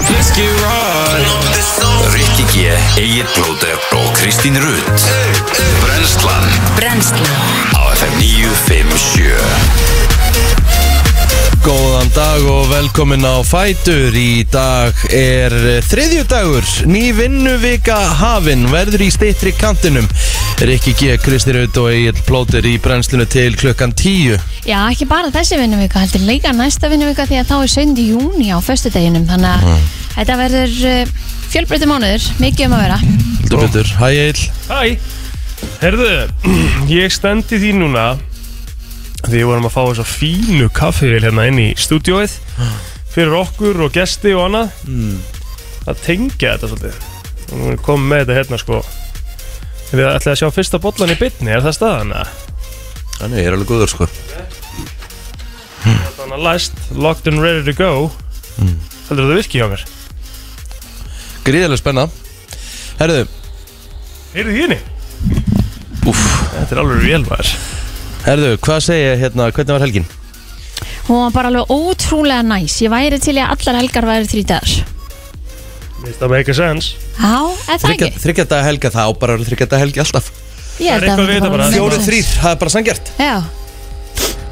kannski ráð Rikki G, Egil Blóter og Kristín Rutt Brenslan Brennslan á FM 957 Góðan dag og velkomin á Fætur Í dag er þriðjudagur Ný vinnuvika hafin Verður í stittri kantinum Rikki G, Kristi Raut og Egil Plóter Í brennslinu til klukkan 10 Já, ekki bara þessi vinnuvika, heldur leika næsta vinnuvika því að þá er 7. júni á föstudeginum, þannig að þetta verður uh, fjölbreytti mánuður, mikið um að vera. Heldur betur, hæ Egil Hæ, herðu, ég stendi því núna Því við vorum að fá þessa fínu kaffevél hérna inn í stúdióið Fyrir okkur og gesti og annað Að tengja þetta svolítið Og við komum með þetta hérna sko Við ætlum að sjá fyrsta bollan í bytni, er það staðan? eða? Þannig, ég er alveg góður sko Þannig að læst, locked and ready to go Mm. Heldur það virki hjá mér? Gríðarlega spenna Herðu, Heyrðu því henni? úff Þetta er alveg vel maður Herðu, hvað segja hérna, hvernig var helgin? Hún var bara alveg ótrúlega næs, ég væri til í að allar helgar væri þrý dagar. Mér finnst það make a sense Já, eða það Þryggja ekki? þriggja daga helga, þá bara þryggja daga helgi alltaf Ég Það er eitthvað við þetta bara. Fjóri Fjóri þrýr, það er bara sangjart Já,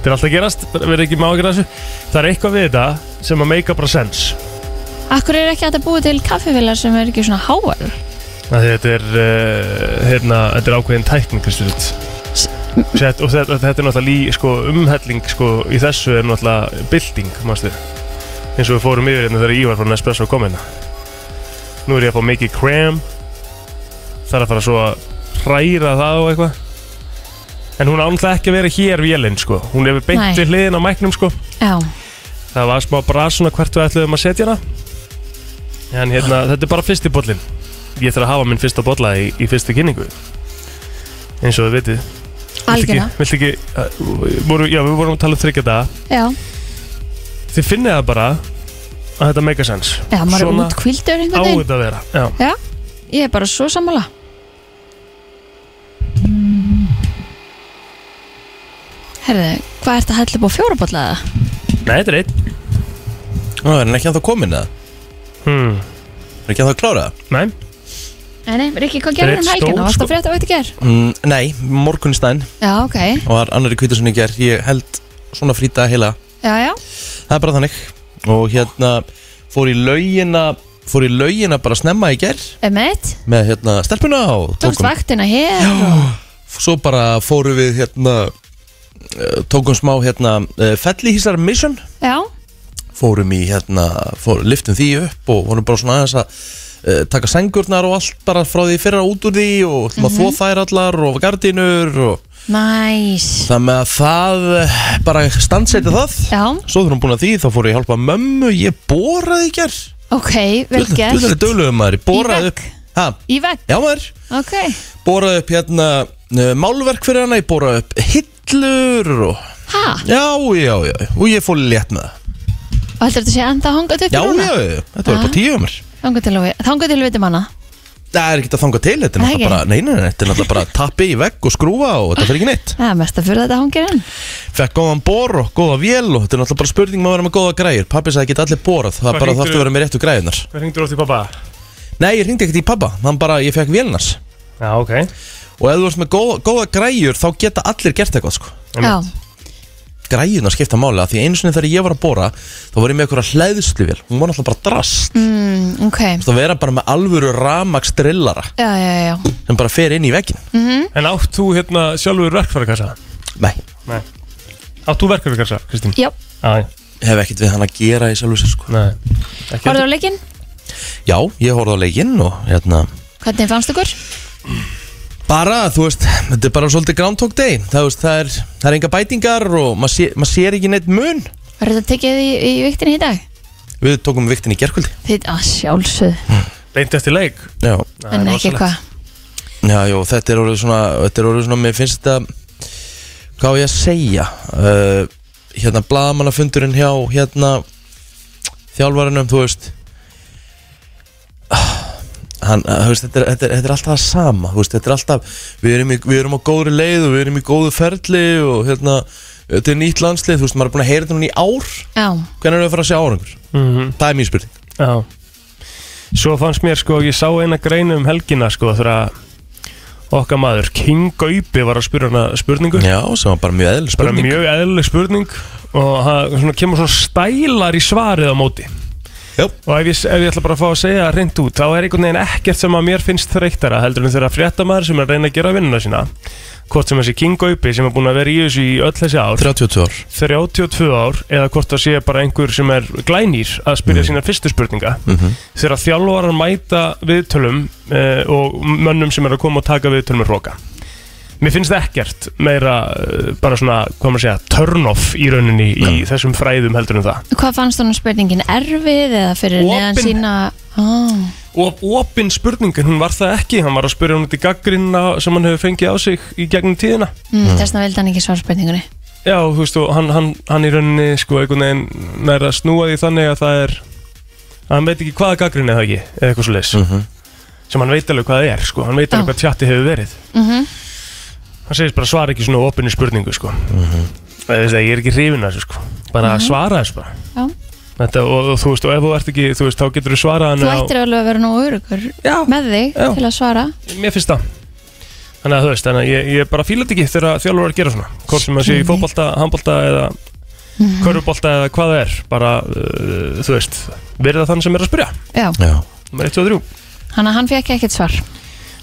Þetta er alltaf að gerast, verður ekki má að gera þessu Það er eitthvað við þetta sem að make a bara sense akkur er ekki hægt að búið til kaffivilar sem er ekki svona háar? Að Þetta er, uh, hérna, þetta er ákveðin tækning, Kristi Rutt. Sett, og þetta, þetta er náttúrulega lí, sko, umhelling sko, í þessu er náttúrulega building, mástu. Eins og við fórum yfir hérna þegar Ívar frá Nespresso kom hérna. Nú er ég að fá mikið cram. Það er að fara svo að hræra það og eitthvað. En hún ánlega ekki að vera hér vélinn, sko. Hún Nei. hefur beint við hliðin á mæknum, sko. Já, Það var smá brasuna hvert við ætluðum að setja hana En hérna, þetta er bara fyrsti bollin Ég þarf að hafa minn fyrsta bolla í, í fyrstu kynningu Eins og þið vitið Viltu ekki, algjörna. viltu ekki uh, voru, Já, við vorum að tala um þryggja daga Já, Þið finnið það bara að þetta make a sense já, maður er Svona út kvildur á einhvern veginn. þetta að vera Já, Já, ég er bara svo sammála. Herðu, hvað ert að hella upp á fjórabotlaða? nei, þetta er einn Nú, er hann ekki að það komin eða? hmm. Er ekki að það klára það? Nei, Nei, nei, Rikki, hvað gerður Rétt um helgina? stór, Varst sko. það frétta á þetta ger? Mm, nei, morgunstæn Já, ok. og var annar í kvítusunni ger ég held svona frýta heila Já, já. það er bara þannig og hérna fór í laugina fór í laugina bara snemma í ger Emmett, með hérna stelpuna og tókst tókum vaktina hér og... svo bara fórum við hérna eh, tókum smá hérna eh, fellihísar mission Já, fórum í hérna fór, liftum því upp og vorum bara svona aðeins að uh, taka sengurnar og allt bara frá því fyrra út úr því og mm -hmm. Mhm. þó þær allar og gardinur og næs. það með að það eh, bara standsetja það Já, Svo þurfum búin að því, þá fór ég að hjálpa mömmu, ég boraði í gerð. ok, vel Þú þarf gert. að döluðu maður, ég boraði Í upp. vegg? Ha, Í vegg, já maður, ok. boraði upp hérna uh, málverk fyrir hana, ég boraði upp hillur og... Ha, Já, já, já, og ég fór létt með það. og heldur þetta sé enda hangað upp Já, núna? já, já, þetta var Ah. bara tíu um mér. Þangað til, við- þangað til vitum hana. Það er ekki að þanga til, þetta Nei, er náttúrulega ekki. bara, nei, nei, nei, þetta er náttúrulega bara tappi í vegg og skrúfa og þetta fyrir ekki neitt. Það er mest að fyrir þetta hangir enn. Fekk góðan bor og góða vél og þetta er náttúrulega bara spurning maður að vera með góða græjur. Pappi sagði ekki allir borað, það Hvað bara hringdirðu? þarf að vera með réttu græjurnar. hvað hringdur oft í pappa? Nei, ég hringdi ekkert í pappa, hann bara, ég fekk vélnars. Já, ok Og ef þú ert með góða, góða græjur þá geta allir gert eitthvað sko Já, Græjurnar skipta máli að því einu sinni þegar ég var að bóra þá var ég með einhverja hlæðsluvél hún var náttúrulega bara drast mm. mm, ok. þá vera bara með alvöru ramaksdrillara Já, já, já. Mhm. sem bara fer inn í veggin En átt þú hérna sjálfur verkfærakassa? Nei, Nei Átt þú verkfærakassa, Kristín? Já, Æ, hef ekkert við hann að gera í sjálfu sér sko nei Ekki horfðu á leikinn? Já, ég horfði á leikinn og hérna Hvernig fannst ykkur? Bara, þú veist, þetta er bara svolítið groundhog day Það, veist, það, er, það er enga bætingar og maður sé, mað sér ekki neitt mun Var þetta tekið í, í viktinni í dag? Við tókum viktin í gerkvöldi Þið, að sjálfsög, Beint eftir leik Já, Nei, en ekki rosalegt. hvað. Já, jú, þetta er orðið svona, þetta er orðið svona, mér finnst þetta, hvað á ég að segja, uh, hérna, blaðamannafundurinn hjá, hérna, þjálfarinum, þú veist, Ah, hann, uh, þú veist, þetta er, þetta, er, þetta er alltaf það sama, þú veist, þetta er alltaf, við erum, í, við erum á góðri leið og við erum í góðu ferli og, hérna, þetta er nýtt landslið, þú veist, maður er búin að heyra þetta núna í ár, Já, Mm. hvernig erum við að fara að sjá árangur? Mhm Það er mín spurning. Já Svo fannst mér sko, ég sá eina greinu um helgina sko þegar að okkar maður King Gaupi var að spyrja hana spurningu Já, sem var bara mjög eðl bara spurning mjög eðlileg spurning og það svona, kemur svona stælar í svarið á móti Já. og ef ég, ef ég ætla bara að fá að segja það reynd út þá er einhvern veginn ekkert sem að mér finnst þreytara heldur en þeirra fréttamaður sem er að reyna að gera vinnuna sína hvort sem þessi King Gaupi sem er búin að vera í þessu í öll þessi ár 32 ár 32 ár eða hvort það sé bara einhver sem er glænýr að spyrja sína fyrstu spurninga þegar þjálfarar mæta viðtölum eh, og mönnum sem er að koma og taka viðtölum er hróka Mér finnst ekkert meira eh, bara svona, hvað maður segja, turn off í rauninni í þessum fræðum heldur en það Hvað fannst honum spurningin erfið eða fyrir Opin. neðan sína ah. Og opinn spurningin, hún var það ekki hann var að spyrja hún út í gaggrinna sem hann hefur fengið á sig í gegnum tíðina mm, Þess vegna vildi hann ekki svara spurningunni Já, þú veist, og hann, hann, hann í rauninni sko einhvern veginn nær að snúa því þannig að það er að hann veit ekki hvaða gaggrinni það ekki, eða eitthvað svo leis sem hann veit alveg hvað það er, sko hann veit alveg Já. hvað tjatti hefur verið Mhm. hann segist bara svara ekki svona opinni spurningu, sko mm veist, það, ég er ekki hrifin að þessu, sko bara Mhm. að svara þessu bara Já. Þetta, og, og þú veist, og ef þú ert ekki, þú veist, þá getur þú svarað hann Þú á- ættir alveg að vera nógu örugur Já. með þig Já. til að svara Mér finnst það Þannig að þú veist, þannig að ég, ég bara fíla þetta ekki þegar þjálfur að gera svona Hvort sem að Mhm. sé í fótbolta, handbolta eða Mhm. körfubolta eða hvað það er Bara, uh, þú veist, verða þann sem er að spyrja Já, Já Númer 1, 2, 3 hann að hann fekk ekkert svar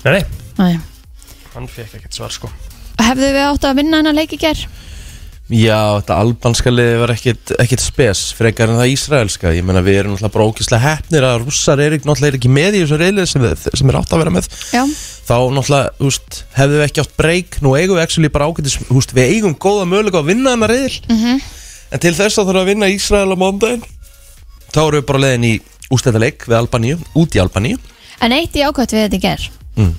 Nei, nei, Nei. hann fekk ekkert svar sko Hefðu við átt að vinna hann að leiki ger? Já, þetta albanska liði var ekkit, ekkit spes frekar en það ísraelska ég meina við erum náttúrulega bara ókýrslega heppnir að rússar er ekki, náttúrulega er ekki með í þessu reyli sem, við- sem er átt að vera með Já, Mhm. þá náttúrulega, þú veist, hefðum við ekki átt breyk nú eigum við actually bara ágætis, þú veist, við eigum góða mögulega að vinna hennar reyðil Mhm. en til þess að þurfa að vinna Ísrael á mándaginn þá erum við bara leðin í ústættaleik við Albaníu, út í Albaníu en eitt í ákvæmt við þetta ger mm.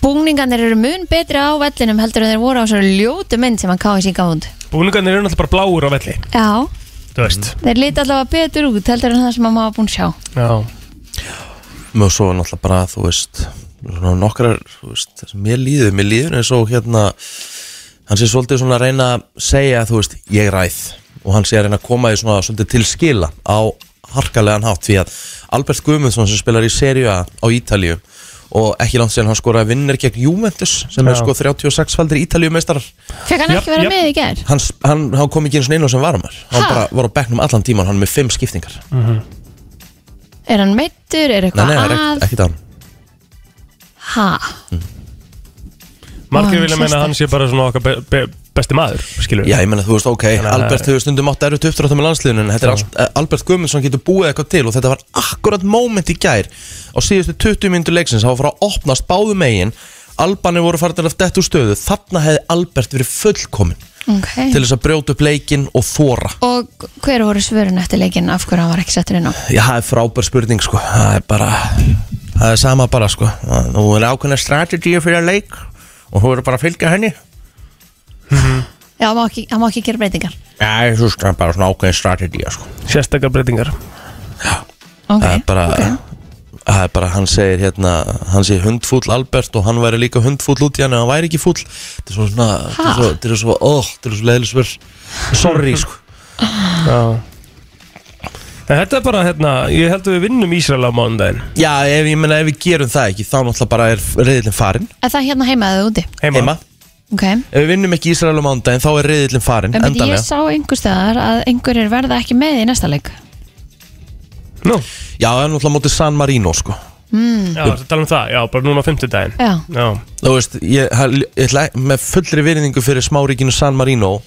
Búningarnir eru mun betri á vellinum heldur en þeir voru á svo ljótu mynd sem hann káði sín gáund Búningarnir eru náttúrulega bara bláur á velli Já, Þú veist Mm. þeir líti allavega betur út heldur en það sem hann maður búin að sjá Já, og svo náttúrulega bara, þú veist svona nokkrar, þú veist, það sem mér líður mér líður eins og hérna hann sé svolítið svona að reyna að segja þú veist, ég ræð og hann sé að reyna að koma því svona svolítið til skila á harkalegan hátt því að Albert Guðmundsson sem spilar í Serie A á Ítalíu og ekki langt sér hann skoraði vinnir gegn Juventus sem er Já. sko 36 faldir Ítalíu meistarar Fekk hann Jöp, ekki vera jöp. með í ger? hann, hann, hann kom ekki eins og einu sem varumar hann Ha? bara var á bekknum allan tíman, hann er með 5 skiptingar Er hann meittur? Er nei, eitthvað nei, það er Mm. að? ekkert- ekkert á hann Ha, margir Ó, vilja meina að hann sé bara svona okkar be be besti maður, skilur Já, ég menna, þú veist, ok, að- Albert hefur stundum átt erfitt uppdráttum með landsliðinu en þetta er allt, eh, Albert Guðmundsson getur búið eitthvað til og þetta var akkurat moment í gær á síðustu 20 minntu leiksins, það var frá að opnast báðu megin Albani voru farin að detta úr stöðu þarna hefði Albert verið fullkomin ok til þess að brjóta upp leikin og þóra Og hver voru svörun eftir leikin af hverju hann var ekki settur inn á? Já, það er frábær spurning, sko það er bara, það er sama bara, sko nú er ákveðna strategíu fyrir leik og þú eru bara að fylgja henni Já, hann má ekki, hann má ekki gera breytingar Já, ég þú veist, það er bara svona ákveðin strategíu, sko Sérstakar breytingar Ok, það er bara ok. það er bara, hann segir hérna hann segir hundfúll Albert og hann væri líka hundfúll út í hann en hann væri ekki fúll þetta er svo svona, þetta Ha? er svo, þetta er svo, oh, þetta er svo leiðilisver sorry, sko Já En þetta er bara, hérna, ég held að við vinnum Ísrael á mánudaginn já, ef, ég meina, ef við gerum það ekki, þá náttúrulega bara er reyðilin farin, Er það hérna heima eða úti? Heima, heima Ok, ef við vinnum ekki Ísrael á mándaginn, þá er reyðilin farin, en beti, ég endanlega sá einhver staðar að einhverjir verða ekki með í næsta leik Nú, já, það er náttúrulega mótið San Marino, sko Hmm. já, það tala um það, já, bara núna á fimmtudaginn Já, Já, þú veist, ég, hæ- ég ætla með fullri virðingu fyrir smáríkinu San Marino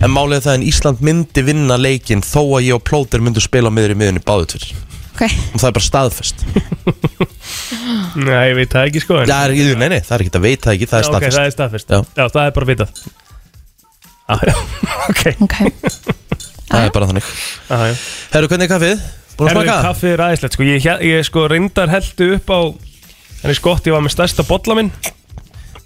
en málið er það en Ísland myndi vinna leikin þó að ég og Plóter myndu spila á miðri miðunni báðutvir ok og það er bara staðfest nei, ég veit það ekki sko en Það er ekki, nei, nei, það er ekki að veita það ekki, það er Já, ok, staðfest það er staðfest Já. Já. það er bara vitað Já, já, ok Ok, Það er bara þannig Já, já. Herru, hvernig er kaffið? Búin að Herðu, smaka? kaffið er aðeinslegt sko ég, hér- ég sko reyndar held upp á Þannig skott ég var með stærsta bolla minn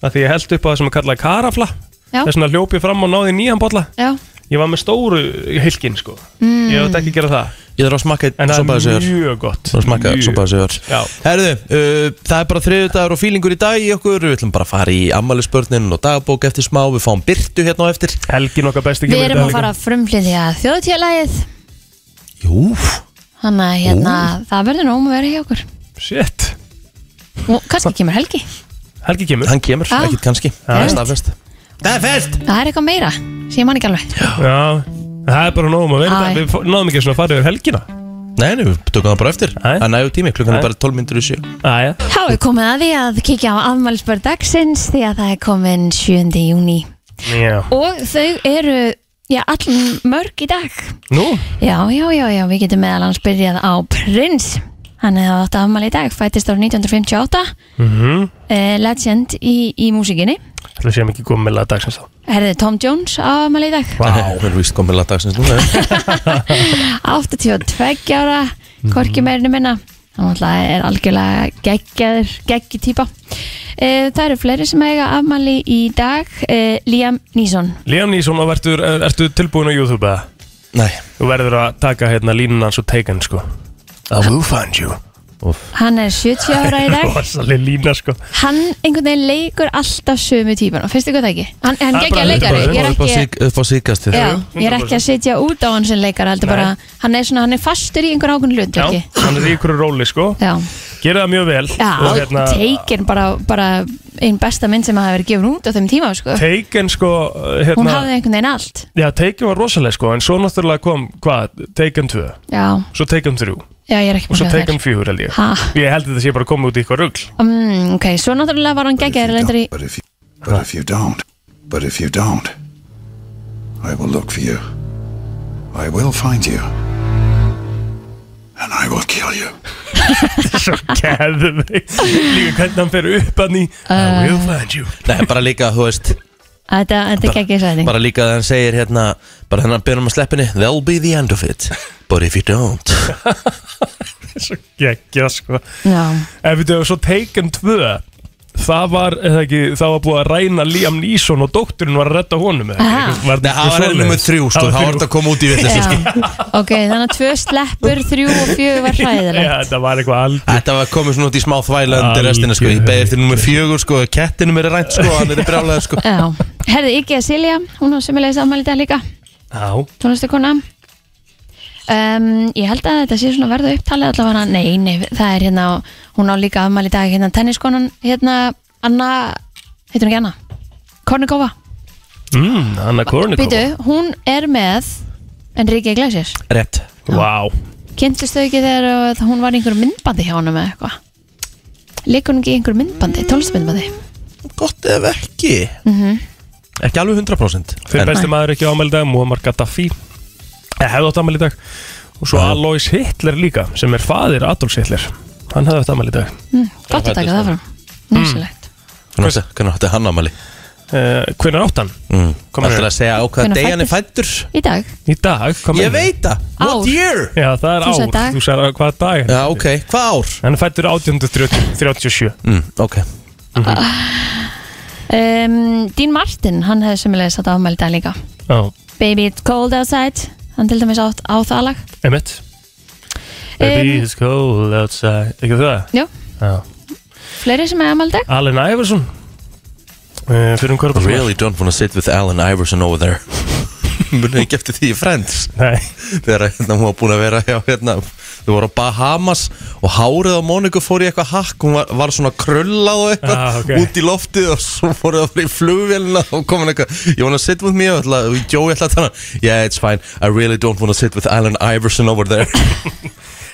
af Því ég held upp á það sem er kallað karafla já, Þess vegna hljóp ég fram og náði í nýjan bolla já Ég var með stóru hilkin sko Ég hef ekki að gera það Ég þarf að smaka En einn sopaði það er sigur mjög gott Svo smaka Mjög. sopaði sigur Já. Herru, uh, það er bara þriðudagur og fílingur í dag í okkur Við ætlum bara að fara í ammælisbörnin og dagbók eftir smá Við fáum byrtu hérna á eftir Helgin okkar besti Við kemur í erum dag að líka. fara að frumflyðja þjóðtíðalagið Jú, Þannig að hérna, það verður nóm að vera hjá okkur Shit, Og kannski kemur helgi Helgi kemur Hann kemur, Já. ekkert kannski Það er staðfest Það er fest Það er eitthvað meira, sé ég man ekki alveg Já, það er bara nóg um að Æ. vera þetta Við fó- náðum ekki svona að fara yfir helgina Nei, nei, við tökum það bara eftir Nei. Það er nægur tími, klukkan Nei. er bara 12 myndur í sjö Æja, Þá er komið að því að kíkja á afmælsbörn dagsins því að það er komin 7. júni já og þau eru já, all mörg í dag Nú, Já, já, já, já, við getum meðal hans byrjað á Prince Hann hefði átt afmæli í dag, fættist ára 1958 eh, Legend í, í músikinni ætla að Mhm. séum ekki góð með laða dagsins þá Herði Tom Jones á afmæli í dag Vá, hún er víst komið lagdagsins núna 82 ára, Mhm. korki meirinu minna hann alltaf er algjörlega geggjaður, geggi típa e, það eru fleiri sem eiga afmæli í dag e, Liam Neeson Leon Nísson, ertu, er, eh, ertu tilbúin á YouTube eða? Nei Þú verður að taka hérna línuna hans og Taken sko I will find you hann er 70 ára í dag Rosaleg lína sko hann einhvern veginn leikur alltaf sömu típan og finnst ykkur það ekki hann, hann Það er geggja bara- leikari ég er Upp á ekki sík- Upp á síkast Já, ég er ekki að setja út á hann sem leikar heldur Nei. bara, hann er svona, hann er fastur í einhver ákveðin hlut, Já, ekki? hann er í ykkur róli sko Já, Gerið það mjög vel já, Og hérna Taken bara, bara einn besta mynd sem að hafa verið gefur út á þeim tíma, sko Taken sko Hún hérna, hafði einhvern veginn allt Já, Taken var rosaleg sko En svo náttúrulega kom, hvað, Taken 2 Já, Svo Taken 3 Og já ég er ekki búin svo að sjá Taken 4 held ég Ha? Ég held að þetta sé bara komið út í eitthvað rugl þær mm, Ok, svo náttúrulega var hann geggjaður reyndar í But if you, but if you don't, but if you don't, I will look for you. I will find you. And I will kill you. Svo geðum Líka hvernig hann fer upp hann í I will find you Nei, bara líka, þú veist Um, Þetta, þetta er geggjaður sæðing Bara líka að hann segir hérna Bara hennar byrjum að sleppinni There'll be the end of it But if you don't Svo geggjað sko Já, En við tegum svo Taken 2 Það var, eða ekki, það var búið að ræna Liam Neeson og dótturinn var að redda honum eða Ah. ekki? Var- Nei, það var svoleiðis? enn með þrjú, sko Það Það var var þrjú. þetta að koma út já. í vitlis Ok, þannig að tvö sleppur, þrjú og fjögur var Já, hræðilegt þetta var eitthvað algjör Þetta var komið svona út í smá þvæla undir restina sko Ég beði eftir nummer fjögur sko Kettinum er rænt sko, hann er brjálega sko Já, herði Iggy Silja, hún á semulegis afmæli í dag líka Já, tónlistakona um, ég held að þetta sé svona verða upptalið allavega nei, nei, það er hérna hún á líka afmæli í dag, hérna tenniskonan hérna Anna, heitir hún ekki Anna Kornikova, sko. mm, Anna Kornikova býtu, hún er með Enrique Iglesias Rétt Vá, kynntist þau ekki þegar uh, hún var í einhverju myndbandi hjá hann með eitthvað leikur hún ekki í einhverju myndbandi, tólestmyndbandi Gott ef ekki Mhm. Ekki alveg 100% þeir En- besti maður ekki ámæli dag Muammar Gaddafi Ég hefði átt ámæli dag Og svo Já. Alois Hitler líka sem er faðir Adolfs Hitler Hann hefði átt ámæli dag mm, gott að taka það fram, nýsilegt Hvernig átti- hvernig átti hann ámali? uh, Hvernig átt hann? Mm. Kom Ætlar hér. að segja á hvaða Hvenær degi hann er fættur? í dag, Í dag, kom Ég hér. veit það What Ár. year? Já, það er Þú sagði ár, dag. þú sagði hvaða dag hann er Já, ok, hvað ár? Hann er fættur 1837 Mm, ok um, Dean Martin hann hefði semulegis þetta afmæli í dag líka Já, Baby It's Cold Outside hann til dæmis á, á það lag emitt Um, Baby it's cold outside Ekki það? Jú, Já fleiri sem er amaldag Allen Iverson um uh, Fyrir um korpa Really don't wanna sit with Alan Iverson over there Munið ekki eftir því í Friends Nei Þegar hérna, hún var búin að vera hjá hérna Þau voru á Bahamas Og hárið á Móniku fór í eitthvað hakk Hún var, var svona krullað og eitthvað Ah, ok. Út í loftið og svo fóruð það fyrir í flugvélina Og komin eitthvað You wanna sit with me? Og ætla, Joey ætla að tala Yeah, it's fine I really don't wanna sit with Alan Iverson over there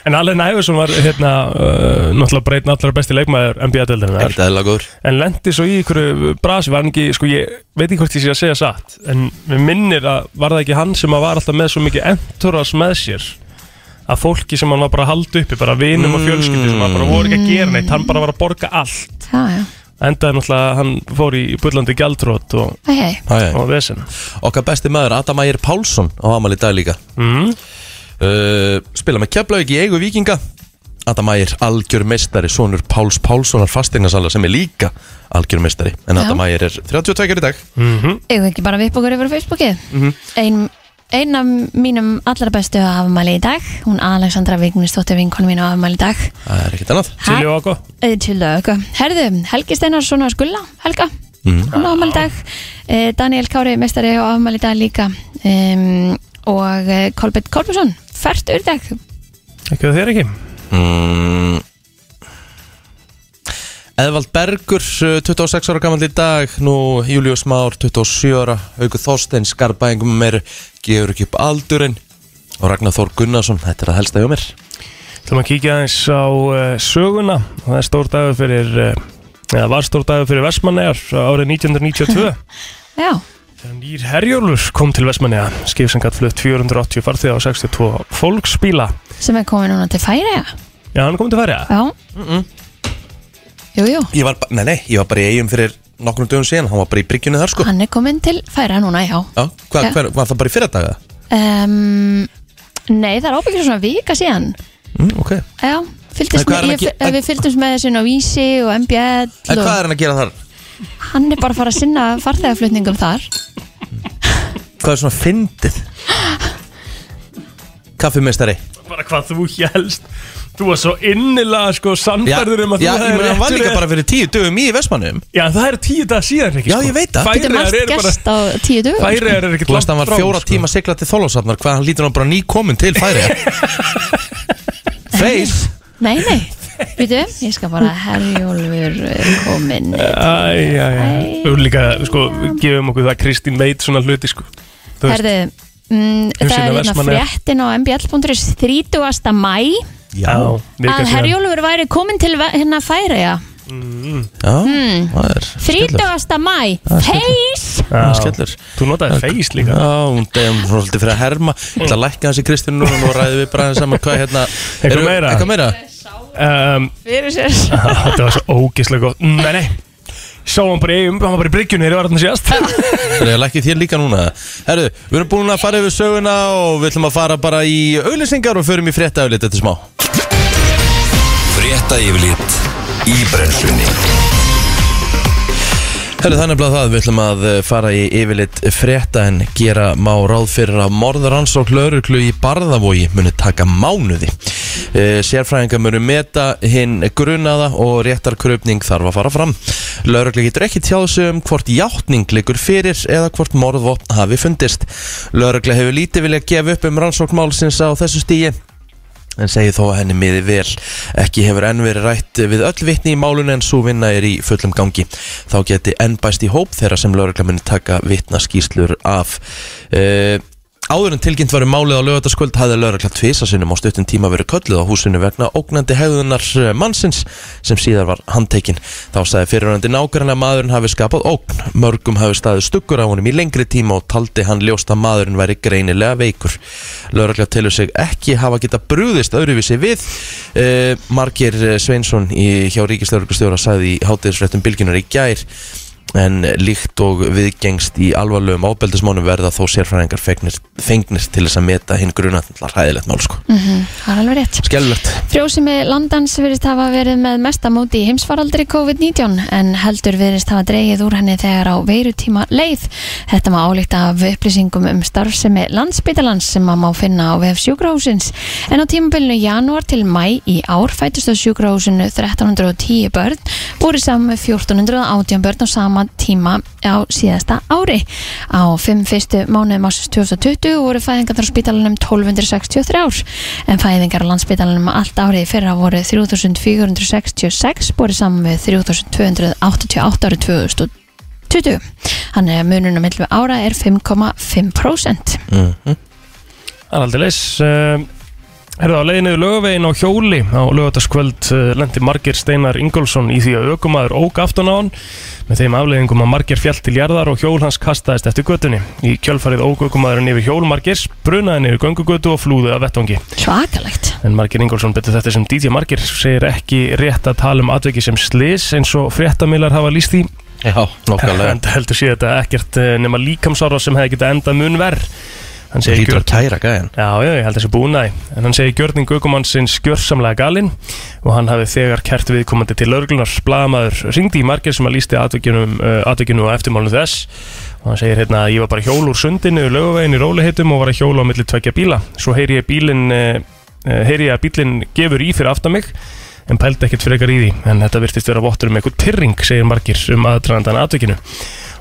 En Allen Iverson var hérna uh, Náttúrulega breytn allra besti leikmaður NBA-deldarinnar Þetta er lagur En lendi svo í ykkur brasi Var hann ekki, sko ég veit ekki hvort ég sé að segja satt En mér minnir að var það ekki hann sem að var alltaf með svo mikið entourage með sér Að fólki sem hann var bara að halda uppi Bara vinum og fjölskyldi sem hann bara voru ekki að gera neitt Hann bara var að borga allt Já, já, Endaði náttúrulega, hann fór í bullandi gjaldrót og, hei hei Hæ, hæ og vesen Okkar besti maður Adam Ægir Pálsson á amal í dag líka mm. uh, Spila með Keflavík í eigu vikinga Adam Ægir algjör meistari Sónur Páls Pálssonar fasteignarsala sem er líka algjör meistari En Já. Mhm. Adam Ægir er 32 í dag Mhm. Eigum við ekki bara vipp okkur yfir á Facebookið ein, ein af mínum allra bestu afmæli í dag hún Alexandra Vignisdóttir vinkonu mín á afmæli í dag Það er ekkert annað Silju Áko Eh, Til lögu Herðu, Helgi Steinarsson á skulla Helga, Mhm. hún á afmæli í dag Eh, Daniel Kári, mestari á afmæli í dag líka um, og eh, Kolbett Kolbjörnsson fært í dag Ekki að þér ekki mm. Eðvald Bergur, uh, 26 ára gammal í dag Nú Július Már, 27 ára Haugur Þorstein, skarpaðingum meir Gefur ekki upp aldurinn Og Ragnar Þór Gunnarsson, þetta er að helsta hjá mér Það maður kíkja aðeins á uh, söguna Það er stór dagur fyrir uh, eða var stór dagur fyrir Vestmannegar árið 1992 Já, Þegar nýr Herjólfur kom til Vestmannegar skip sem gætt flutt 480 farþið á 62 fólksbíla sem er komið núna til færi Já, hann kom til færiða Já Jú, jú, Ég var, ba- nei, nei, ég var bara í eigum fyrir nokkrum dögum síðan Hann var bara í bryggjunni þar sko Já, hann er komin til færa núna, já hva, Já. Hver, var það bara í fyrradaga? um, Nei, það er ábyggjur svona vika síðan Mm, ok Já, En fylgdist hvað er með, hann ég, að ge- en- við fylgdumst með þessu inn á Vísi og MBL En og hvað er hann að gera þar? hann er bara að fara að sinna farþegaflutningum þar Hvað er svona fyndið? Kaffimestari Bara hvað þú helst Þú var svo innilega sko sannferður um að já, þú ég hefðir meina, hann var rétt líka fyrir bara fyrir tíu dögum í Vestmannum Já, það er tíu dag síðan ekki Já, ég veit Þetta það. er margt Færiðar sko. eru bara gest á tíu dögum sko. Færiðar eru ekki Þú veist, hann var fjóra sko. tíma að sigla til Þólásafnar Hvað hann lítur hann bara nýkominn til færi Feis Nei, nei, veitu, ég skal bara herjólfur eh, kominn Æj, æj, æj Þú líka, sko, við gefum okkur það að Kristín veit svona hluti, sko Þú veist, Herðu, mm, það sinna er hérna Vestmannaeyjar. fréttin á mbl.is 30. mæ Já, já, vika að síðan herjólfur væri kominn til ve- hérna færiða já Hmm. það er 30. mæ, feis Það er Já. skellur Þú notaði feys líka Já, hún deyðum svolítið fyrir að herma Ég ætla að lækka hans í Kristján núna Nú ræðum við bara aðeins saman hvað hérna Eitthvað eru- meira? Eitthvað meira? um, fyrir sér Þetta var svo ógislega gott Mm, Nei, nei Sá hann bara í, hann var bara í bryggjunni Þegar var hann síðast Það er lækkið þér líka núna Herðu, við erum búin að fara yfir söguna Og við ætlum að fara bara í auðlýsingar Og förum í frétta auðlýtt eftir smá Frétta yfirlit í brennslunni Herru, þannig að það, við ætlum að eh, fara í yfirleitt frétta en gera má ráð fyrir að morðarannsók lauruglu í barðavogi muni taka mánuði. Eh, Sérfræðingar munu meta hinn grunaða og réttarkröpning þarf að fara fram. Lauruglu getur ekki tjáð sig um hvort játning liggur fyrir eða hvort morðvopn hafi fundist. Lauruglu hefur lítið viljað gefa upp um rannsókmálsins á þessu stíi en segir þó að henni miði vel. Ekki hefur enn verið rætt við öll vitni í málunni en svo vinna er í fullum gangi. Þá geti enn bæst í hóp þeirra sem lögregla muni taka vitnaskýslur af. Uh, Áður en tilkynnt varum málið á lögataskvöld hafði lögregla tvisa sinnum á stuttum tíma verið kölluð á húsinu vegna ógnandi hegðunar eh, mannsins sem síðar var handtekinn. Þá sagði fyrirrandi nákvæmlega maðurinn hafi skapað ógn. Mörgum hafi staðið stuggur á honum í lengri tíma og taldi hann ljóst að maðurinn væri greinilega veikur. Lögregla telur sig ekki hafa geta brúðist öðruvísi við. Uh, Margir eh, Sveinsson í, hjá ríkislögreglustjóra sagði í hátíðisfréttum bylginar í gær en líkt og viðgengst í alvarlegum ábeldismónum verða þó sérfræðingar fengnir, fengnir til þess að meta hinn grunatnallar hæðilegt mál sko. Mm. Mhm, Það er alveg rétt Skelvilegt. Frjósemi landans virðist hafa verið með mesta móti í heimsfaraldri COVID-19 en heldur virðist hafa dreigið úr henni þegar á veirutíma leið. Þetta má álíkta af upplýsingum um starfsemi landsbytalans sem maður má finna á vef sjúkrahúsins. En á tímabilinu janúar til mæ í ár fætust á sjúkrahúsinu 1310 börn, búrið saman með 1418 um börn á sama tíma á síðasta ári. Á fimm fyrstu mánuðum ásins 2020 voru fæðingar frá spítalanum 1263 ár en fæðingar á landsbítalanum allt árið í fyrra voru 3466 búið saman við 3288 árið 2020 Þannig að mununum millu ára er 5,5% Það er aldrei leys Herðu á leiðinu lögavegin á hjóli á lögataskvöld lendi Margir Steinar Ingólfsson í því að aukumaður óg aftan á hann með þeim afleiðingum að Margir fjall til jarðar og hjól hans kastaðist eftir götunni. Í kjölfarið óg aukumaðurinn yfir hjól Margirs, brunaði niður göngugötu og flúði af vettvangi. Svakalegt En Margir Ingólfsson betur þetta sem DJ Margir segir ekki rétt að tala um atveki sem slis eins og fréttamilar hafa líst því Já, nokkalega. en heldur sé þetta ekkert eh, nema líkamsára sem hefði getað endað mun verr Hann segir Lítur að kæra gæðan. Já, já, ég held þessi búnaði, en hann segir gjörning aukumannsins gjörsamlega galinn og hann hafi þegar kært viðkomandi til lauruglunar blaðamaður ringdi í margir sem að lísti atvikinu, uh, atvikinu og eftirmálinu þess og hann segir hérna að ég var bara hjól úr sundinu lögavegin í róliheitum og var að hjóla á eh, milli tvekja bíla svo heyri ég bílin uh, heyri ég að bílinn gefur í fyrir aftan mig en pældi ekkert frekar í því en þetta virtist vera vottur um eitthvað pyrring segir margir um aðdragandan atvikinu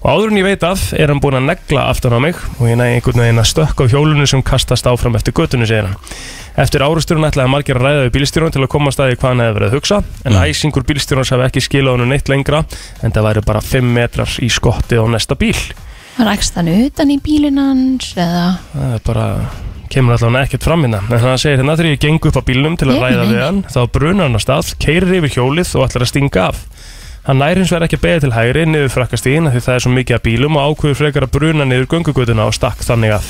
og áður en ég veit af er hann búinn að negla aftan á mig og ég næði einhvern veginn að stökka á hjólunu sem kastast áfram eftir götunu segir hann Eftir árusturinn ætlaði margir að ræða við bílstjórun til að koma að staði hvað hann hefði verið að hugsa en æsingur bílstjórun hafi ekki skilað hann neitt lengra en það væri bara 5 metrar í skotti á næsta bíl Hann rakst hann utan í bílinn hans eða það er bara kemur allavega ekkert fram hérna en hann segir hérna þegar ég geng upp á bílnum til að Nei, ræða nei. við hann þá brunar hann á stað, keirir yfir hjólið og ætlar að stinga af hann nær hins vegar ekki að beða til hægri niður frakkastíðin því það er svo mikið af bílum og ákveður frekar að bruna niður göngugutuna og stakk þannig af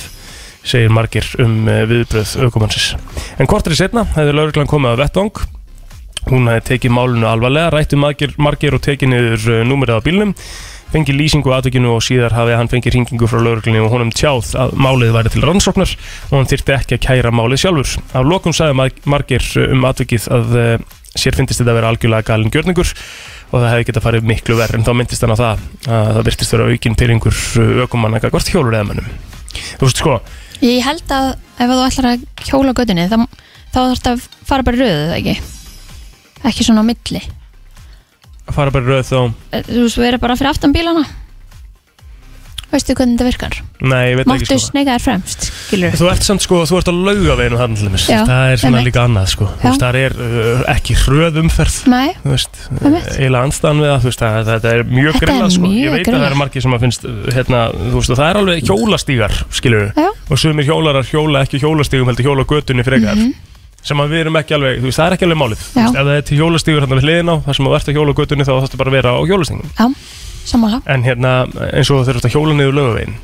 segir margir um eh, viðbröð aukumannsins en kortri setna hefði lauruglan komið á vettvang Hún hefði tekið málunu alvarlega, rætti margir, margir og tekið niður uh, númerið á bílnum, fengið lýsingu á atvekinu og síðar hafði hann fengið hringingu frá lauruglunni og honum tjáð að málið væri til rannsóknar og hann þyrfti ekki að kæra málið sjálfur. Af lokum sagði mar- margir uh, um atvekið að uh, sér finnist þetta að vera algjörlega galin gjörningur og það hefði getað farið miklu verð en þá myndist hann á það að það virtist vera aukinn pyrringur ökumanna gagvart hjólur eða mönnum. Þú veist sko, Ég held að ef þú ætlar að hjóla á götunni þá, þá þarf að fara bara í röðu það ekki ekki svona á milli að fara bara í röð þá, Eh, þú veist, vera bara fyrir aftan bílana veistu hvernig þetta virkar nei, ég veit máttu ekki sko. sneika þér fremst, skilur Þú ert samt sko, þú ert á laugaveginu þarna til dæmis Já, Það er svona einmitt. líka annað sko Þú veist, það er uh, ekki hröðumferð Nei, Þú veist, Einmitt. eiginlega andstæðan við það Þú veist, það, þetta er mjög Þetta er grillað sko Ég mjög veit að grillað. það er margir sem að finnst uh, hérna, Þú veist, og það er alveg hjólastígar Skilur Já. Og sumir hjólarar hjóla ekki á hjólastígum Heldur hjóla á götunni frekar Sem að við erum ekki alveg, þú veist, það er ekki alveg málið Þú Mhm. Já. veist, Ef það er til hjólastígur hérna við hliðin á þar sem að verða hjóla á götunni þá þarfstu bara að vera á hjólastígum já, sammála En hérna, eins og þú þurft að hjóla niður lögavegin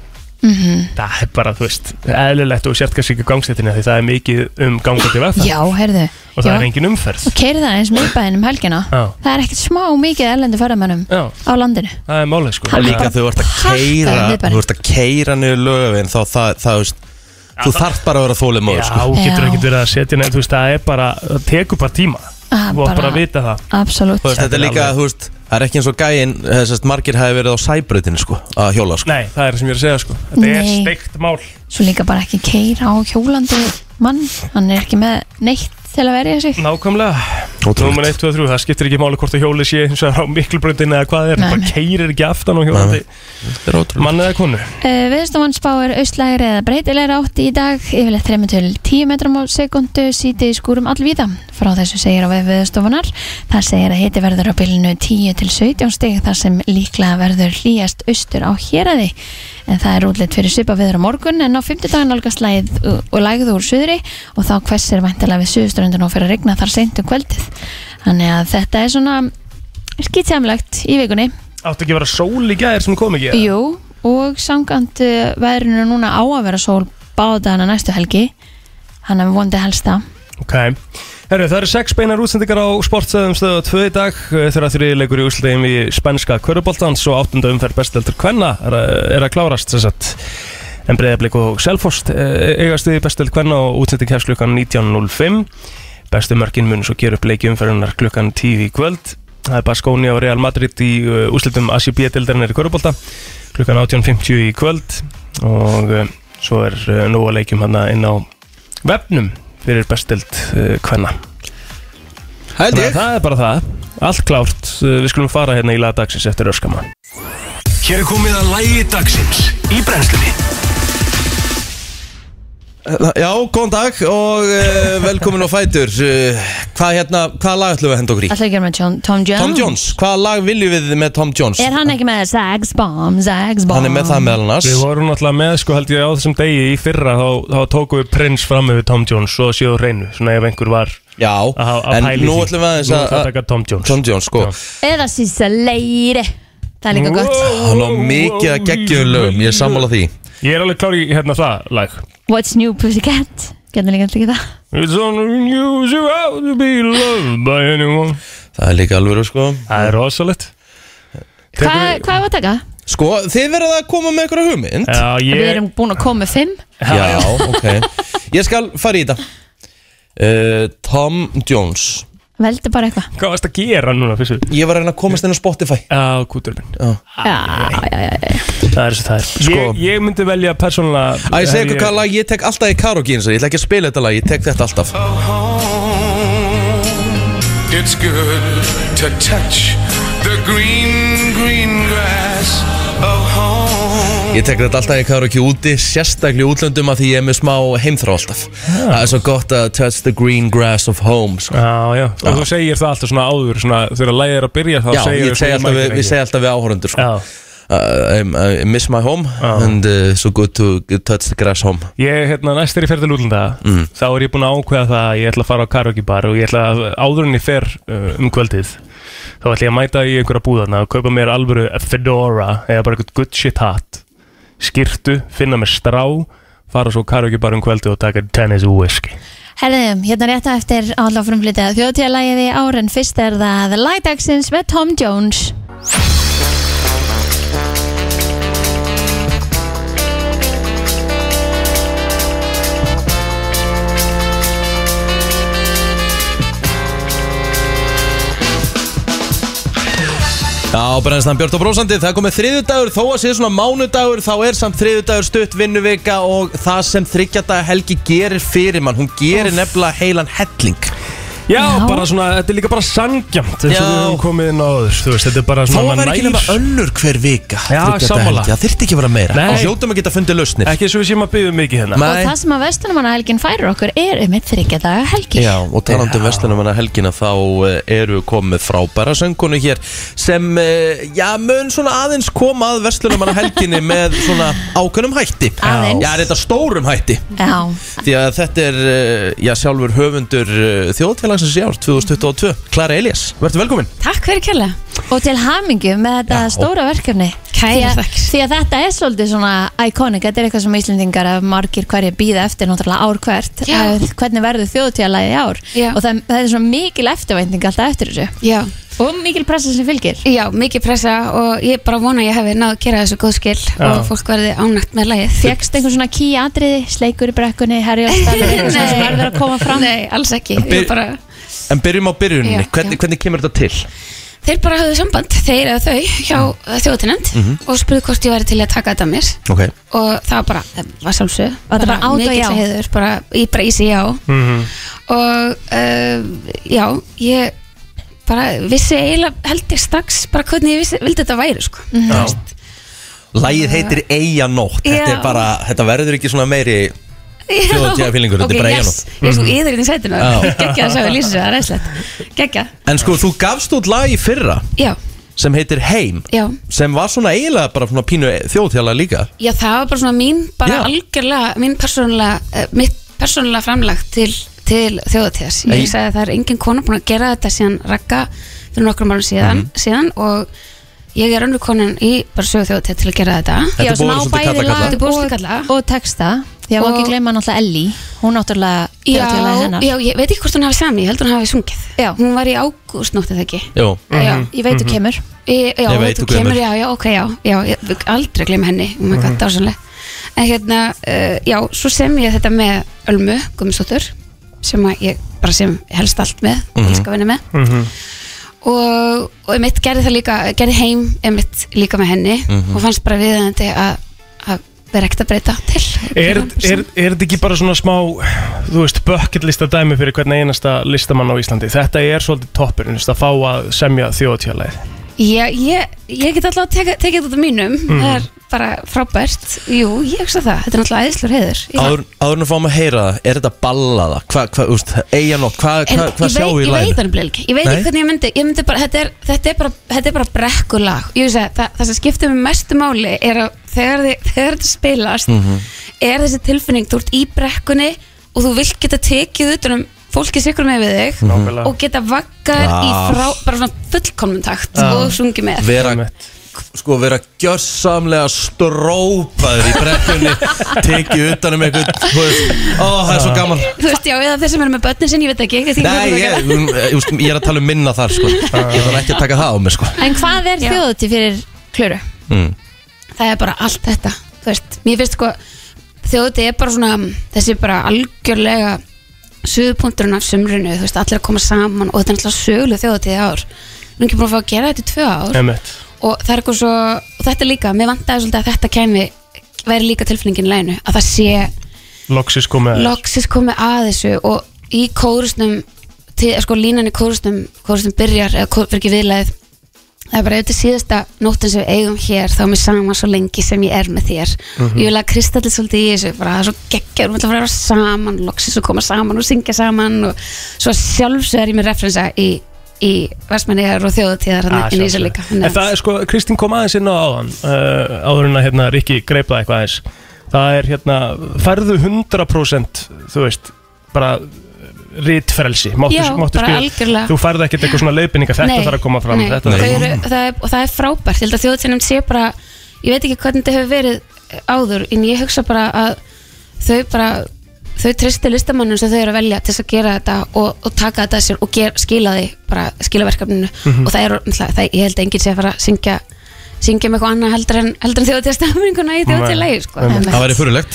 mm Það er bara, þú veist, eðlilegt og sért kannski ekki gangstættinni því það er mikið um gangandi vegferð Já, heyrðu og það já. er engin umferð. Og keiri það eins miðbæðin um helgina Já, Það er ekkert smá mikið erlendu ferðamönnum já, á landinu það er málið sko. Það er Líka bara þegar þú ert að harkaði keira miðbæinn. Þú ert að keira niður lögavinn Þá það, það, það, þú þarft bara að vera Já, þólimóður sko. getur Já. ekkert verið að setja neitt, þú veist, það er bara, það tekur bara tíma. Ah, Þú var bara að vita það. Absolutt Þú veist, Þetta er líka, þú veist, það er ekki eins og gæin Þessast margir hafi verið á sæbröðinu sko, að hjóla sko. Nei, það er það sem ég er að segja sko. Þetta er Nei. steikt mál. Svo líka bara ekki keira á hjólandi mann Hann er ekki með neitt til að verja sig Nákvæmlega. Ótrúlegt. Númer 1, 2, 3, það skiptir ekki máli hvort að hjóli sé eins og á miklubröndin eða hvað það er, Nei, bara nei. keirir ekki aftan á hjólandi. Þetta er ótrúlegt. Mann eða konu. Uh, Viðstofan spáir austlægir eða breytilegir átt í dag, yfirleitt 3 til 10 metrum á sekundu, sítið í skúrum allvíða. Frá þessu segir á vef viðstofunar. Það segir að hiti verður á bylunu 10 til 17 stig þar sem líklega verður hlýjast austur á héræði. En það er útlitt fyrir svipa viður á morgun en á 50 daginn algast lægð uh, og lægð úr suðri og þá hvessir væntalega við suðuströndun og fyrir að regna þar seint um kvöldið. Þannig að þetta er svona skýtsamlegt í vikunni. Átti ekki að vera sól í gæðir sem kom ekki? eða? Jú, og samkvæmt uh, veðrinu núna á að vera sól báðana næstu helgi hann er vondi helst það Ok, herru það eru sex beinar útsendingar á sportstöðum stöðu 2 í dag Eh, þegar þrjir leikur í úrslutegum í spænska köruboltans og áttunda umferð besteldur kvenna er, að- er að klárast sem sagt en breyðablik og eh, selfost eigast við besteld kvenna og útsending hefst klukkan 19.05 bestu mörkin mun svo gera upp leiki umferðunar klukkan 10 í kvöld það er Baskóni og Real Madrid í uh, úrslutum ACB-deildarinnar í körubolta klukkan 18.50 í kvöld og uh, svo er uh, nóg að leikjum hann inn á vefnum fyrir bestild uh, kvenna Held Þannig að ég það er bara það, allt klárt uh, við skulum fara hérna í lagdagsins eftir öskama Hér er komið að lægi dagsins í brennslunni Eh, Já, góðan dag og uh, velkomin á Fætur uh, Hvað hérna, hvaða lag ætlum við að henda okkur í? Alltaf ekki með John, Tom Jones Tom Jones, hvaða lag viljum við með Tom Jones? Er hann ekki með Zags Bomb, Zags Bomb Hann er með það meðal annars Við vorum náttúrulega með sko held ég á þessum degi í fyrra þá, þá tókum við prins fram yfir Tom Jones og séu reynu, svona ef einhver var Já, að ha- að en pæli nú ætlum við aðeins Nú að ætlum við að taka Tom Jones Tom Jones, sko Já. Eða sísa leiri Það er líka gott Hann á mikið að geggjum lögum, ég er sammála því Ég er alveg klár í hérna það lag What's new pussycat Getur líka líka það It's unusual to be loved by anyone Það er líka alveg, sko Það er rosalegt Hva, Hvað var að taka? Sko, þið verðið að koma með einhverja hugmynd Já, ég, Við erum búin að koma með fimm Já, ok Ég skal fara í þetta uh, Tom Jones Veldu bara eitthvað hvað varst að gera núna fyrstu? Ég var að reyna að komast inn á Spotify Já, kúturinn Já, já, já, já. Það er svo það er Sko- ég, ég myndi velja persónulega Æ, ég segi ykkur Ég- hvaða lag ég tek alltaf í karaoke eins og ég ætla ekki að spila þetta lag, ég tek þetta alltaf Home It's good to touch the green, green grass of home. Ég tek þetta alltaf í karaoke úti, sérstaklega í útlöndum að því ég er með smá heimþrá alltaf. Ah. Það er svo gott að touch the green grass of home, sko. Já, já, og þú segir það alltaf svona áður svona, þegar lægið er að byrja þá Já, segir ég segi alltaf, við, við segi alltaf við áhorundur, sko. Já, Ah. Uh, I, I miss my home and uh, so good to touch the grass home. ég, hérna, næst þegar ég fer til útlanda Mm. þá er ég búin að ákveða það að ég ætla að fara á karaoke bar og ég ætla að áður en ég fer uh, um kvöldið þá ætla ég að mæta í einhverja búðarna og kaupa mér alvöru fedora eða bara eitthvað good shit hat skirtu, finna mér strá fara svo á karaoke bar um kvöldið og taka tennis og whisky Herðum, hérna rétt á eftir áhaldá frumflýtið þjóðtíðalagið í ár en fyrst er það Lagdagsins með Tom Jones Já, brennstan Björn og Brósandi, það er komið þriðudagur, þó að sé svona mánudagur, þá er samt þriðudagur stutt vinnuvika og það sem þryggjardaga helgi gerir fyrir mann, hún gerir nefnilega heilan helling. Já, Já. bara svona, þetta er líka bara sangjamt eins og Já. við höfum komið inn á þess, þú veist, þetta er bara Þó svona að vera maður ekki nær- nema önnur hver vika Já, þriggja daga sammála. helgi. Það þyrfti ekki að vera meira Nei. Og hljótum að geta fundið lausnir Ekki svo við séum að byggja mikið hérna og það sem að vestunumanahelgin færir okkur er um eitt þryggja daga helgi Já, og talandum vestunum hana helgina þá eh, eru komið frábæra söngkonu hér sem, eh, já, mun svona aðeins koma að vestunum hana helginni með svona ákveðnum hætti Aðeins. Já, þetta stórum hætti Já. Því að þetta er, eh, já, sjálfur höfundur eh, þjóðfélagsins í ár, 2022 Klara Elias, verður velkomin Takk fyrir kjærlega og til hamingju með þetta Já. stóra verkefni því Kæra að, þakkir. því að þetta er svolítið svona iconic, þetta er eitthvað sem Íslendingar af margir hverja býða eftir náttúrulega ár hvert Já. að hvernig verður þjóðtíðalagið í ár Já. og það, það er svona mikil eftirvænting alltaf eftir þessu Já, og mikil pressa sem fylgir já, mikið pressa og ég bara vona að ég hefði náðu að gera þessu góð skil og fólk verði ánægt með lagið Fegst einhvern svona ký atriði, sleikur í brekkunni, herjóðstæði, eitthvað svona sem verður að koma fram Nei, alls ekki En byr- Ég bara, En byrjum á byrjuninni, Já, hvernig, já. hvernig kemur þetta til? Þeir bara höfðu samband, þeir eða þau hjá mm. þjóðatinend og spurðu hvort ég væri til að taka þetta að mér Ok og það var bara, það var sjálfsög Var þetta bara át og já? heiður, bara, ég bara ísi já Mhm. og uh, já, ég bara vissi eiginlega held ég strax bara hvernig ég vissi, vildi þetta væri sko Mhm. mm -hmm. Lægið heitir Eyjanótt Þetta er Já. bara, þetta verður ekki svona meiri Þjóðhátíðarfílingur, þetta er bara Mhm. yes. Ég er svo yður inn í sætinu Já. Gekkja að sjá við lýsa það, reynslegt Gekkja, En sko, þú gafst út lag í fyrra já, sem heitir Heim já sem var svona eiginlega bara svona pínu þjóðtjála líka Já, það var bara svona mín, bara Já. algjörlega mín persónulega, eh, mitt persónulega framlag til, til þjóðatíðas Nei. Ég sagði að það er engin kona búin að gera þetta síðan rakka fyrir nokkrum árum síðan, Mhm. síðan og ég er önnur konan í bara sögu þjóðatíð til að gera þetta Þetta Já, er búið svona á svolítið bæði kalla-kalla. lag Þetta er búið svolítið og, kalla. og texta Því að má Og- ekki gleyma náttúrulega Ellie Hún Já, náttúrulega þjóðtíðalagið hennar. já, ég veit ekki hvort hún hafi sami, ég held hún hafi sungið Já. Hún var í ágústnóttið það ekki Jú, Mhm. Já, Ég veit þú kemur Ég, já, Ég veit þú þú gleymir. kemur, já, já, ok, já, já ég, ég- aldrei glem henni, oh my god, dásanlega en hérna, uh, já, svo sem ég þetta með Ölmu Gummisdóttur sem að ég bara sem helst allt með mm -hmm. elska að vinna með og, og ég mitt gerði það líka gerði heim, ég mitt líka með henni og fannst bara viðandi að að vera ekkert að breyta til Er, er, er þetta ekki bara svona smá þú veist, bucketlista dæmi fyrir hvernig einasta listamann á Íslandi þetta er svolítið toppurinn, þú veist, að fá að semja þjóðtjálæð ég, ég, ég get alltaf tekið teka þetta mínum það er bara frábært jú, ég hugsa það, þetta er náttúrulega æðislur heiður Ég- áður áður en að fáum að heyra það, er þetta ballaða? Hvað, hvað, úst, Eyjanótt, hvað, En hvað, hvað ég sjáum við í veit, ég læginu? veit hann blilgi ég veit Nei. ekki hvernig ég myndi, ég myndi bara, þetta, er, þetta er bara þetta er bara brekkulag Ég hugsa, það, það sem skiptir mig mestu máli er að þegar, þið, þegar þetta Mm. spilast er þessi tilfinning, þú ert í brekkunni og þú vilt geta tekið utan um fólkið sikur með við þig Nákvæmlega. og geta vakkar í Ah. frá bara svona fullkomnum takt og sungið með Vera, sko, vera gjörsamlega strópaður í brekkunni tekið utan um einhvern þú veist, ó, það er svo gaman þú veist, já, eða þeir sem eru með börnin sinni, ég veit ekki, ég veit ekki hvað Nei, það er að ég, gera. um, úst, ég er að tala um minna þar, sko Ég þarf ekki að taka það á mig, sko Mm. En hvað er Já. þjóðutíð fyrir klöru? það er bara allt þetta þú veist, mér finnst sko þjóðið er bara svona, þessi bara algjörlega suðupunkturinn af sumrunu, þú veist, allir að koma saman og þetta er alltaf söguleg þjóðatíð í ár við erum ekki búin að fá að gera þetta í tvö ár Emmett og það er eitthvað svo, og þetta líka mér vantaði svolítið að þetta kæmi væri líka tilfinningin í læginu, að það sé Loxis komið loksis komið að þessu og í kórusnum til, sko, línan í kórustum, kórustum byrjar, eða kór, fyrir ekki viðlaðið það er bara auðvitað síðasta nóttin sem við eigum hér þá er mér sama svo lengi sem ég er með þér Mhm. og ég vil að kristallið svolítið í þessu bara það er svo geggjör, við ætlum að vera saman loksins og koma saman og syngja saman og svo sjálfsög er ég með referensa í, í Vestmanniðar og þjóðatíðar Ah, hann inn í þessu sjálfsögðu. líka En það er sko, Kristín kom aðeins inn á áðan uh, áður en að hérna Rikki greipa eitthvað aðeins það er hérna, færðu 100% þú veist, bara rítfrelsi, máttu, Já, máttu bara skrifa- algjörlega. þú færðu ekkert eitthvað svona leiðbynninga þetta Nei, þarf að koma fram, nei, þetta þau þarf að eru, það, er, og það er frábært, ég held að þjóðtjónum sé bara ég veit ekki hvernig þetta hefur verið eh, áður, en ég hugsa bara að þau bara þau tristi listamannum sem þau eru að velja til þess að gera þetta og, og taka þetta að sér og ger, skila því, bara skila verkefninu Mhm. og það eru, náttúrulega- það, ég held að enginn sé að fara að syngja syngja með eitthvað annað heldur en, heldur en þjóðtjóð í þjóðtjóðlegi sko. Nei, Það væri fyrirlegt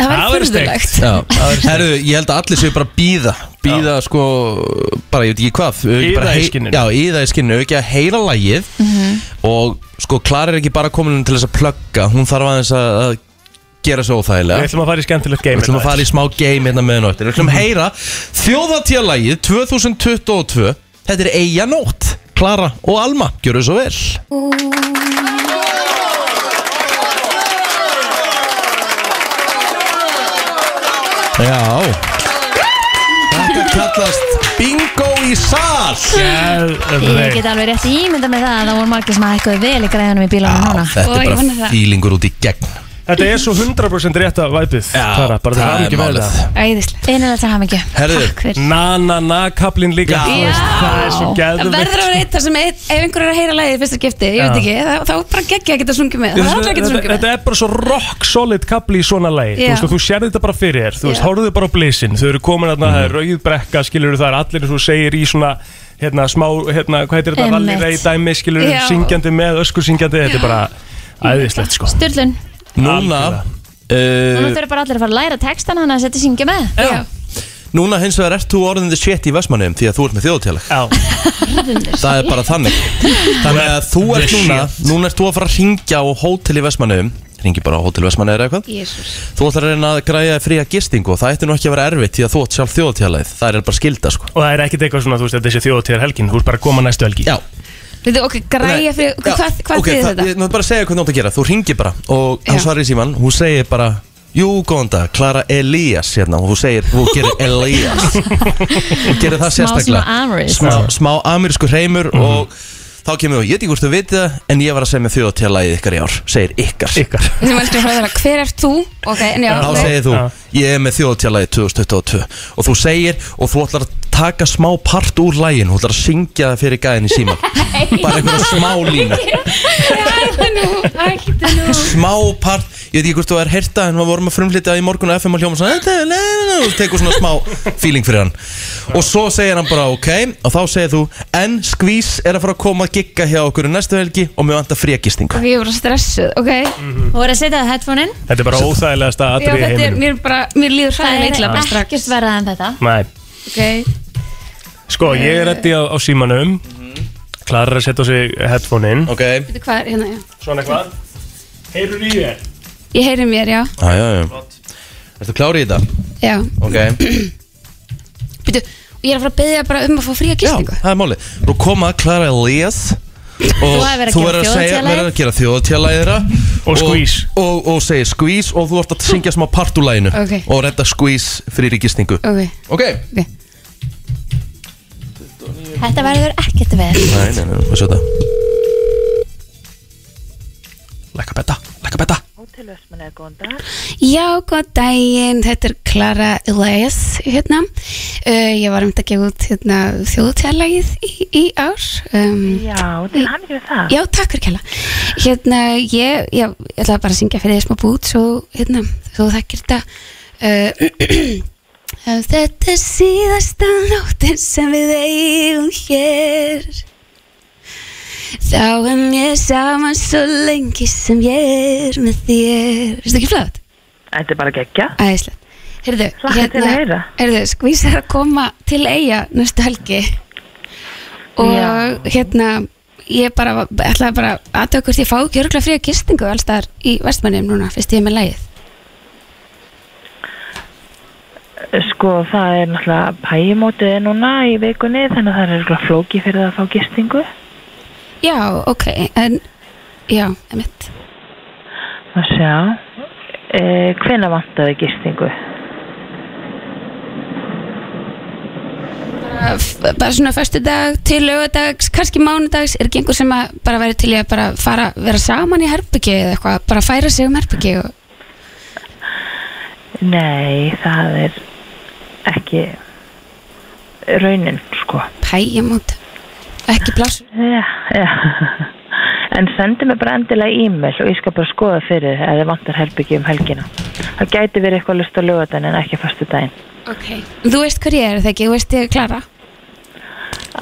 það Það væri væri steikt. furðulegt Herru, ég held að allir séu bara að býða Býða sko, bara ég veit ekki hvað við ekki Í bara það í hei- skinninu. Já, í það í skinninu, ekki að heyra lagið Mhm. Og sko, Klara er ekki bara komin til þess að plugga Hún þarf aðeins að, að gera svo óþægilega Við ætlum að fara í skemmtilegt game Við ætlum að fara í smá game hérna með náttir Við ætlum að heyra þjóðatíalagið 2022 Þetta er Eyja Nótt, Klara og Alma Gjörðu svo vel Já Þetta kallast bingo í sal Ég get Geðveikt. alveg rétt ímynda með það að það voru margir sem hækkuðu vel í græðunum í bílanum Já, núna þetta Oj, er hún er bara það. fílingur út í gegn Þetta er svo 100% rétta væpið Klara, bara það er ekki með það æðislega Einanlega til hamingju Herðu. Takk fyrir Na na na kaplinn líka Já. þú veist, Það er svo Það geðveikt verður að vera eitt þar sem eitt, ef einhver er að heyra lagið í fyrsta skipti, ég veit Já. ekki, þá, þá bara geggja að geta sungið með, það er allra að geta Þetta- sungið með. Þetta er bara svo rock solid kapli í svona lagi Þú Já. veist og þú sér þetta bara fyrir þér Þú veist, Já. horfðu bara á blissin Þau eru komin að það er rauð brekka Skilur það er allir eins og þú segir í svona Hérna smá, hérna, hvað heitir þetta Einmitt. Rally rey dæmi, skilur Já. syngjandi með Öskur syngjandi, þetta er bara Æðislegt sko Sturlun, Eh. Núna Algjörlega. núna uh, þurfum bara allir að fara að læra textan þannig að setja syngja með Já. Núna hins vegar ert þú orðin þið shit í Vestmanniðum Því að þú ert með þjóðatíalag Já, Það er bara þannig Þannig að þú ert The núna Núna ert þú að fara að ringja á hótel í Vestmannaugum Ringi bara á hótel Vestmannaugum eða eitthvað Jésús. Þú ætlar að reyna að græja þér fría gistingu og Það ætti nú ekki að vera erfitt því að þú átt sjálf þjóðatjálaðið Það er bara skilda sko og það er ekkert eitthvað svona, þú veist, þetta er þessi þjóðtíðar helgin Þú veist bara að koma næstu helgi Já Veitu, ok, græja fyrir, Já, hvað, hvað ok, okay, það- þetta? Ég náttúrulega bara að segja hvernig þú átt að gera Þú ringir bara og hann Já. svarir í síman Hún segir bara Jú, góðan dag, Klara Elías hérna og þú segir, þú gerir Elías og Smá gerir það svona sérstaklega amorist. smá, smá amerísku hreimur Mhm. og þá kemur þú, ég veit ekki hvort þú veit það en ég var að segja með þjóðatélagið ykkar í ár segir ykkar, Ykkar Þú veist, ég fara að hver er þú? Ok, en já, þá ok. segir þú, Já. ég er með þjóðatélagið 2022 og þú segir og þú ætlar að taka smá part úr lægin þú ætlar að syngja það fyrir gæðin í síman bara einhverja smá lína Hættu nú, hættu nú. smá part, ég veit ekki hvort þú er hérta en við vorum að frumflytja í morgun á FM og hljóma svona, "Þetta er leiðin", og tekur svona smá feeling fyrir hann og svo segir hann bara ok og þá segir þú, en skvís er að fara að koma að gigga hjá okkur í næstu helgi og mér vantar frégistingu Ok, ég er bara stressuð, ok. Mhm. Þú voru að setja það headphone in Þetta er bara óþægilegasta Já, atrið í þetta er, heiminum mér er bara, mér líður Það hræðilega er illa bara strax. ekkert verða en þetta Nei, Ok, sko, ég er reddi á, á símanum Klara er að setja á sig headphone in ok, já, veitu hvað er hérna, já. Svona hvað? Heyrur í þér? Ég heyri mér, já, já, já Ertu klárið í þetta? já. Ok Veitu, og ég er að fara að beðja bara um að fá fría Já, gistingu. það er málið Þú koma að Klara Elias og hefur verið að þú gera verður að, segja- þjóðatíðalagið. verður að gera þjóðatélagið Og squeeze. og, og, og segir skvís og þú ert að syngja smá partulæginu Ok. og redda skvís fyrir í gistingu Ok, Ok ok. Þetta verður ekkert verð Nei, nei, nei, hvað sjá þetta Lækka betta, lækka betta Já, góð daginn, þetta er Klara Elias hérna. Uh, ég var um þetta að gefa út hérna, þjóðutæðalagið í, í ár. Um, Já, til hann ekki með það. já, takk fyrir kella. Hérna, ég, já, ég ætlaði bara að syngja fyrir því smá bút, svo, hérna, svo þekkir þetta. Uh, Ef þetta er síðasta nóttin sem við eigum hér Þá er mér saman svo lengi sem ég er með þér Veistu ekki flott? Þetta er bara geggja. Æðislegt. Heyrðu, hérna, Hlakka til að heyra. heyrðu, skvís er að koma til eiga næstu helgi og hérna ég bara, var- ætlaði bara aðtöða hvort ég fá ekki örgulega fríða gistingu alls þar í vestmannum núna, fyrst ég er með lægið Sko, það er náttúrulega pæjumótið er núna í vikunni þannig að það er örugglega flókið fyrir það að fá gistingu. Já, ok, en Já, emitt Að sjá. E, hvena vantaði gistingu? Bara svona föstudag til lögadags kannski mánudags, er ekki einhver sem að bara væri til í að bara fara, vera saman í herbyggi eða eitthvað, bara færa sig um herbyggi og... Nei, það er ekki raunin, sko. Pæjumót, ekki pláss Já, já. En sendi mér bara endilega e-mail og ég skal bara skoða fyrir þér ef þið vantar herbyggi um helgina. Það gæti verið eitthvað lust á lögadaginn en ekki fyrstu daginn. Ok, þú veist hver ég er þegar ekki, þú veist ég er Klara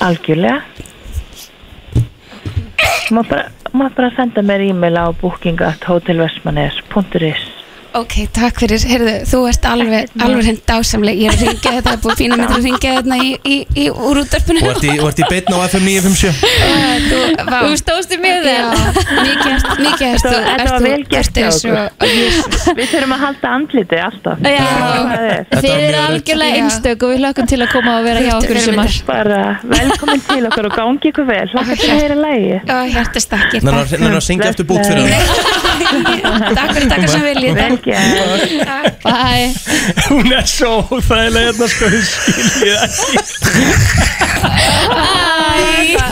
Algjörlega. Má bara, má bara senda mér e-mail á booking.hotelvestmanes.is Ok, takk fyrir, heyrðu, þú ert alveg, alveg hinn dásamleg, ég er að ringja þetta, það er búið að fína mér til að ringja þetta í, í, í, úr útdörpunum Og ert í, og ert í beinn á FM 957 Þú, vá, Þú stóðst í miður já, mikið ert, mikið ert þú, Þetta ert var þú, vel gert ert hjá þú svo, jésús Við þurfum að halda andliti alltaf. Já. Það er Þið var eru mjög algjörlega rétt. einstök og við hlökkum til að koma og vera hjá Þetta okkur í verður sumar myndir. bara velkomin til okkur og gangi ykkur vel. Hlakka til að heyra lægi. Ó, hjartastakki, Þannig að- þannig að syngja eftir bút fyrir það Takk fyrir, takk sem viljið Vel gert. Takk. Bye Hún er svo óþægilega hérna sko, ég skil ég ekki.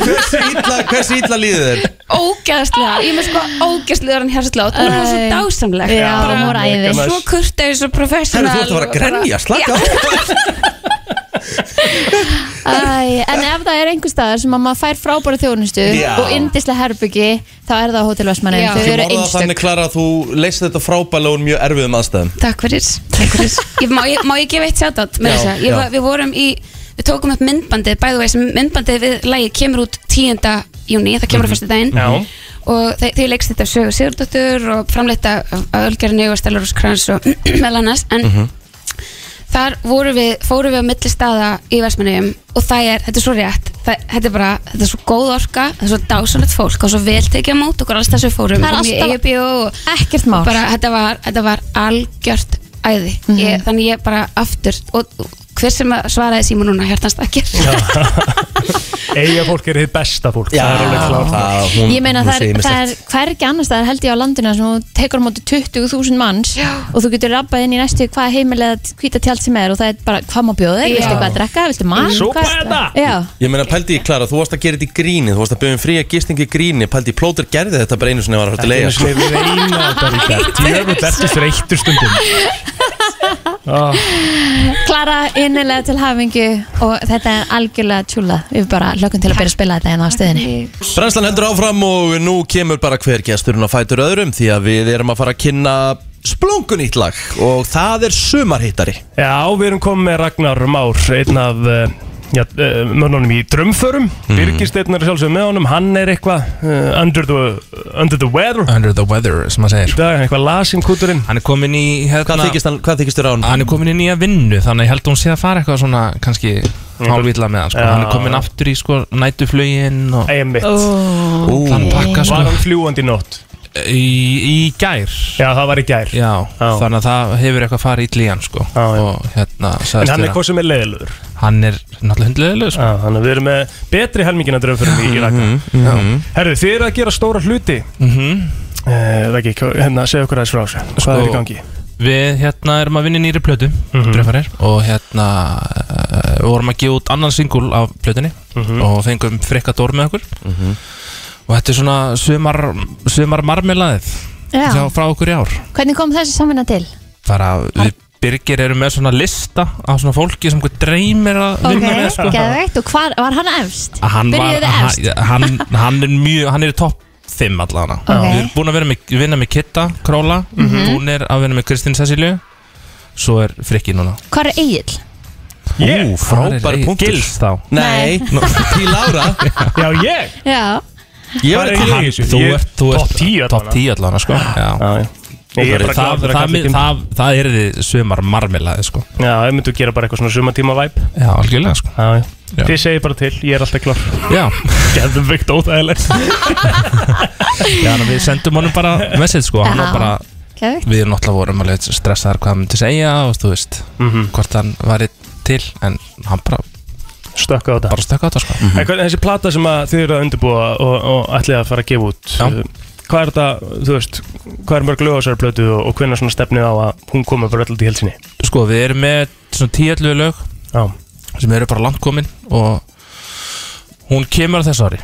Hversu illa, hversu illa líður þér? Ógæðslega, ég með sko ógæðslega hann hjartaslátt, hún er svo Æ. dásamleg Já, Bara- hún var æði. mega Svo næs. kurteis og Herru, professional þú ert að fara og að bara- grenja, slaka á Æ, en ef það er einhver staðar sem að maður fær frábæra þjónustu Já. og yndislega herbyggi þá er það á Hotel Vestmannin Já. þau Þið Ég eru morða einstök þannig Klara að þú leist þetta frábælega úr mjög erfiðum aðstæðum Takk fyrir, takk fyrir. Ég, má, ég, má ég gefa eitt sjátt Já, já. á Við vorum í Við tókum upp myndbandið, bæðu veist myndbandið við lægi kemur út 10. júni það Mhm. kemur á fyrstu daginn Mhm. Já. og þau, þau leikst þetta af Sögu Sigurdóttur og framleita af Ölgerinu og Stellar Krans og meðal annars en Mm. þar voru við, fórum við á milli staða í Vestmannegjum og það er, þetta er svo rétt það, þetta er bara, þetta er svo góð orka það er svo dásanlegt fólk og svo vel tekið á mót okkur alls þessu fórum Það er Fórum í alltaf- Eyjabíó og ekkert mál E bara, þetta, var, þetta var algjört æði ég, þannig ég bara aftur og hver sem að svaraði síma núna hjartast ekki Eiga fólk er þið besta fólk, það er alveg klart. það, hún, Ég meina hún það segir er, mér það er slett. hvergi annars staðar held ég á landinu þar sem þú tekur á móti 20.000 manns Já. og þú getur rabbað inn í næstu hvað heimilega hvita tjald sem er og það er bara hvað má bjóða þér, Já. viltu eitthvað að drekka, viltu mann Súpa þetta! Já, Ég meina pældi í Klara, þú varst að gera þetta í gríni Þú varst að byrja um fría gistingi í gríni Pældi í plóter gerði þetta bara einu sinni var sko. að fara til Einu leiða sinni við eina þetta líka Djöfull ertu þreyttur stundum ah, Klara innilega til hafingu og þetta er algjörlega tjúla við bara lökum til að byrja að spila þetta hérna á stöðinni Brænslan hendur áfram og nú kemur bara hver gesturinn að fætur öðrum Því að við erum að fara að kynna splunkunýtt lag Og það er sumarhittari Já, við erum komið með Ragnar Már Einn af eh, já, eh, mönnunum í drömförum mm. Birgist einnar sjálfsög með honum Hann er eitthvað uh, under, the, under the weather Under the weather, sem maður Í segir dag, eitthvað lasinn kúturinn Hann er komin í Hvað hérna, þykist hann- hvað þykist þér á hann? Hann er komin í nýja vinnu Þannig að ég held að hún sé að fara eitthvað svona Kanski hálfvilla með hann sko. Já. Hann er komin aftur í sko, nætuflögin og Einmitt Ú, Þann pakka sko Var hann fljúandi í nótt? í, í gær Já, það var í gær Já, Já. þannig að það hefur eitthvað farið illa í hann sko Já, já. Og hérna, En sagðist hann þér er að hvað sem er leiðilegur Hann er náttúrulega hundlega sko. Já, Þannig að við erum með betri helmingina drömförum í Ragnar Mhm. Herðu, þið eru að gera stóra hluti mm Eh, Raggi, hvað- hérna, segja okkur aðeins frá þessu Hvað Sko- er í gangi? Við hérna erum að vinna í nýri plötu Dröfarir Og hérna uh, vorum að gefa út annan singul af plötunni Og fengum frekka dór með okkur Mhm. Og þetta er svona sumar, sumar marmelaðið Já. Hjá frá okkur í ár Hvernig kom þessi samvinna til? Bara við Birgir eru með svona lista Af svona fólki sem hvað dreymir að vinna með sko. geðveikt og hvar var hann efst? Að hann, var, Byrjuðu þið efst? hann, hann, hann er mjög Hann er í topp 5 allavega Ok. Mhm. Við erum búin að vera með, vinna með Kitta, Króla Hún er að vinna með Kristín Cecilju Svo er Frikki núna Hvar er Egil? Ég? Ú, frábæri Hvar er punktur Gils þá Nei, til Lára Já, ég? Já, Ég var Hvar er til Egil? í Ég- Þú ert, þú ert Topp 10 allavega. Top 10 allan sko. Já. Já, já. Ég er Það, bara það, glaður að það, kalla ekki það, það er þið sumar marmelaði sko. Já, ég myndi að gera bara eitthvað svona sumatíma væp Já, algjörlega sko. Já, já Já. Þið segir bara til, ég er alltaf klár Já, Gæðum veikt óþægilegt já þannig að við sendum honum bara message sko. hann Já. var bara Geðveikt. við náttúrulega vorum alveg stressaðar hvað hann myndi segja og þú veist Mhm. hvort hann væri til en hann bara, Stökka á þetta Mhm. bara stökka á þetta sko. En hvernig þessi plata sem að þið eru að undirbúa og, og ætlið að fara að gefa út Já. uh, Hvað er þetta, þú veist, hvað er mörg lög á þessari plötu og, og hvernig svona stefnið á að hún koma bara öll í helsinni sko við erum með svona tíallu lög Já, sem eru bara langt komin og hún kemur á þessu ári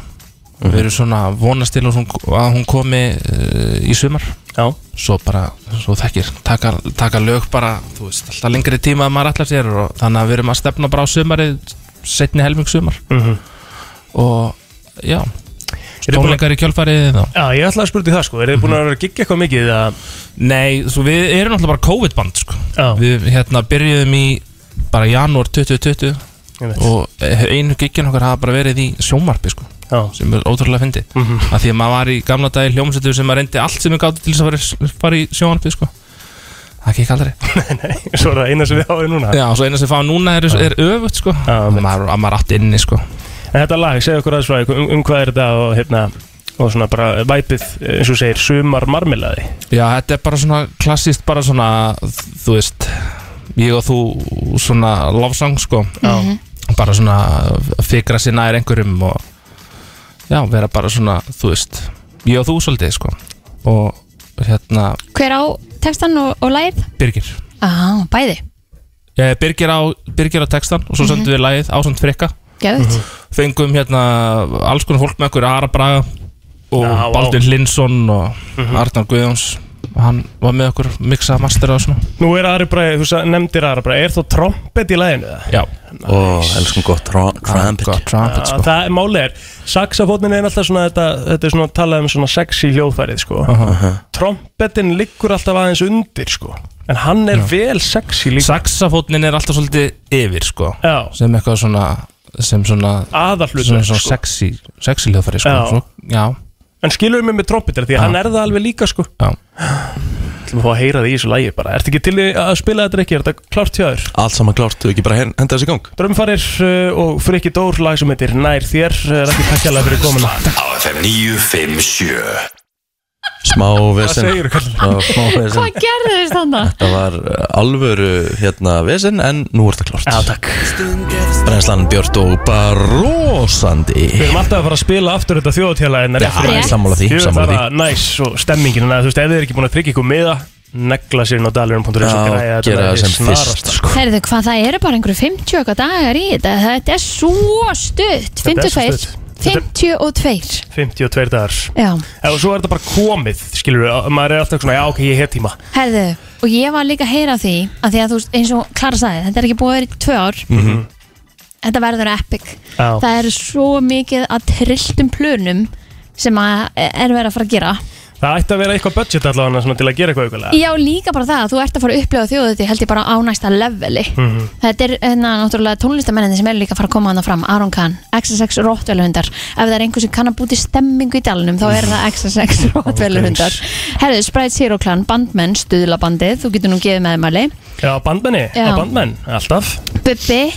við erum svona að vonast til að hún, að hún komi uh, í sumar já, svo bara, svo þekkir taka, taka lög bara, þú veist, alltaf lengri tíma að maður allar sér og þannig að við erum að stefna bara á sumarið, setni helming sumar Mhm. og já þið búin að- tónleikar í kjálfarið þá já ég ætlaði að spurði það sko, er þið búin að vera að gigga eitthvað mikið að, Nei, svo við erum náttúrulega bara COVID-band sko. Já. Við hérna byrjuðum í bara janúar 2020 ég veit, og eh, einu giggin okkar hafa bara verið í sjómarpi sko, já, sem er ótrúlega fyndi mm Mhm. af því að maður var í gamla dagi hljómsveitu sem maður reyndi allt sem við gáttum til þess að fara, í- fara í sjómarpi sko. það gekk aldrei svo er það eina sem við áðum núna Já, og svo eina sem fá núna er, er öfugt sko Já, að maður, að maður átt inni sko En þetta lag, segðu okkur aðeins frá því, um, um hvað er þetta og hérna og svona bara væpið, eh, eins og þú segir, sumar marmelaði Já, þetta er bara svona klassist bara svona, þú veist ég og þú svona lofsang sko Já, bara svona fikra sér nær einhverjum og já, vera bara svona þú veist, ég og þú svolítið sko og hérna Hver á textan og, og læð? Birgir Á, bæði eh, Birgir á, Birgir á textan og svo söndum við lagið ásand frikka Mhm. Geðvikt fengum hérna alls konar fólk með okkur Ara Braga og Já, vá. Mhm. Baldur Linsson og Arnar Guðjóns hann var með okkur mixa master og svona nú er Ari Bræði, þú sa- nefndir Ari Bræði, er þó trompet í laginu það? já, Ó, elskum gott tro- Trumpet God, trumpet sko. sko það er málið er saxofónin er alltaf svona þetta, þetta er svona talað um svona sexy hljóðfærið sko trompetin liggur alltaf aðeins undir sko en hann er vel sexy líka saxafótnin er alltaf svolítið yfir sko Já. sem eitthvað svona sem svona aðalhlutur svona, sko. svona sexy, sexy hljóðfæri sko. Já. já. Svo, já, en skilur mig með trompetir því að hann er það alveg líka sko já. til að fá að heyra það í þessu lægi bara ertu ekki til í að spila þetta ekki, er þetta klárt hjá þér Allt saman klárt, þú ekki bara hen- henda þessi í gang Drömmfarir uh, og Friki Dór lag sem heitir Nær þér Eh, er ekki takkjalega fyrir komuna Á FM 957 Smá vesen segirðu, kallinn? Já, Smá vesen Hvað gerðu þið stanna? Það var uh, alvöru hérna vesen en nú er það klárt Já takk Brennslan Björn og Barósandi Við erum alltaf að fara að spila aftur þetta þjóðatjála en er eftir Já, Rétt. sammála því, Ég veit sammála það því að næs og stemmingin en að, þú veist, ef þið er ekki búin að tryggja ykkur miða negla sér inn á dalurinn.is og Já, græja gera það lagi sem snarast. fyrst sko. Herðu, hvað það eru bara einhverju 50 okkar dagar í þetta Þetta er svo stutt Þetta er svo 52 stutt. 52 52 dagar Já, og svo er þetta bara komið skilur við, maður er alltaf svona, já ok, ég hef tíma herðu Og ég var líka að heyra af því að Því að þú veist, eins og Klara sagði Þetta er ekki búið að vera í tvö ár Mhm. Mhm. Þetta verður epic Já. Það eru svo mikið að trilltum plönum sem að er verið að fara að gera það ætti að vera eitthvað budget allavega svona, til að gera eitthvað aukulega Já, líka bara það að þú ert að fara að upplifa þjóðu þetta held ég bara á næsta leveli Hmm. Mhm. Þetta er hérna náttúrulega tónlistamenninni sem er líka að fara að koma hana fram Aron Kahn, XSX Rottveluhundar Ef það er einhver sem kann að búti stemmingu í dalnum þá er það XSX Rottveluhundar Herðu, Sprite Zero Clan, Bandmenn, Stuðlabandið þú getur nú gefið meðmæli já, bandmenni, Já. já. bandmenn, alltaf Bubbi,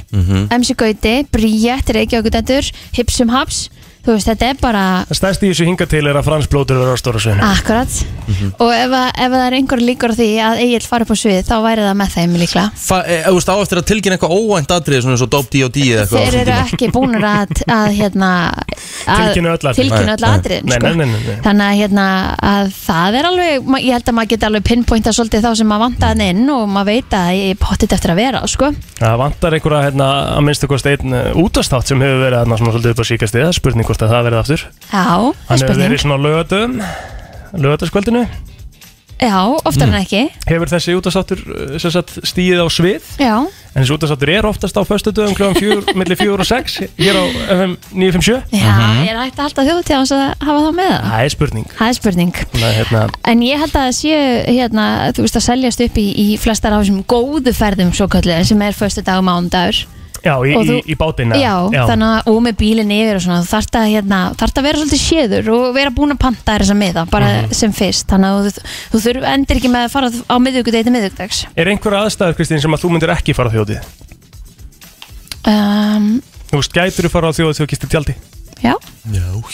MC Gauti, Bríett, Reykjavíkudendur, Hipsum um Haps Þú veist, þetta er bara það stærst í þessu hinga til er að Frans Blótur verður á stóra sveinu Akkurat Mhm. Og ef, að, ef það er einhver líkur á því að Egil fari upp á svið þá væri það með þeim líklega Fa, e, þú veist á eftir að tilkynna eitthvað óvænt atrið svona eins og Dope D.O.D. eða eitthvað á Þeir þessum eru tíma. ekki búnir að, að, hérna, að Tilkynna öll atriðin. tilkynna Nei, öll atriðin, Nei, sko. nei, nei, nei, nei. Þannig að, hérna, að það er alveg ma- Ég held að maður geti alveg pinpointa svolítið þá sem maður vanta hann inn og maður veit að ég pottit eftir að vera á, sko. það vantar einhverja hérna, að minnstu kosti einn uh, útastátt sem hefur verið hérna, svona svolítið upp á síkasti það er spurning hvort að það verið aftur Já, það er hann hefur verið spurning svona lögatum lögataskvöldinu Já, oftar Mm. en ekki hefur þessi útastáttur uh, sem sagt, stíð á svið Já, En þessi útastáttur er oftast á föstudöðum kljóðan fjúr, millir fjúr og sex hér á FM 957 já Mm. ég er hægt að halda þjóðutíð á þess að hafa það með það Það er spurning Það er spurning Nei, hérna, En ég held að það séu, hérna, þú veist að seljast upp í, í flestar af þessum góðu ferðum svo kallið sem er föstu dag og mándagur Já, í, Og í, þú- í bátina já, þannig að og með bílinn yfir og svona þú þarft að, hérna, þarft að vera svolítið séður og vera búin að panta þér þessa miða bara Mhm. sem fyrst, þannig að þú, þú þurf endur ekki með að fara á miðvíkudegi til miðvíkudags Er einhver aðstæður, Kristín, sem að þú myndir ekki fara á þjóðið? um, Þú veist, gætur þú fara á þjóðið þegar þú gistir tjaldi? Já,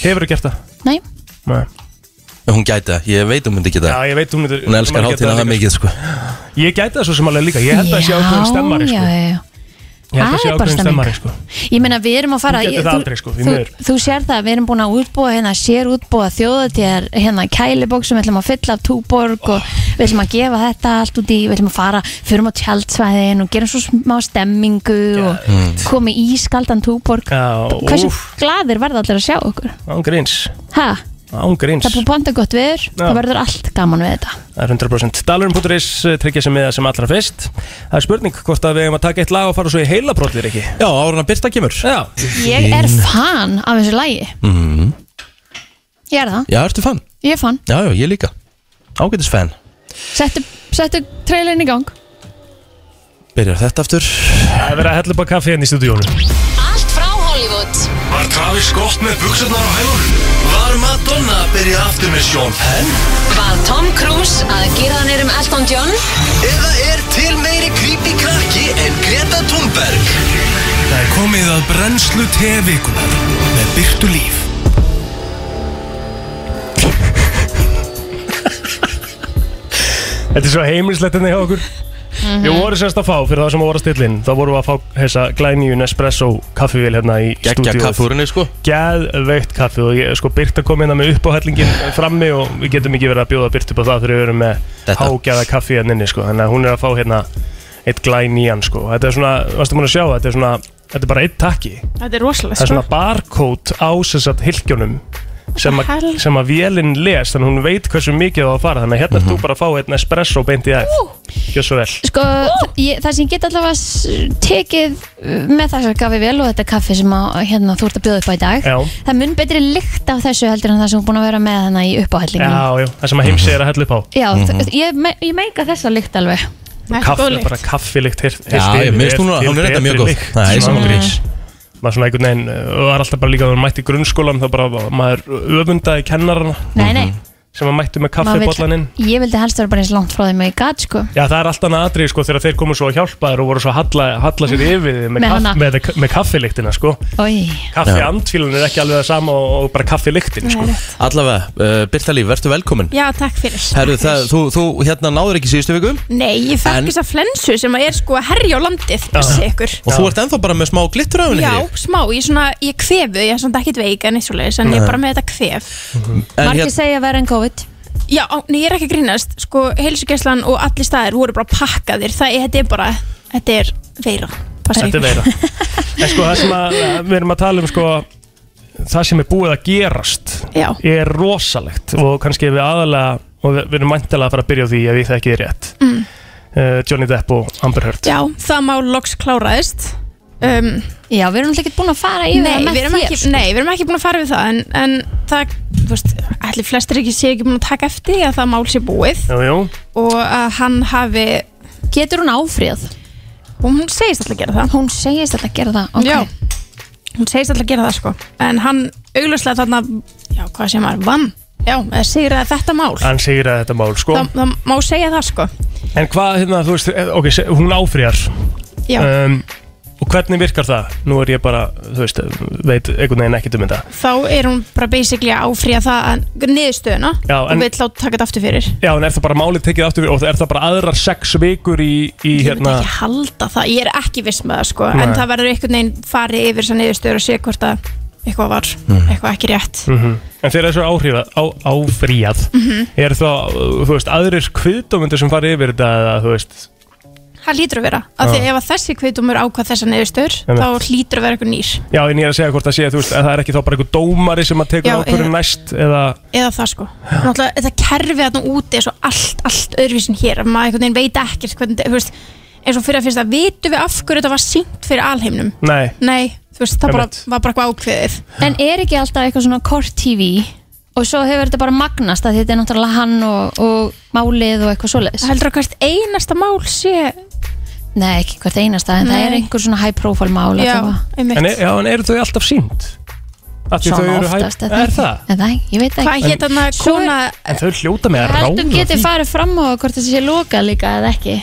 Hefur þú gert það? nei Nei Hún gæti það, ég veit hún myndi ekki Já, það ég veit hún myndi Hún elskar maður getur hátíðina það líka, mikið sko sko. Ég gæti það svo sem alveg líka Ég held að það sé ákveðin stemmari Um, sko. já, já. Ég held að Það sé er bara ákveðin stemming. stemmari sko. Ég meina við erum að fara Þú getur ég- það aldrei, sko, því þú, miður. þú sér það, við erum búin að útbúa hérna, sér útbúa þjóðatíðar hérna kælibóksum, við ætlum að fylla af túborg og við ætlum að gefa þetta allt út í við ætlum að fara, förum á tjaldsvæðin og gerum svo smá stemmingu og komi í skaldan túborg Já, Hversu úff, glaðir verða allir að sjá okkur? án gríns Ha? Án gríns Það er búin panta gott viður, það verður allt gaman við þetta Það er 100% Dalurinn.is eh, tryggja sem miða sem allra fyrst Það er spurning hvort að við hefum að taka eitt lag og fara svo í heila brotlir ekki Já, árun að byrta kemur Já, Ég er fan af þessu lægi Mhm. Ég er það, Já, ertu fan? ég er fan Já, já, ég líka Ágætis fan Settu, settu trailin í gang Byrjar þetta aftur það er verið að hella upp á kaffi henni í stúdíónu Allt frá Hollywood Var Travis Scott með buksarnar á hælunum? Var Madonna að byrja aftur með Sean Penn? Var Tom Cruise að gera hann erum Elton John Eða er til meiri creepy krakki en Greta Thunberg? Það er komið að brennslu tevikunar með byrtu líf Þetta er svo heimilislegt hérna hjá okkur Við vorum semst að fá, fyrir það sem voru að stillin Þá vorum við að fá þessa glænýjun espresso kaffivél hérna í Gekja kaffúrinni sko Gæðveikt kaffi og ég, sko Byrta kom hérna með uppáhællingin frammi og við getum ekki verið að bjóða Byrt upp á það þegar við erum með Þetta. hágæða kaffi hérna inni sko Þannig að hún er að fá hérna eitt glænýjan sko Þetta er svona, varstu múin að sjá það, þetta er svona Þetta er bara eitt takki Þetta er rosalega Það sko. er svona barkót á sem sagt hylkjónum sem, What the að- hell? sem að vélinn les þannig að hún veit hversu mikið það á að fara þannig að hérna mm Mhm. þú bara að fá einn espresso beint í það Gjör svo vel Sko, ég, það sem ég get allavega s- tekið uh, með þessar kaffi vel og þetta kaffi sem að, hérna, þú ert að bjóða upp á í dag Já. Það er mun betri lykt af þessu heldur en það sem hún er búin að vera með hana í uppáhællinginu Já, já, það sem að Mhm. heimsi er að hella upp á Já, mm ég, me- ég meika þessa lykt alveg Það er Kaffi, Mhm. góð lykt. bara kaffilikt heilt Já, ég minnst hún að hún er þetta mjög góð Það er saman grís maður svona einhvern veginn uh, var alltaf bara líka þegar maður mætti í grunnskólan þá bara var- maður öfundaði kennarana Mhm. Nei, nei, sem maður mætti með maður vill- kaffibollaninn ég vildi helst vera bara eins langt frá þeim og ég gat, sko Já, það er alltaf annað atrið sko þegar þeir komu svo að hjálpa þér og voru svo að halla, halla sér yfir þig Mhm. með, Með kaff, hana. með, með kaffiliktina sko Ói, Kaffi andfílan er ekki alveg það sama og, og bara kaffi lyktin sko. Allavega, uh, Byrta líf, verður velkomin Já, takk fyrir Herru, það, þú, þú hérna náður ekki síðustu viku Nei, ég fekk En- þess að flensu sem að er sko að herja á landið Þessi ykkur Og þú ert ennþá bara með smá glittur á henni Já, fyrir þig. smá, ég svona, ég kvefu, ég er svona ekkert veik en eitt svoleiðis, en ég er bara með þetta kvef En margir hérna, segja að vera en COVID Já, á- nei, ég er ekki að grínast, sko, heilsugæslan og allir staðir voru bara pakkaðir, það er, þetta er bara, þetta er veira Passa Þetta er ykkur. veira En sko það sem að, við erum að tala um sko Það sem er búið að gerast Já, Er rosalegt Og kannski við aðalega Og við, við erum mæntalega að fara að byrja á því Ef ég þekki þið rétt mm. Johnny Depp og Amber Heard já, það má loks kláraðist um, Já, við erum alltaf ekki búin að fara yfir Nei, það við með erum ekki, þér, sko. nei, við erum ekki búin að fara við það en, en það, þú veist, allir flestir ekki séu ekki búin að taka eftir því að það mál sé búið Jú, jú og að hann hafi Getur hún áfrið? hún segist alltaf að gera það Hún segist alltaf að gera það, ok Já. hún segist alltaf að gera það sko en hann augljóslega þarna já, hvað sem var, vann já, eða segir að þetta mál það, Hann segir að þetta mál sko það má segja það sko En hvað hérna, þú veist eh, Ok, se- hún áfrýjar já, um, Og hvernig virkar það? Nú er ég bara, þú veist Veit einhvern veginn ekkert um þetta þá er hún bara basically að áfrýja það að niðurstöðuna Já, en- og vill láta taka þetta aftur fyrir Já, en er það bara málið tekið aftur fyrir og er það bara aðrar sex vikur í, í Ég myndi hérna ekki halda það, ég er ekki viss með það sko, en Nei. það verður einhvern veginn farið yfir þessar niðurstöður og sé hvort að eitthvað var, eitthvað ekki rétt En þegar þessu er áhrifað, á, áfríjað Mhm. Er þá, uh, þú veist, aðrir kviðdómundir sem fara yfir þetta eða, þú veist Það lítur að vera, af því ef að þessi kveitdómur ákvað þessar niðurstöður, Einmitt. þá lítur að vera eitthvað nýr, Já, en ég er að segja hvort það sé, þú veist, að það er ekki þá bara einhver dómari sem að tekur Já, ákvörðun eða- næst eða eða það sko Náttúrulega, þetta kerfi að það úti er svo allt, allt öðruvísin hér, að maður einhvern veginn veit ekkert hvernig, þetta- þú veist, eins og fyrir að fyrsta vitum við af hverju þetta var sínt fyrir alheimnum Nei, Nei, þú veist, það bara, Einmitt. var bara eitthvað ákveðið En er ekki alltaf eitthvað svona kort TV og svo hefur þetta bara magnast að þetta er náttúrulega hann og, og málið og eitthvað svoleiðis? Heldur að hvert einasta mál sé Nei, ekki hvert einasta, en Nei. það er einhver svona high profile mál Já, allavega. einmitt en, er- já, en eru þau alltaf sínd? Af því þau Svona eru oftast, hæ... er það ekki? Er það? En það, ég veit Hvað ekki. hétt hann að Svo er- kona En þau hljóta með að ráða Heldum því. getið farið fram á hvort þessi sé lokað líka eða ekki?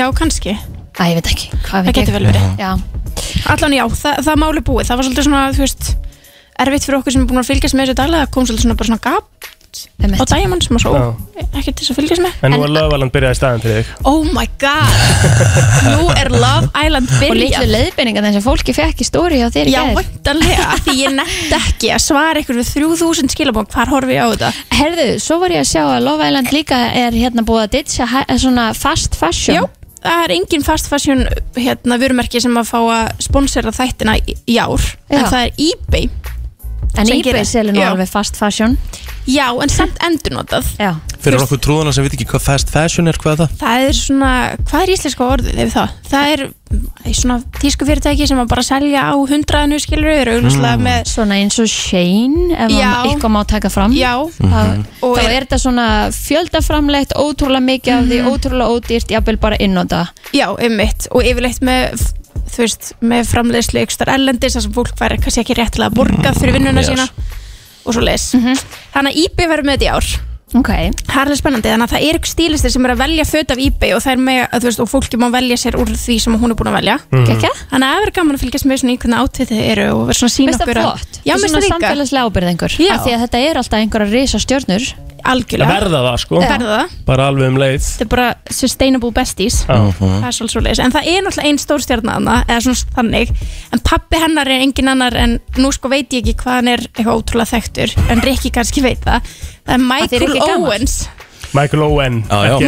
Já, kannski Æ, ég veit ekki. Hvað Það veit getur ég? vel verið. Já, Allan já, það, það máli búið. Það var svolítið svona, þú veist, erfitt fyrir okkur sem er búin að fylgjast með þessu daglega. Það kom svolítið svona bara svona gap og Diamond sem var svo ekki til þess að fylgjast með En nú er lögvaland byrjaði staðan fyrir þig Oh my god Nú er Love Island byrjað Og litlu leiðbeiningar þess að fólki fekk í stóri á þér í Já, gær. vantanlega, af því ég nefndi ekki að svara ykkur við 3000 skilabók, hvar horfi ég á þetta? Herðu, svo var ég að sjá að Love Island líka er hérna búið að ditcha hæ- eh, svona fast fashion Já, það er engin fast fashion hérna, vörumerki sem að fá að sponsera þættina í í ár en Já. það er eBay En sem eBay gerir- selur nú Já. alveg fast fashion Já, en samt endurnotað Já. Fyrir okkur trúðuna sem veit ekki hvað fast fashion er, hvað er það? Það er svona, hvað er íslenska orðið yfir það? Það er mm, svona tísku fyrirtæki sem að bara selja á hundraðinu skilur eru auglúslega Hmm. Mm. með Svona eins og Shane ef Já. maður eitthvað má taka fram Já, Mhm. það, Og þá er- er þetta svona fjöldaframlegt ótrúlega mikið af Mhm. því, ótrúlega ódýrt jafnvel bara innóta já, ummitt og yfirleitt með f- þú veist, með framleiðslu ykkur starf erlendis þar sem fólk væri kannski ekki réttilega Mm, borgað fyrir vinnuna Yes. sína og svo leis Mhm. Þannig að eBay verður með þetta í ár okay. Það er alveg spennandi, þannig að það eru stílistir sem eru að velja föt af eBay og það er með, að, þú veist, og fólki má velja sér úr því sem hún er búin að velja Mhm. Geggjað. Þannig að það verður gaman að fylgjast með svona í hvernig átvitið eru og verður svona að sína Veist það okkur að- flott? Já, Þetta mér er svona finnst það líka samfélagslega ábyrð einhver Já. af því að þetta er alltaf einhverja risa stjörnur Algjörlega Verða það sko Verða það Bara alveg um leið Þetta er bara sustainable besties Já. Mhm. Það er svolítið svoleiðis En það er náttúrulega ein stórstjarnana Eða svona þannig En pappi hennar er engin annar En nú sko veit ég ekki hvað hann er eitthvað ótrúlega þekktur En Rikki kannski veit það Það er þér er Michael ekki gamall. Owens Michael Owen Já, já, ekki-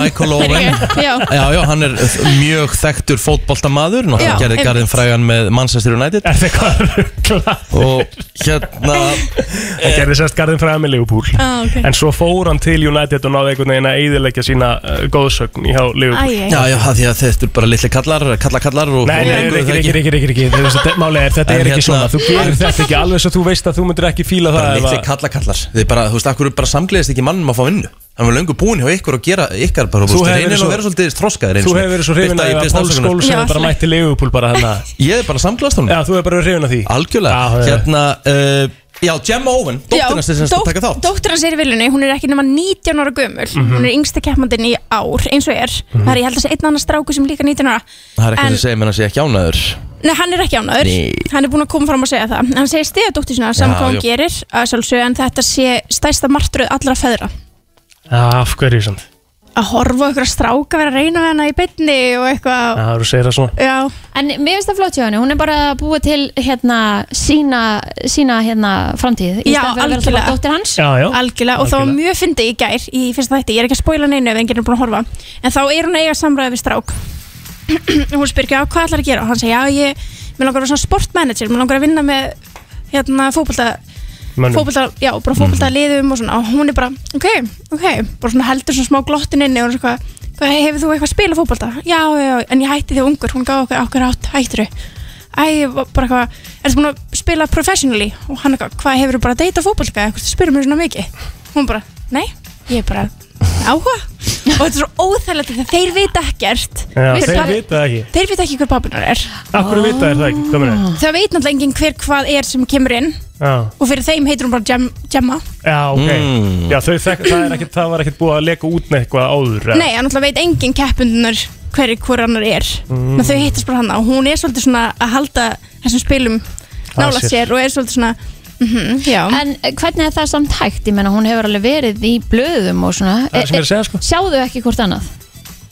Michael Owen Já. Já, já, hann er mjög þekktur fótboltamaður Já, Náttúrulega gerði einmitt. garðin frægan með Manchester United Er það hvað Og hérna Það gerði sérst Garðin fræða með Liverpool Ah, ok. En svo fór hann til United og náði einhvern veginn að eyðileggja sína uh, góðsögn í hjá Liverpool Æ, æ, æ. Já, já, af því að þetta er bara litli kallar, kallar, kallar og Nei, nei, nei, ekki, ekki, ekki, ekki, ekki Málega er, þetta En er hérna- ekki svona Þú gerir þetta ekki alveg svo þú veist að þú myndir ekki fíla það Bara ef litli að- kallar, kallar Þið bara, þú veist, akkur bara samgleðist ekki mannum að fá vinnu Hann var löngu búin hjá ykkur að gera ykkar bara Þú hefur reynir að verið svo- vera svolítið þroskaðir einu Þú sinni. hefur verið svo hrifin Birta, að ég biðst Pál afsökunar. Skóls Já, hefur bara allt í mætti Liverpool bara hann Ég er bara samglaðast hún Já, þú hefur bara hrifin að því Algjörlega, Já, já. hérna uh, Já, Gemma Owen, dóttir hans sem dótt- þetta taka þátt dóttir hans er í viljunni, hún er ekki nema 19 ára gömul Mhm. Hún er yngsta keppmandinn í ár, eins og er Það er ég held að sé einn annar stráku sem er líka 19 ára Það En- er eitthvað sem segir mér að sé ekki ánæður Nei, hann er ekki ánæður, Nei. hann er búinn að koma fram og segja það Hann segir stiða dóttir sinna, saman Já, hvað hún jú. gerir að sjálfsögja, en þetta sé stæsta martröð allra feðra Af hverju samt að horfa okkur að stráka vera að reyna við hana í bytni og eitthvað Já, þú segir það svona Já. En mér finnst það flott hjá henni, hún er bara að búa til hérna sína, sína hérna framtíð í Já, staðan fyrir að vera alltaf bara algjörlega. dóttir hans Já, já. algjörlega og það var mjög fyndið í gær í fyrsta þætti, ég er ekki að spóila neinu ef enginn er búin að horfa en þá er hún að eiga samræði við strák hún spyr ekki á hvað ætlar að gera og hann segja, já ég, mér langar að vera svona sportmanager mér langar að vinna með hérna fókbalta Mönnum. Mhm. fókbalta, já, bara fókbalta liðum og svona, og hún er bara, ok, ok bara svona heldur svona smá glottin inni og svona eitthvað, hvað, hefur þú eitthvað að spila fókbalta? Já, já, já, en ég hætti því ungur, hún gaf okkur okkur átt, hættir þau Æ, ég var bara eitthvað, ertu búin að spila professionally? Og hann eitthvað, hvað hefur þú bara að deyta fókbalta? Eitthvað, þú spyrir mér svona mikið Hún bara, nei, ég er bara áhuga og þetta er svo óþægilegt þegar þeir vita ekkert Já, Hver þeir pabbi- vita það ekki. þeir vita ekki hver pappinar er Af hverju vita þér það ekki, hvað meina ég? það veit náttúrulega enginn hver hvað er sem kemur inn Já, og fyrir þeim heitir hún bara Gem, Gemma já, ok Mm. Já, þau þekk, það er ekkert, það var ekkert búið að leka út með eitthvað áður eða? nei, hann náttúrulega veit enginn keppundunar hverju hver annar er Mm. mm. þau hittast bara hann og hún er svolítið svona að halda þessum spilum Að nála sér. sér og er svolítið svona mhm, já En eh, hvernig er það samt hægt? Ég menna hún hefur alveg verið í blöðum og svona Eh, Það er sem ég er að segja, sko. Sjáðu ekki hvort annað?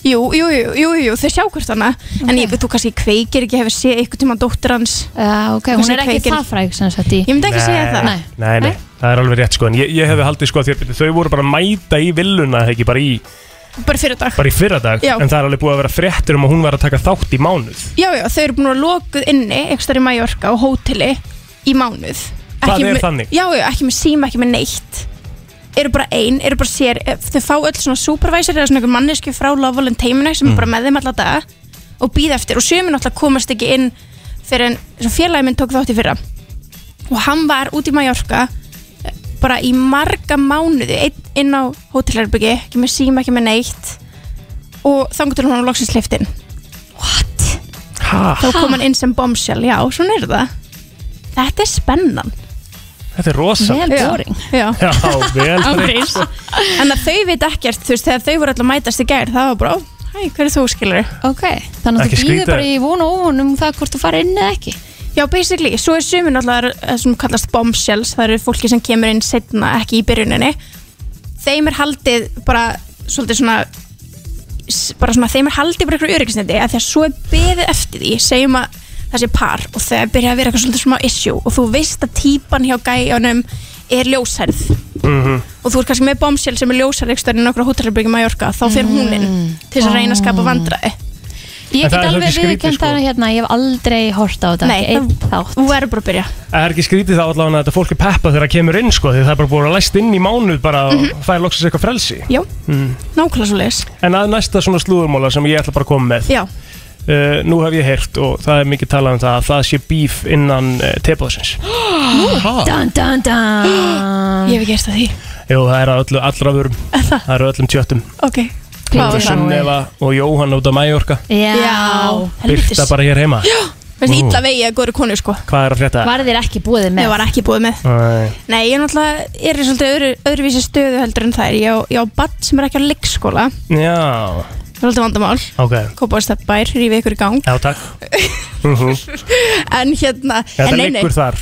Jú, jú, jú, jú, jú, þau sjá hvort hana En ég veit, þú kannski kveikir ekki hefur séð eitthvað tíma dóttir hans uh, Ok, hún er ekki það fræg sem sagt í Ég myndi ekki segja það nei, nei, nei, það er alveg rétt sko En ég, ég hefði haldið sko að þér, þau voru bara að mæta í villuna eða ekki bara í, Bara fyrir dag bara í fyrradag Já. En það er alveg búið að vera fréttur um að hún var að taka þátt í mánuð Já, já, þau eru búin að vera lokuð inni Ekki starf í Mallorca á hóteli Í mánuð Það Ekki er með- þannig. Já, já, ekki með síma, ekki með neitt Eru bara ein, eru bara sér eh, Þau fá öll svona supervisor Eða svona einhver manneski frá Lovolin teiminu Sem er Mm. bara með þeim alla daga Og býð eftir Og sömur náttúrulega komast ekki inn Fyrir en svo félagi minn tók þátt í fyrra Og hann var út í Mallorca eh, Bara í marga mánuði Einn inn á hótelherbyggi Ekki með síma, ekki með neitt Og þangur til hann var loksins hleyft inn Ha, þá kom hann inn sem bombshell, já, svona er það Þetta er spennan þetta er rosa Já, Já, Já, vel Ángríns. En að þau veit ekkert, þú veist, þegar þau voru alltaf mætast í gær Það var bara, ó, hæ, hver er þú skilur Ok, þannig að Ekki þú býður skrýta- bara í von og óvon um það hvort þú fara inn eða ekki Já, basically, svo er sumin alltaf sem kallast bombshells, það eru fólki sem kemur inn setna, ekki í byrjuninni þeim er haldið bara svolítið svona s- bara svona, þeim er haldið bara ykkur öryggisneti af því að svo er beðið eftir því, segjum að það sé par og það byrja að vera eitthvað svolítið smá issue og þú veist að típan hjá gæjanum er ljósherð Mhm. og þú ert kannski með bombshell sem er ljósherð ekki stöðin okkur á hótelherbyggjum Mallorca þá fer hún inn Mm. til þess að reyna að skapa vandræði Ég get alveg viðkjönd það hérna, ég hef aldrei hort á þetta Nei, ekki einn þátt Þú verður bara að byrja Það er ekki skrítið þá allavega að þetta fólk er peppa þegar það kemur inn sko því það er bara búin að læst inn í mánuð bara og Mhm. fær loksins eitthvað frelsi Já, mm. nákvæmlega svo leiðis En að næsta svona slúðurmóla sem ég ætla bara að koma með Já. Eh, Nú hef ég heyrt og það er mikið talað um það að það sé bíf innan uh, tebóðsins Dun, dun, dun Ég hef ekki eftir því Jú, það er að öllu allra vörum Það eru öllum tjöttum Ok, Klóður Sunneva og Jóhann út á Mæjorka Já, Byrta bara hér heima Já, finnst illa vegi að góður konu sko Hvað er að frétta? Var þér ekki búið með? Ég var ekki búið með Nei. Nei, ég er náttúrulega er í svolítið öðru, öðruvísi stöðu heldur en það er Ég á, ég á badd sem er ekki á leikskóla Já, Það er alltaf vandamál ok Kópa á steppbær, rífi ykkur í gang Já, takk Mhm. En hérna Þetta en nei, nei. liggur þar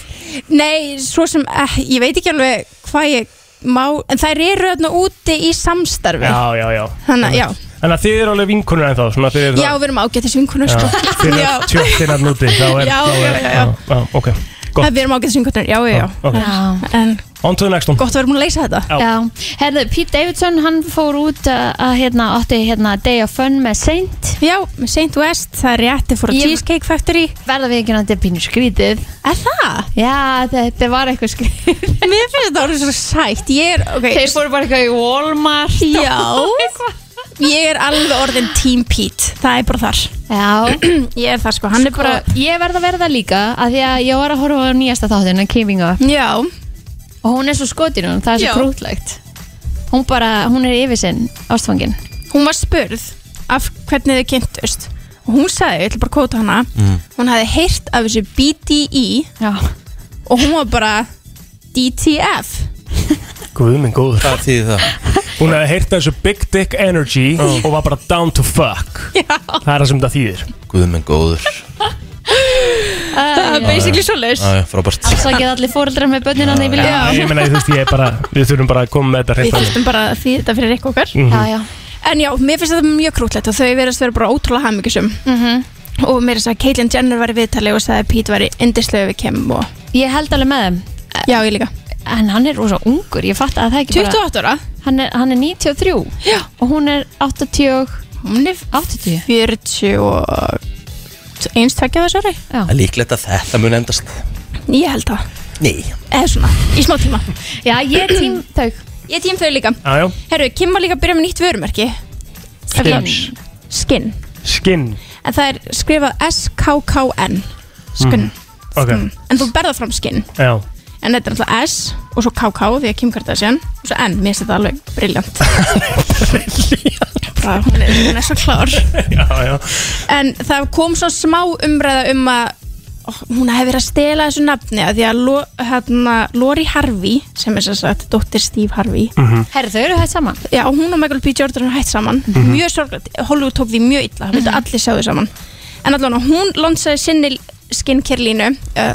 Nei, svo sem, eh, ég veit ekki alveg hvað ég má En þær eru öðna úti í samstarfi Já, já, já Þannig að, já. Þannig að þið eru alveg vinkunur en þá svona, þið eru Já, við erum ágættis vinkunum sko. Þið Já. eru tjöttin að núti þá er, Já, þá er, já, já, já. já Ok, Það gott við erum ágættis vinkunum, já, já, já, ok. En On to the next one gott að vera múin að leysa þetta Já. Já, herðu, Pete Davidson, hann fór út uh, að hérna, átti hérna Day of Fun með Saint Já, með Saint West, það er rétti fór á Cheesecake Factory Verða við ekki að þetta er pínu skrítið Er það? Já, þetta var eitthvað skrítið Mér finnst þetta orðið svo sætt Ég er, ok Þeir fóru bara eitthvað í Walmart og Já Ég er alveg orðin Team Pete Það er bara þar Já, Ég er þar sko, hann er bara ég verð að verða það líka að því að ég var að horfa á nýjasta þáttin að Keeping Up Já og hún er svo skotin hún, það er Já. svo krútlegt hún bara, hún er yfir sinn ástfangin Hún var spurð af hvernig þau kynntust Og hún sagði, ég ætla bara að kóta hana Hún hafði heyrt af þessu BDE Já Og hún var bara DTF Guð minn góður Hvað þýði það? Hún hefði heyrt þessu big dick energy og var bara down to fuck Já. Það er það sem það þýðir Guð minn góður Það er basically svo leis Æ, Frábært Afsakið allir fóreldrar með börnin hann yfir Já, Ég meina, þú veist, ég er bara, við þurfum bara að koma með þetta Við hreint þurftum bara að þýða þetta fyrir ykkur okkar Mhm. Já, já. En já, mér finnst þetta mjög krútlegt og þau verðast vera bara ótrúlega hamingisum Mhm. Og mér finnst að Caitlyn Jenner var í viðtali og sagði að Pete var í indislegu við Kim og... Ég held alveg með þeim Já, ég líka En hann er rosa ungur, ég fatt að það ekki 28 ára Hann er, hann er 93 Já. og hún er 80 og- Hún er 80 40 og einstakja þessu ári Já. Það er líklegt að þetta mun endast Ég held það, Nei eða svona, í smá tíma Já, ég er tím þau Ég er tím þau líka Já, já, Herru, Kim var líka að byrja með nýtt vörumerki Skims. Skinn skinn En það er skrifað S-K-K-N Skinn Mm. Ok, En þú berða fram skinn Hmm. já En þetta er alltaf S og svo KK því að Kim Kardashian og svo N, mér finnst þetta alveg briljant Briljant hún, er- hún er svo klár Já, já En það kom svo smá umræða um að ó, hún hefði verið að stela þessu nafni að því að Lo, hérna, Lori Harvey sem er sem sagt dóttir Steve Harvey Mhm. Herri, þau eru hægt saman Já, hún og Michael B. Jordan er hætt saman Mhm. Mjög sorglætt, Hollywood tók því mjög illa Það Mhm. vildu allir sjá þau saman En allavega, hún lansaði sinni skincare línu uh,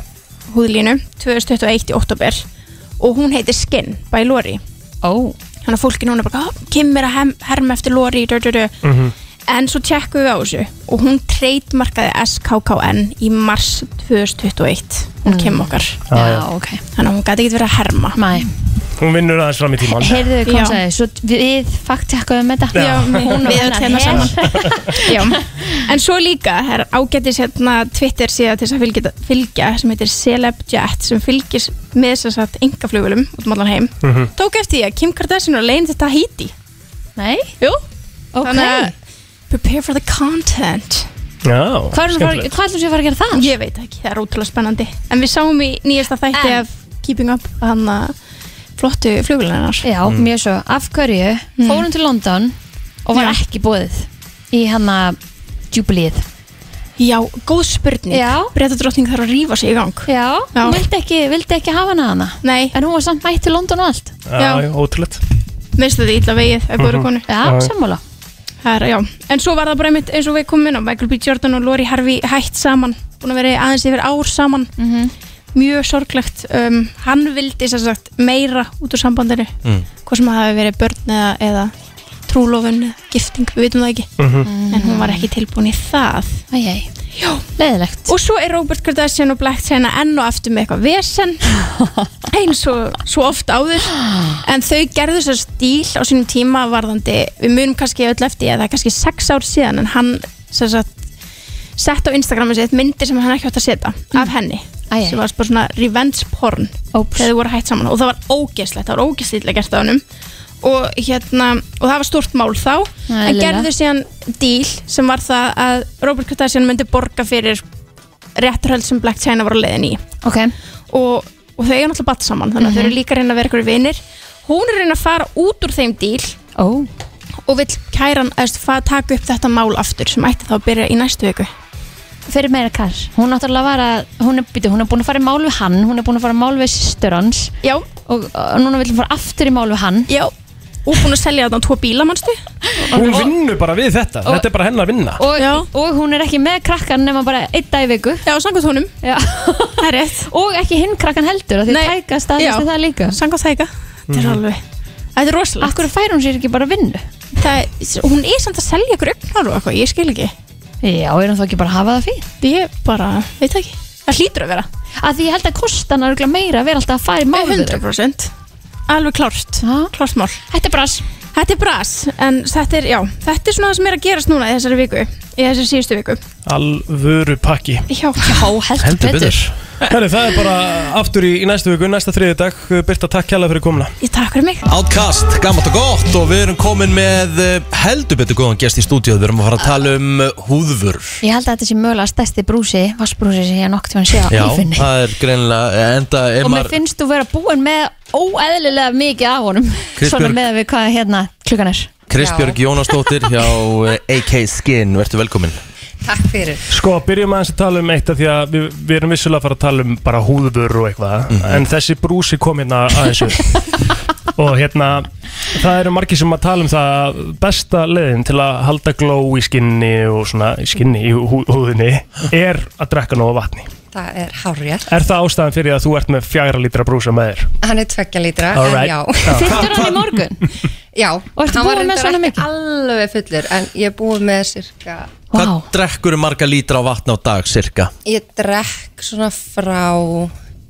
Húðlínu 2021 í oktober Og hún heitir Skin by Lori Ó, Þannig að fólki núna er bara, "Ah, Kim er að hem- herma eftir Lori dö, dö, dö. Mhm. En svo tjekkuðu við á þessu Og hún trademarkaði SKKN Í mars 2021 Hún Kim okkar Já, já. Mm. já, ok Þannig að hún gæti ekki verið að herma Mæ, Hún vinnur aðeins fram í tíman heyrðu Já. hvað sagði Svo við faktekkaðum þetta Já. Hún og við hennar öll hérna her. saman Já. En svo líka er ágættis hérna Twitter síða til þess að fylgja, fylgja sem heitir CelebJet sem fylgis með þess að engaflugulum út um allan heim tók eftir því að Kim Kardashian er leiðin til Tahiti Nei, Jú, ok þannig að prepare for the content Já, Hvað ætlum skemmtilegt. við að fara að gera það? Ég veit ekki, það er ótrúlega spennandi en við sáum í nýjasta þætti En- af Keeping Up hann að flottu Mm. flugulunarnar Já, Mm. mjög svo, af hverju fórum til London og var Já. ekki bóðið í hann að júbilið Já, góð spurning Já. Breta drottning þarf að rífa sig í gang Já, Já. hún vildi ekki, vildi ekki hafa hana hana Nei, Ah. en hún var samt mætt til London og allt Já, já, ótrúlegt minnst þetta illa vegið að góðra konu Já, Já. sammála Það er, já, en svo var það bara einmitt eins og við komum inn á Michael B. Jordan og Lori Harvey hætt saman búin að vera aðeins yfir ár saman Mhm. mjög sorglegt um, hann vildi sem sagt meira út úr sambandinu Mm. hvað sem að það hafi verið börn eða, eða trúlofun eða gifting, við vitum það ekki Mhm. en hún var ekki tilbúin í það Æjæj, leðilegt og svo er Robert Kardashian og Black China enn og aftur með eitthvað vesen eins og svo oft áður en þau gerðu sér stíl á sínum tíma varðandi, við munum kannski öll eftir eða það er kannski sex ár síðan en hann sem sagt sett á Instagramin sitt myndir sem hann ekki átt að setja af henni Mm. Æ, æ. sem var bara svona revenge porn Oops. þegar þau voru hætt saman og það var ógeðslegt það var ógeðslega gert á hennum og, hérna, og það var stort mál þá Það er en lilla. gerðu síðan díl sem var það að Robert Kardashian myndi borga fyrir rétturhöld sem Black China var á leiðin í okay. og, og þau er náttúrulega batt saman þannig að þau eru Mhm. líka að reyna að vera ykkur vinir hún er að reyna að fara út úr þeim díl oh. og vill kæran eðst, taka upp þetta mál aftur sem ætti þá að byrja í næstu viku fyrir meira kar hún náttúrulega var að, hún er, býtu, hún er búin að fara í mál við hann hún er búin að fara í mál við sýstur hans Já. og, og núna vil hún fara aftur í mál við hann Já. og búin að selja þarna tvo bíla mannstu Hún vinnur bara við þetta Og- Þetta er bara hennar vinna og, og hún er ekki með krakkan nema bara einn dag í viku Já, samkvæmt honum Já. og ekki hinn krakkan heldur af því Nei. tæka staðist Já. það líka samkvæmt tæka þetta er alveg þetta er rosalegt Akkur fær hún sér ekki bara vinnu? Það, hún er samt að selja ykkur augnar og eitthvað, ég skil ekki Já, er hún þá ekki bara að hafa það fínt? Ég bara, veit ekki Það hlýtur að vera Að því ég held að kostan er örugglega meira að vera alltaf að fara í mál við þau. 100% Alveg klárt, klárt mál Þetta er bras Þetta er bras, en þetta er, já, þetta er svona það sem er að gerast núna í þessari viku Í þessari síðustu viku Alvöru pakki Já, já heldur, Herri, það er bara aftur í, í næstu viku, næsta þriði dag Birta, takk kjalla fyrir komuna Ég takk fyrir mig Outcast, gammalt og gott og við erum komin með eh, heldur betur góðan gest í stúdíu við erum að fara að tala um eh, húðvörur Ég held að þetta sé mögulega stærsti brúsi, vassbrúsi sem ég hef nokkuð tíma að sé á Já, lífinni. það er greinilega eh, enda ef Og mér maður finnst þú vera búin með óeðlilega mikið af honum. Kristbjörg. Svona með við hvað hérna klukkan er. Kristbjörg Jónasdóttir hjá eh, AK Skin, verður velkomin Takk fyrir Sko, byrjum aðeins að tala um eitt af því að við, við erum vissulega að fara að tala um bara húðvörur og eitthvað en þessi brúsi kom hérna aðeins upp og hérna það eru margir sem að tala um það að besta leiðin til að halda gló í skinni og svona í skinni í hú, húðinni er að drekka nóga vatni Það er hárjætt Er það ástæðan fyrir að þú ert með fjagra lítra brúsa með þér? Hann er tveggja lítra All en right. já. Já. Fylltur hann í morgun? já, hann ertu var búin með reyndar svona ekki alveg fullur en ég er búin með cirka Hvað drekkur marga lítra á vatn á dag, cirka? ég drekk svona frá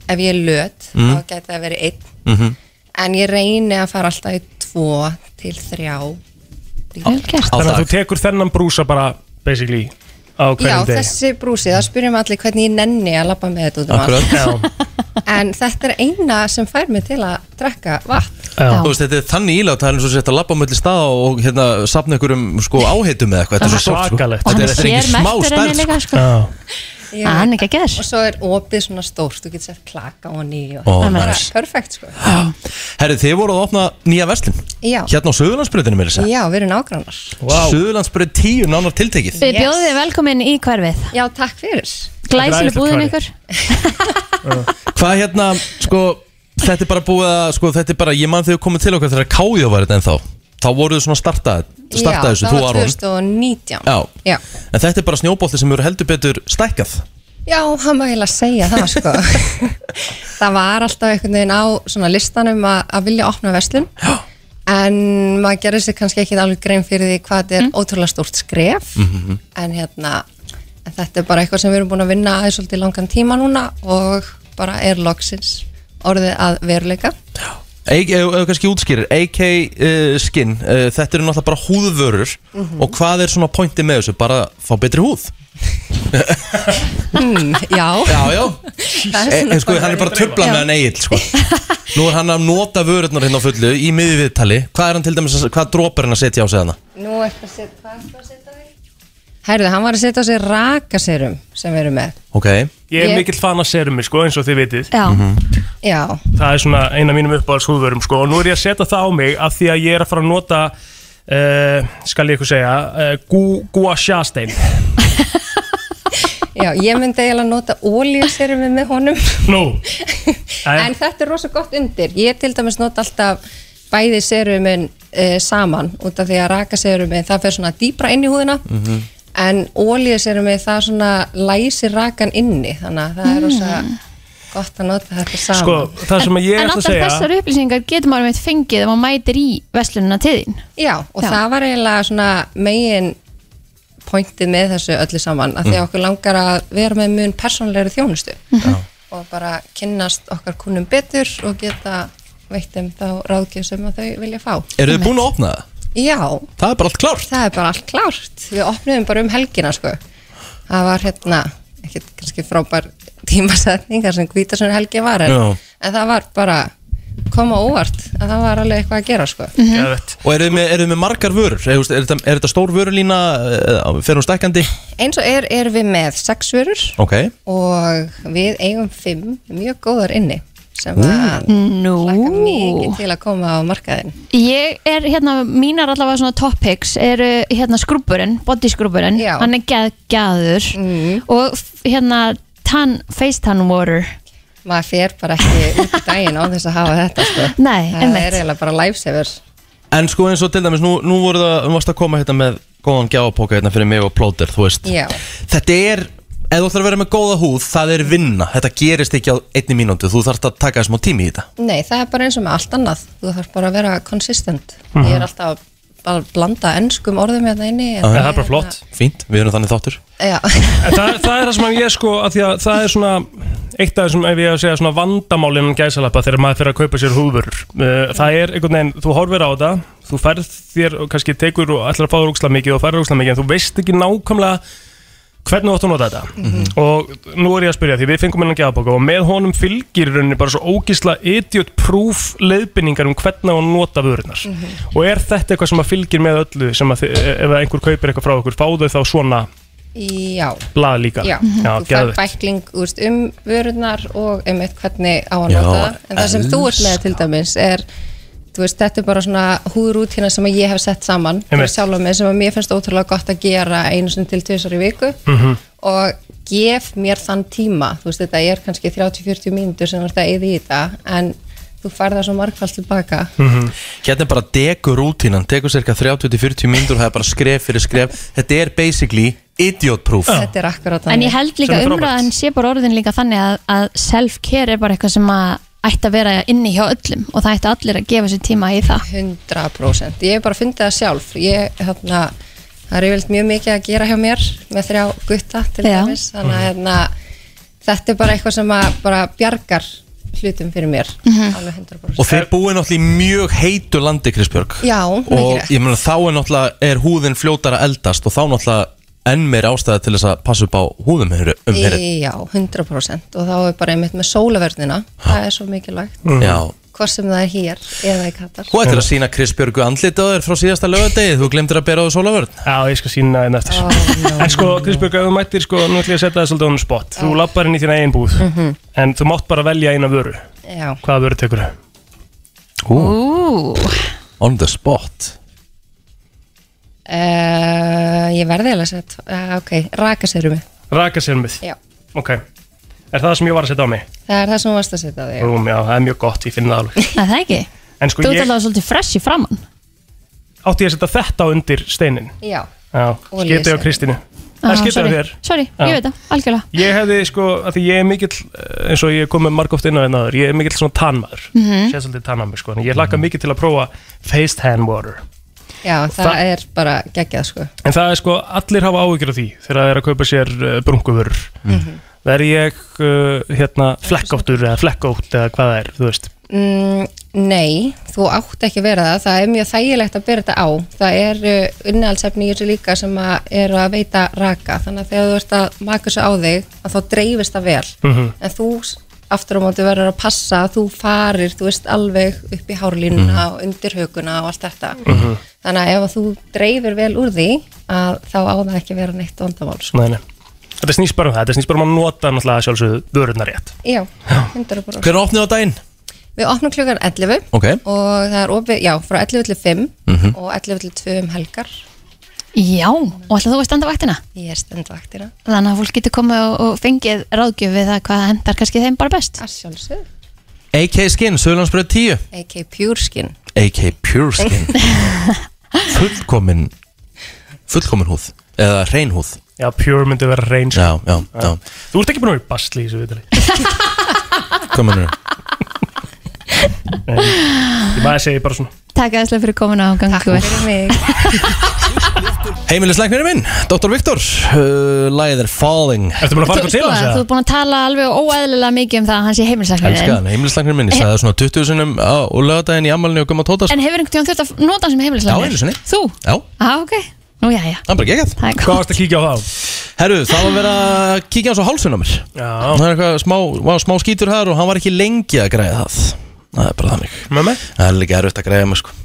ef ég er löt Mm. Mhm. þá geti það verið einn Mm -hmm. en ég reyni að fara alltaf í tvo til þrjá Þannig að þú tekur þennan brúsa bara basically á Já, hverjum deg þessi brúsi, það spyrjum allir hvernig ég nenni að labba með þetta út um Akkurat. Já. allt En þetta er eina sem fær mig til að drekka vatn Þú veist, þetta er þannig ílátt, það er eins og sett að labba á milli staða og hérna sapna ykkur um sko áheitum eða eitthvað, þetta er svo stórt sko. Svakalegt. Þetta er, þetta er ekki smá stærð sko. Já. Hann ekki að gerð Og svo er opið svona stórt, þú getur sett klaka á ný og Ó, það er bara nice. perfekt sko Já, Herri, þið voruð að opna nýja verslun Já. Hérna á Suðurlandsbröðinu mér þess að já við erum nágrannar wow. Suðurlandsbröð 10 nánar tiltekið Við bjóðum þið velkomin í hverfið. Já, takk fyrir. Glæsileg Þetta er æðislegt búðin hverfi. ykkur. Hvað hérna, sko Þetta er bara búið að, sko, þetta er bara Ég man þegar þið komið til okkar þegar káðið var þetta ennþá Þá voruð þið svona startað Startað þessu, þú var Aron 2019 Já. Já. En þetta er bara snjóbolti sem eru heldur betur stækkað Já, hann var eiginlega að segja það sko Það var alltaf einhvern veginn á svona listanum að, að vilja opna verslun Já. En maður gerði sér kannski ekki alveg grein fyrir því hvað þetta er Mm. ótrúlega stórt skref Mhm. En hérna, en þetta er bara eitthvað sem við erum búin að vinna aðeins svolítið langan tíma núna Og bara er loksins orðið að veruleika Eik- Ef ef kannski útskýrir, AK uh, skin uh, Þetta eru náttúrulega bara húðvörur Mhm. Og hvað er svona pointi með þessu? Bara fá betri húð hmm, Já, Já, já Það er e, svona e, sko, bara- Hann er bara að tröfla Já. með hann eigil sko. Nú er hann að nota vörurnar hérna á fullu Í miði viðtali Hvað er hann til dæmis, að- hvað drópar hann að setja á sig hana? Nú ertu að setja, hvað ertu að setja þig? Herðu, hann var að setja á sig rakaserum sem við erum með. Ok Ég er Ég- mikill fan að serumi sko eins og þið vitið Já. Já. Það er svona eina mínum uppáðars húðvörum sko og nú er ég að setja það á mig af því að ég er að fara að nota uh, skal ég eitthvað segja uh, gu, gua sjástein Já, ég myndi eiginlega nota ólíuserumi með honum. Nú en þetta er rosa gott undir. Ég til dæmis nota alltaf bæði eh, serumin e, saman út af því að rakaserumin það fer svona dýpra inn í húðina. en ólíus erum við það svona læsir rakan inni þannig að það er rosa gott að nota þetta saman Sko, það sem að ég Mm. en ætla að allar segja þessar upplýsingar getur maður meitt fengið ef maður mætir í veslununa til þín Já, og það var eiginlega svona megin pointið með þessu öllu saman að því að Mm. okkur langar að vera með mun persónlegri þjónustu og bara kynnast okkar kunnum betur og geta veitt um þá ráðgjöf sem að þau vilja fá Eru þið búin að opna það? Já, Það er bara allt klárt það er bara allt klárt Við opnum bara um helgina sko Það var hérna, ekkert kannski frábær tímasetningar sem hvítasunni helgi var en, Já. en það var bara koma óvart að það var alveg eitthvað að gera sko Og eru þið með, eru þið með margar vörur? Er, er, þetta, er þetta stór vörulína? eh, Fer hún stækkandi? Eins og er, erum við með sex vörur Ok og við eigum fimm mjög góðar inni sem Ú. að Nú. laka mikið til að koma á markaðin Ég er hérna, mínar allavega svona top picks eru hérna skrúburinn, body skrúburinn hann er geðgæður Mm. og f- hérna tan, face tan water maður fer bara ekki út í daginn á þess að hafa þetta sko. Nei, það einmitt. er eiginlega bara lifesaver En sko eins og til dæmis, nú, nú voru það, nú varst að koma hérna með góðan gjáapoka hérna fyrir mig og plóter, þú veist Já. Þetta er, ef þú ætlar að vera með góða húð, það er vinna Þetta gerist ekki á einni mínútu, þú þarft að taka smá tími í þetta Nei, það er bara eins og með allt annað þú þarf bara að vera consistent ég er alltaf að blanda enskum orðum hérna inni en Aha. Fínt, við erum þannig þáttur Já, En það, það er það sem ég sko að því að það er svona eitt af þessum, ef ég á að segja, svona vandamálinn gæsalappa þegar maður fyrir að kaupa sér húfur það er einhvern veginn, þú horfir á það þú færð þér og kannski tekur og ætlar að fá rúksla mikið og færð rúksla mikið en þú veist ekki nákvæmlega hvernig þú átt að nota þetta og nú er ég að spyrja því við fengum hennan gjafabóka og með honum fylgir í rauninni bara svo ógísla idiot-proof leiðbynningar um hvernig hún nota vörunar og er þetta eitthvað sem að fylgir með öllu sem að þi- e- ef að einhver kaupir eitthvað frá okkur fá þau þá svona já, blað líka Mhm. já. já þú fær geðveikt. bækling úrst um vörunar og um eitt hvernig á að Já, nota það. en það sem þú ert með til dæmis er þú veist, þetta er bara svona húðrútina sem að ég hef sett saman fyrir Einmitt. sjálf mig sem að mér finnst ótrúlega gott að gera einu sinni til tvisar í viku Mhm. og gef mér þann tíma þú veist, þetta er kannski 30-40 mínútur sem þú ert að eyða í þetta en þú færð það svo margfald tilbaka Hérna er bara degur rútínan, degur cirka 30-40 mínútur, það er bara skref fyrir skref Þetta er basically idiot proof þetta er akkurat en ég held líka umræðan sé bara orðin líka þannig að, að self-care er bara eitthvað sem að ætti að vera inni hjá öllum og það ætti allir að gefa sér tíma í það 100% ég hef bara fundið það sjálf ég, þarna, það er yfirleitt mjög mikið að gera hjá mér með þrjá gutta til Já. dæmis þannig að hérna, þetta er bara eitthvað sem að bara bjargar hlutum fyrir mér Mhm. alveg 100% Og þeir búið náttúrulega í mjög heitu landi, Krisbjörg Já, Og ég meina þá er náttúrulega er húðin fljótar að eldast og þá náttúrulega enn meir ástæða til þess að passa upp á húðum um hér já, 100% og þá er bara einmitt með sólaverðina það er svo mikilvægt Já hvort sem það er hér eða í Katar Hvað ættir að sína Krisbjörgu andlit á þér frá síðasta lögadegi? Þú glemtir að bera á þú sólavörn Já, ég skal sína einn eftir En sko, Kristbjörg, ef þú mættir sko, nú ætlum ég að setja það svolítið á hún spott Þú lappar inn í þína eigin búð Mhm. En þú mátt bara velja eina vöru Já. Hvaða vöru tekur þau? Ú. On the spot uh, ég verði eða að setja uh, ok, raka sér um Raka sér mið Já. Ok, er það sem ég var að setja á mig? það er það sem þú varst að setja á þig Rúm, já, það er mjög gott, ég finn það alveg að það ekki, En sko, þú ert ég alveg svolítið fresh í framann átti ég að setja þetta á undir steinin já, Já, Olíusteinn. skita ég á Kristínu Það Ah, skita sorry. ég þér sorry, ég Já. veit það, algjörlega Ég hefði sko, að því ég er mikill eh, eins og ég kom með margóft inn á einn aður, hérna ég er mikill svona tannmaður Mhm. séð svolítið tannmaður sko, en ég hlakka mikill til að prófa Face Tan Water já það, það- er bara geggjað sko En það er sko, allir hafa áhyggjur af því þegar það er að kaupa sér uh, brunkuður Mhm. Verð ég uh, hérna flekkóttur eða flekkótt eða hvað það er, þú veist Mm, nei, þú átt ekki að vera það það er mjög þægilegt að byrja þetta á það er uh, unnahaldsefni í þessu líka sem að eru að veita raka þannig að þegar þú ert að maka þessu á þig að þá dreifist það vel Mhm. en þú s- aftur á móti verður að passa að þú farir, þú veist, alveg upp í hárlínuna Mhm. og undir hökuna og allt þetta Mhm. þannig að ef að þú dreifir vel úr því að þá á það ekki að vera neitt vandamál sko. Nei, nei. Þetta snýst bara um það, þetta snýst bara um að nota náttúrulega sjálfsögðu vörurnar rétt Já, 100% Hvernig opnið á daginn? Við opnum klukkan 11 Ok. og það er opið, já, frá 11 til 5 Mhm. og 11 til 2 um helgar já, og ætlaðu þú að standa vaktina Ég er stendvaktina þannig að fólk getur komið og, og fengið ráðgjöf við það hvað hendar kannski þeim bara best að sjálfsög AK Skin, Söðlandsbröð 10 AK Pure Skin AK Pure Skin Fullkomin Fullkomin húð Eða reynhúð Já, pure myndi vera reyn sko. Já, já, já. Þú ert ekki búin að vera í basli í þessu viðtali Hvað mennur þau? Nei, Ég maður segi bara svona Takk aðeinslega fyrir komuna og gangi vel. Takk fyrir mig. Heimilisleiknirinn minn, Dr. Viktor uh, Læðir Falling Ertu búin Þú, sko, þú ert búin að tala alveg óæðilega mikið um það að hann sé heimilisleiknirinn. Elskan, heimilisleiknirinn minn, ég sagði það svona 20 sinum á lögadaginn í ammælinu og kom að tótast En hefur einhvern tíðan þurft að nota hann sem heimilisleiknir? sko. Já, einu sinni. Þú? Já, Já, ok. Nú, já, já. það er bara geggjað Það er Hvað gott. varst að kíkja á það? Herru, það var að vera að kíkja á svo hálsun á mér Já Það er eitthvað smá, var smá skítur þar og hann var ekki lengi að græða það Það er bara þannig Með mig? Það er líka erfitt að græða mig sko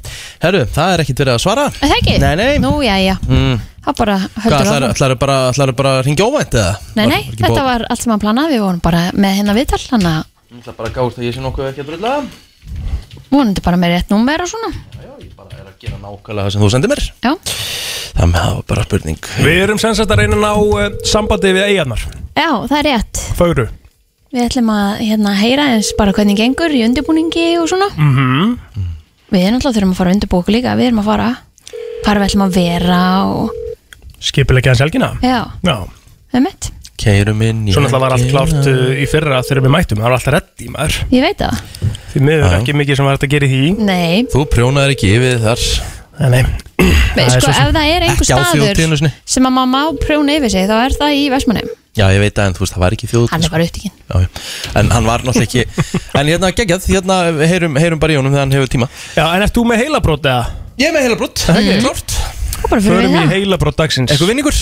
Herru, það er ekkit verið að svara Er Það ekki? Nei, nei Nú, já, já. mm. Það bara Hvað, höldur ætlarðu- ætlarðu bara, ætlarðu bara að ringja óvænt eða? Nei, nei, ekki þetta búið- var allt sem hann planaði. Við vorum bara með hennar viðtal, hann að Ég ætla bara að gáðast að ég sé nokkuð ekki að drulla vonandi bara með rétt númer og svona. Gera nákvæmlega það sem þú sendir mér Já. Það með það var bara spurning Við erum sem sagt að reyna að ná uh, sambandi við eigarnar Já, það er rétt. Fögru Við ætlum að hérna, heyra eins bara hvernig gengur í undirbúningi og svona. mm -hmm. Við erum alltaf þurfum að fara að undirbúa okkur líka. Við erum að fara. Hvar við ætlum að vera og... Skipilegja hans helgina Já, Já það er mitt. Keirum inn í Svo náttúrulega var allt helgina. klárt uh, í fyrra þegar við mættum Það var alltaf reddi maður Ég veit það. Því miður ekki mikið sem var hægt að gera í því Nei, Þú prjónaðir ekki yfir þar Nei, nei. Nei, sko, ef það er einhver Ekki á staður þjóðtíðinu sinni. sem að maður má prjóna yfir sig þá er það í Vestmanni Já, ég veit það en þú veist, það var ekki þjóð Hann er bara upptíkin Já, já. En hann var náttúrulega ekki En hérna geggjað, hérna heyrum, heyrum bara í honum þegar hann hefur tíma Já, en ert þú með heilabrót eða? Ég er með heilabrót, það er ekki klárt Það bara Förum í heilabrót dagsins Eitthvað vinningur?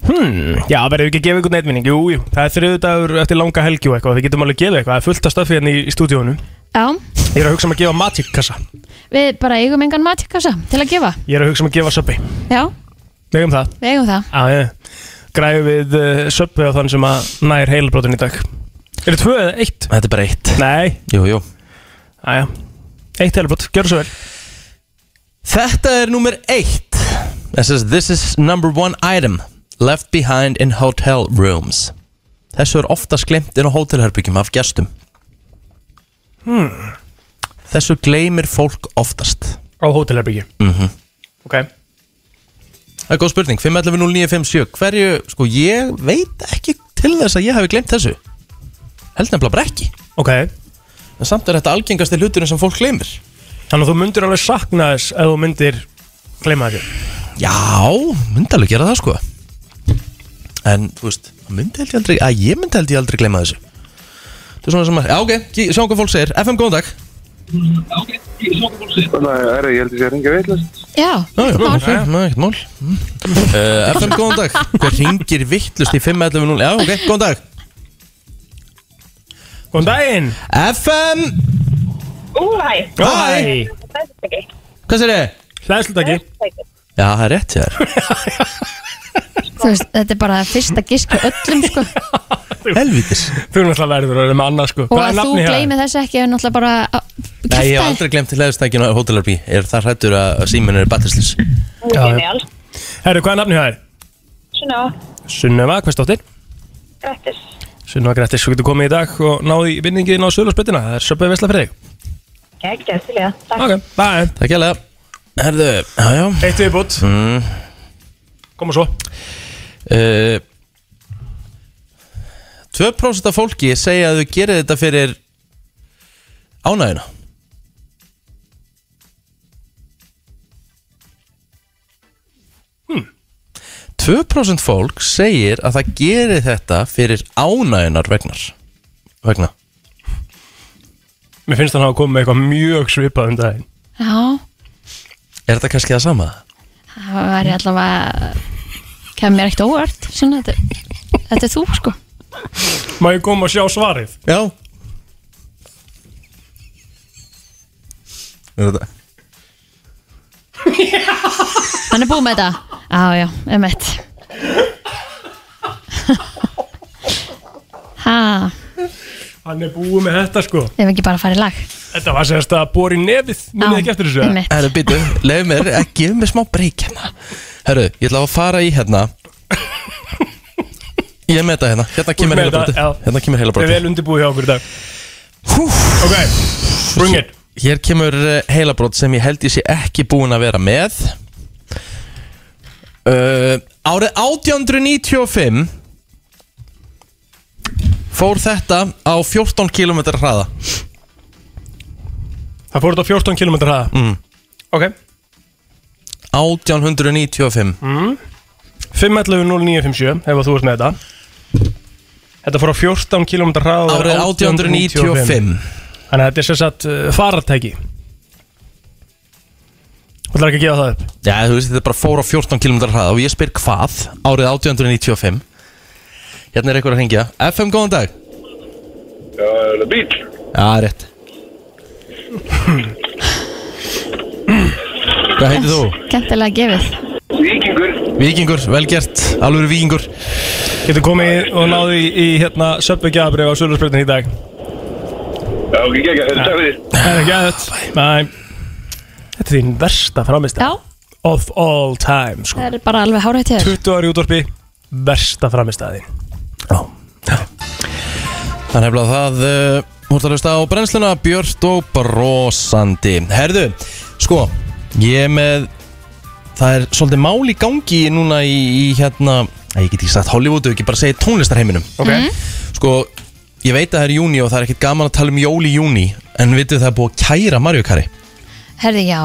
Hmm, já, verðum við ekki að gefa ykkur neitvinning Jú, jú, það er þriðudagur eftir langa helgi og eitthvað Við getum alveg að gefa eitthvað, það er fullt af stöfi hérna í, í stúdíónu Já, Ég er að hugsa um að gefa Magic-kassa við bara eigum engan matikassa til að gefa Ég er að hugsa um að gefa Subway Já, Megum það? Ah, við eigum það Já, ég Græðu við uh, Subway á þann sem að nær heilabrótin í dag Er það tvö eða eitt? Þetta er bara eitt Nei, Jú, jú aðja Eitt heilabrót, gjör svo vel Þetta er nummer eitt This is, this is number one item Left behind in hotel rooms Þessu er oftast glemt inn á hótelherbyggjum af gestum hmm. Þessu gleymir fólk oftast Á hótelherbyggi mm Ok Það er góð spurning, 511-0957 Hverju, sko, ég veit ekki til þess að ég hafi glemt þessu Held nefnilega bara ekki Ok En samt er þetta algengasti hluturinn sem fólk gleymir Þannig að þú myndir alveg sakna þess ef þú myndir gleyma þessu Já, myndi alveg gera það, sko En, þú veist, það myndi held ég aldrei Að ég myndi held ég aldrei gleyma þessu Það er svona sem að, já, ok, kí- sjáum hvað fólk segir FM, góðan dag Þannig að herri, ég held að ég ringi veitlust. Já, Já, já, ekkert mál. já, já, ekkert mál uh, FM, góðan dag Hver ringir vittlust í 511 Já, ok, góðan dag Góðan daginn FM Ú, hæ. Hæ. Hvað sér þið? Hlæðslutaki Já, það er rétt hjá þér Þú veist, þetta er bara fyrsta gísk á öllum sko. Helvítis Þú erum alltaf verður að vera með annað sko og Hvað er að þú nafnið hérna? gleymið þessu ekki er náttúrulega bara að- Nei, ég hef aldrei glemt leðustækjun á hótelarby Er það hrættur að síminn er batterslis Já, já. Herru, hvað er nafnið það er? Svona, Sunneva, hvað stóttir? grættis. Sunneva Grettis, þú getur komið í dag og náði vinningið inn á Söðlarsbyttina Það er söpbið vesla fyrir þig Ekki, til ég. Takk. Ok, bye Takk hérlega Herðu, já, Mm. já Eitt viðbútt mm. Koma svo uh, 2% af fólki segja að þau gerir þetta fyrir ánægina Hmm. 2% fólk segir að það gerir þetta fyrir ánæginar vegnar Vegna Mér finnst hann að koma með eitthvað mjög svipað um daginn Já, Er þetta kannski það sama? það var ég allavega kemur mér ekkert óvart svona, þetta, þetta er þú sko Má ég koma og sjá svarið? Já Er þetta? Hann er búið með þetta Já, já, emmett Ha, Hann er búið með þetta sko ef ekki bara að fara í lag Þetta var sérst að bóri nefið Já, Munið ekki eftir þessu einmitt. Herru, býtu, leið mér, eh, gef mér smá breyk hérna Herru, ég ætla að fara í hérna Ég er með þetta hérna, hérna Þú ert kemur með heila þetta, broti já. Hérna kemur heila Við broti erum vel undirbúið hjá okkur í dag Ok, bring it Hér kemur eh, heilabrót sem ég held ég sé ekki búin að vera með uh, Árið 1895 fór þetta á 14 km hraða Það fór þetta á 14 km hraða mm. Ok 1895 mm. 5.11.09.57 Ef að þú ert með þetta Þetta fór á 14 km hraða Árið 1895. Þannig að þetta er sem sagt uh, farartæki Þú ætlar ekki að gefa það upp Já, þú veist, þetta bara fór á 14 km hraða og ég spyr hvað árið 1895 Hérna er einhver að hringja FM, góðan dag Já, er það bíl? Já, rétt Hvað heitir þú? Kentilega gefið Víkingur Víkingur, velgjert, alveg víkingur Getur komið og náðu í, í hérna Söpvegjabrið á Sölursbyrðin í dag Já, ok, ekki, þetta er fyrir Það er ekki aðeins Ah, Næ Þetta er þín versta framist Já Of all time sko. Það er bara alveg hárhætt hjá þér 20 ári útvarpi Versta framist að þín Það er nefnilega það uh, Hvort að hlusta á brennsluna Björt og brosandi Herðu, sko Ég er með Það er svolítið mál í gangi núna í, í hérna Æ, Ég get ekki sagt Hollywoodu, ekki bara segja tónlistarheiminum Ok. Mhm. Sko, ég veit að það er júni og það er ekkit gaman að tala um jól í júni En vitið það er búið að kæra Mario Kari Herði, já,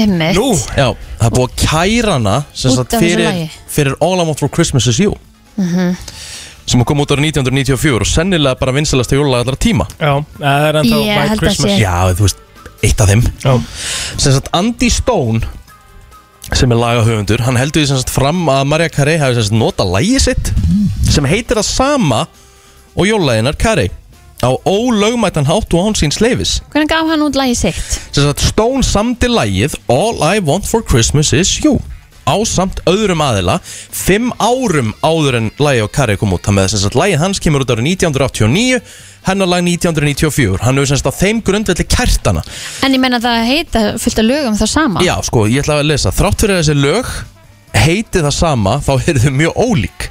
einmitt Já, það er búið að kæra hana sem Út sagt, af þessu fyrir, lagi. fyrir All I Want For Christmas Is You Mhm. sem kom út ára 1994 og sennilega bara vinsalasta jólulag allra tíma Já, það er ennþá Ég White held að Christmas. sé. Já, þú veist, eitt af þeim Já. sem sagt Andy Stone sem er lagahöfundur hann heldur því sem sagt fram að Maria Carey hafi sem sagt notað lagið sitt sem heitir það sama og jólulæginar Carey á ólögmætan hátt og án síns leifis Hvernig gaf hann út lagi sitt? sem sagt Stone samti lagið All I Want For Christmas Is You á samt öðrum aðila fimm árum áður en lagið á Kari kom út þannig að sem sagt lagið hans kemur út árið 1989 hennar lag 1994 hann hefur sem sagt á þeim grundvelli kært hana En ég menna það heita fullt af lögum það sama já sko ég ætla að lesa þrátt fyrir að þessi lög heiti það sama þá eru þau mjög ólík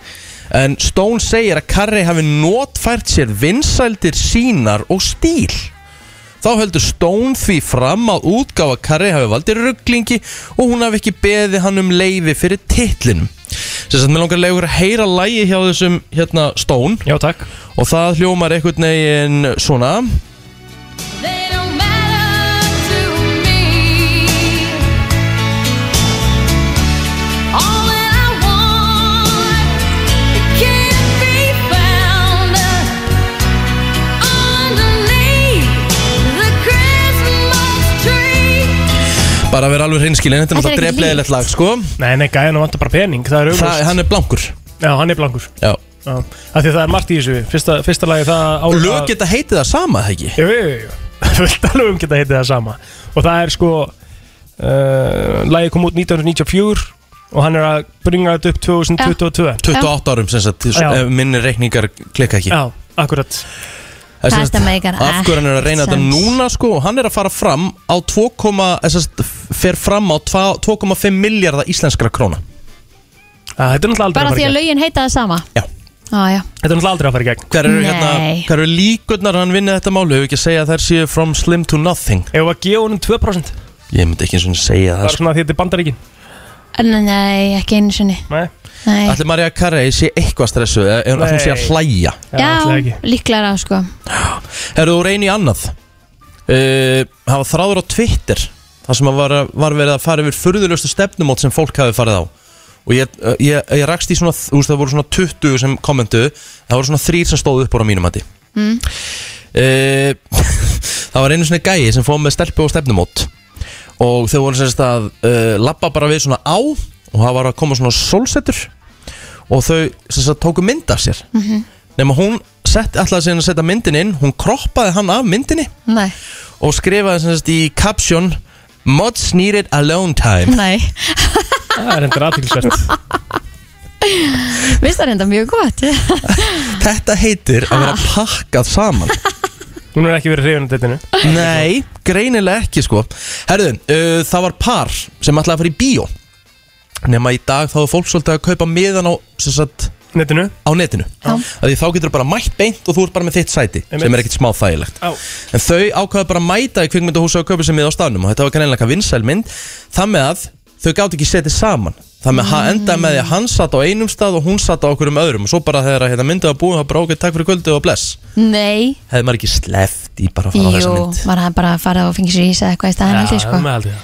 en Stone segir að Kari hafi notfært sér vinsældir sínar og stíl Þá heldur Stone því fram að útgáfa Carey hafi valdið rugglingi og hún hafi ekki beðið hann um leiði fyrir titlinum. Sess að mér langar að leiður að heyra lægi hjá þessum hérna Stone. Já, takk. Og það hljómar einhvern veginn svona. Bara að vera alveg hreinskilin, þetta er Þetta er náttúrulega ekki drefleðilegt lag, sko. Nei, nei, gæðan vantar bara pening Það er auðvist Það, hann er blankur. Já, hann er blankur Já Já, af því að það er margt í þessu Fyrsta, fyrsta lagi það á Lög geta heitið það sama, það ekki? Jú, jú, jú, jú Fullt af lögum geta heitið það sama Og það er sko uh, Lagi kom út 1994 Og hann er að bringa þetta upp 2022 28 árum sem sagt, Já. ef minni reikningar klikka ekki. Já, akkurat Það er sem Þetta sagt- meikar Af hverju hann er að reyna ekkert þetta sens. núna sko og hann er að fara fram á 2, eða sem sagt, fer fram á 2 2,5 miljardar íslenskra króna Þetta er náttúrulega Bara því að lögin heita það sama Já. Á, já. Þetta er náttúrulega aldrei að fara í gegn Hver eru Nei. hérna, hver eru líkurnar að hann vinni þetta málu hefur ekki að segja að þær séu from slim to nothing Ef að gefa honum 2% Ég myndi ekki eins og segja það Það sko. er svona því að þetta er bandaríkin En Nei, ekki einu sinni Nei, Nei. Ætli Marja Carey sé eitthvað stressuð eða að hún sé að Nei. hlæja Já, líklega sko Herðu úr einu í annað uh, Hafa þráður á Twitter þar sem að var, var verið að fara yfir furðulegustu stefnumót sem fólk hafi farið á Og ég, eh, ég, ég rakst í svona þú veist, Það voru svona 20 sem kommentu Það voru svona þrýr sem stóðu upp úr á mínum hætti Mm. uh, Það var einu svona gæi sem fóð með stelpu og stefnumót Og þau voru sérst að uh, Lappa bara við svona á Og það var að koma svona sólsetur Og þau sérst að tóku mynd af sér Mhm. Nefn að hún sett, ætlaði síðan að setja myndin inn Hún kroppaði hann af myndinni Nei, Og skrifaði sem sagt í caption Mods needed alone time nei Það er endur aðtilsvert Vist það reynda mjög gott Þetta heitir að vera pakkað saman Hún er ekki verið hrifin á dettinu Nei, greinilega ekki sko Herðu, uh, það var par sem ætlaði að fara í bíó Nefn í dag þá er fólk svolítið að kaupa miðan á sem sagt Netinu? Á netinu Af Því þá getur bara mætt beint og þú ert bara með þitt sæti Sem er ekkit smá þægilegt Já. En þau ákvaða bara að mæta í kvikmyndahúsa og kaupa sem miða á staðnum Og þetta var kannilega vinsæl mynd Það með að þau gátt ekki setið saman Það með mm. endaði með því að hann satt á einum stað og hún satt á okkur um öðrum og svo bara þegar að, hérna, myndið að búið það bara okkur takk fyrir kvöldu og bless Nei, Hefði maður ekki sleft í bara að fara á jú, þessa mynd maður hafði bara farið og fengið sér ís eða eitthvað í staðan held ég sko held ég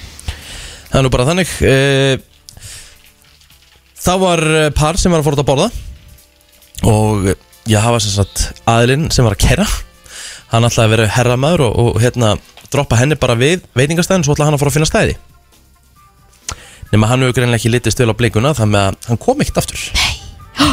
Það er nú bara þannig eh, Það var eh, par sem var að fór út að borða og eh, ég hafa sem sagt aðilinn sem var að kera hann ætlaði að vera herramæður og, og hérna droppa henni bara við veitingastæðin svo ætlaði hann að fór að finna stæði nema hann hefur greinlega ekki litið stölu á blikuna þannig að hann kom ekkert aftur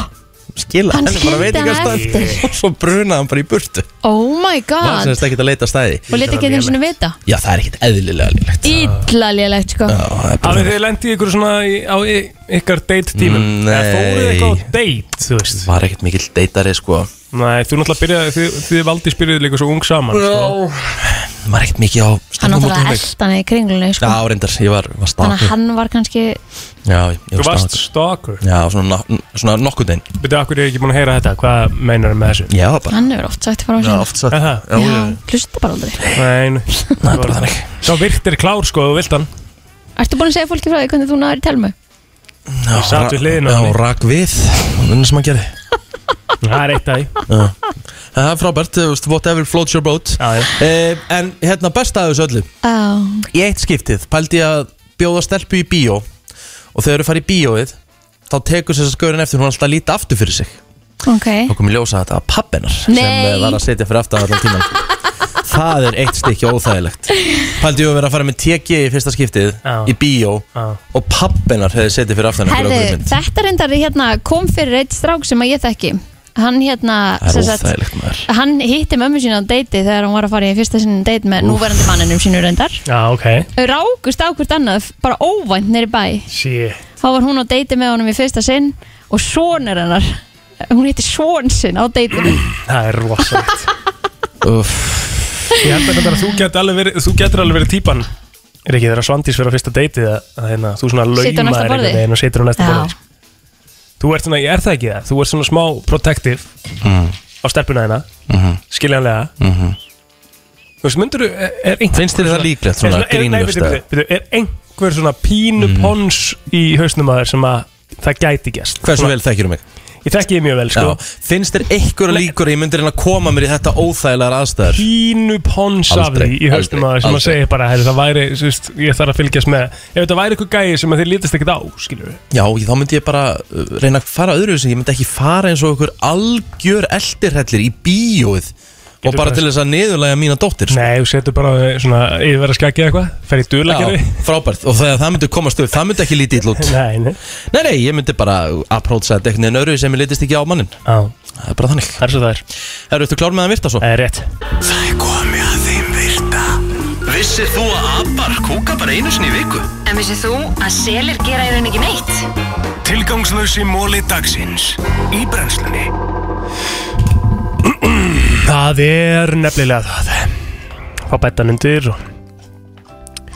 skila Hann henni bara skildi hana veitingastæðin eftir. og svo brunaði hann bara í burtu Oh my var sem god sagt ekkert að leita stæði Og leti ekki einu sinni vita Já, það er ekkert eðlilega lélegt. sko. Ítla lélegt sko Hafið þið lendið ykkur svona í, á y, ykkar date tímum? Eða fóruð þið eitthvað á date, þú veist? Mm, Var ekkert mikill deitari, sko Nei, þú náttúrulega byrjaði, þið, þið valdi spyrjuðið líka svo ung saman sko. Var ekkert mikið á Hann stöðum út um náttúrulega mig eldan í kringlunni Já, sko reyndar, ég var, Þannig var stakur að hann var kannski Já, ég Þú var varst stakur stalker Já, svona, na- svona nokkund einn Byrjuðu, akkur er ég ekki búin að heyra þetta, hvað meinar með þessu? Já, Hann hefur oft sagt frá Já, sér oft sagt. Er það? Já, Já, já. hlusta bara aldrei Nei, nei Nei, bara þannig Sá virt er klár, sko, þú vilt hann Ertu búin að segja fólki frá því hvernig þú náður í telmu? Já, satt við hliðina á Já, henni. rak við Þannig sem hann gerði Það er eitt af því Já. Það er frábært, þú veist, whatever floats your boat Já, já eh, En hérna, besta af þessu öllu Já Í eitt skiptið pældi ég að bjóða stelpu í bíó Og þegar þau farið í bíóið Þá tekur þess að skaurin eftir hún er alltaf að líta aftur fyrir sig Ok Þá kom ég ljósa að þetta var pappennar Sem Nei. eh, var að setja fyrir aftan allan tíman Það er eitt stykki óþægilegt Paldi ég að vera að fara með TG í fyrsta skiptið Í bíó Og pappennar hefði setið fyrir aftan einhverja Herðu, okkur mynd þetta reyndar hérna kom fyrir eitt strák sem að ég þekki Hann hérna Það sem er sagt, óþægilegt maður Hann hitti mömmu sína á deiti þegar hún var að fara í fyrsta sinni deit með Úff. núverandi manninum sínu reyndar Já, ok Þau Rákust á hvort annað, bara óvænt nýri bæ Shit Þá var hún á deiti með honum í fyrsta sinn og sonur hennar Hún hitti son sinn á deitinu Það er rosalegt Ég held að þetta að þú getur alveg verið, þú getur alveg verið típan Er ekki þeirra svandís fyrir að fyrsta deytið að, að hérna, þú svona lauma Situr á næsta borði? veginn og situr á næsta Já. borði sko. Þú ert svona, ég er það ekki það Þú ert svona smá protective Mhm. á stelpuna þeina Mhm. skiljanlega Þú veist, myndur er, er einhver Finnst þér það svona- líklegt, er svona er- nei, grínlaust, bíddu, eða? bíddu, bíddu, Er einhver svona pínu Mhm. pons í hausnum að þér sem að það gæti gæst Hversu vel þekkir þú mig? Ég þekki þig mjög vel sko. Finnst þér einhverja líkur að Ég myndi reyna að koma mér í þetta óþægilegar aðstæður pínu pons af Aldrei, því í haustum að aldrei, þér sem að aldrei. segja bara "Heyrðu, það væri, þú veist, ég þarf að fylgjast með ef þetta væri eitthvað gæi sem að þið lítast ekkert á skilur við Já, ég- þá myndi ég bara uh, reyna að fara öðru Ég myndi ekki fara eins og okkur algjör eldirhellir í bíóið Og Getur bara bara- til þess að niðurlega mína dóttir sko. Nei, þú setur bara eh, svona yfirverða skakki eitthvað fer í dulagerfi Já, frábært, og þegar það myndi komast upp, það myndi ekki lítið ill út Nei, nei Nei, nei, ég myndi bara approacha þetta einhvern veginn öru sem ég litist ekki á mannin Já Það er bara þannig Það er svo það er Eru þú klár með að virta svo? Það er rétt Það er komið að þeim virta Vissir þú að abar kúka bara einu sinni í viku? En vissið þú að selir gera í raun ekki neitt? Tilgangslösi móli dagsins Í brennslunni Það er nefnilega það Fá bættan undir og...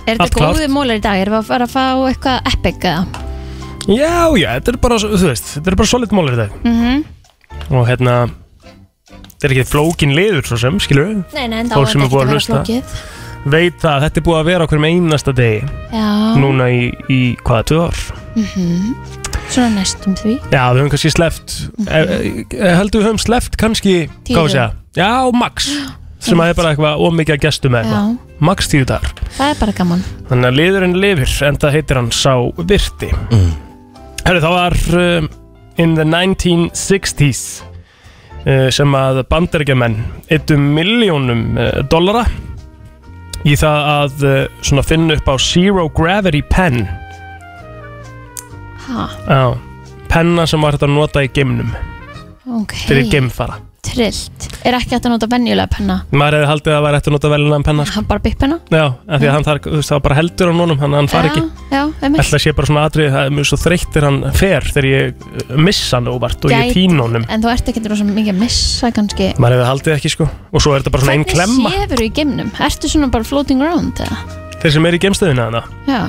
Er Allt þetta klárt. góðu mólar í dag? Erum við að fara að fá eitthvað epic eða? Já, já, þetta er bara, svo- þú veist, þetta er bara solid mólar í dag Mm og hérna þetta er ekki flókin liður svo sem, skilur við Nei, nei, en þá Fólk er sem þetta er ekki búið að að vera hlusta. flókið. Veit það, þetta er búið að vera okkur með einasta degi Já Núna í, í hvaða, tvö ár? Mhm. Svona næstum því Já, við höfum kannski sleft e, e, Heldur við höfum sleft kannski Tíu. Hvað við segja? Já, max Sem að er bara eitthvað ómikið að gestum með eitthvað Max tíu dagar Það er bara gaman Þannig að liðurinn lifir En það heitir hann sá virti mm. Herru, það var um, In the 1960s uh, Sem að bandaríkjamenn Eittu miljónum uh, dollara Í það að uh, Svona finna upp á Zero Gravity Pen Ha, Já Penna sem var þetta að nota í geimnum ok Fyrir geimfara Trillt Er ekki hægt að nota venjulega penna? maður hefði haldið að það væri eftir að nota velina en penna sko. Hann bara bippenna? já, af því að hann þar, þú veist, það var bara heldur á nónum hann, hann fari ekki Já, einmitt ætla að sé bara svona atrið, það er mjög svo þreyttir hann fer þegar ég uh, missa hann óvart og ég Gæti- týn honum En þú ert ekki rosa mikið að missa kannski maður hefði haldið ekki sko og svo er þetta bara svona einn klemma Hvernig séfur í geimnum? Ertu svona bara floating around eða? þeir sem er í gemstöðina þannig Já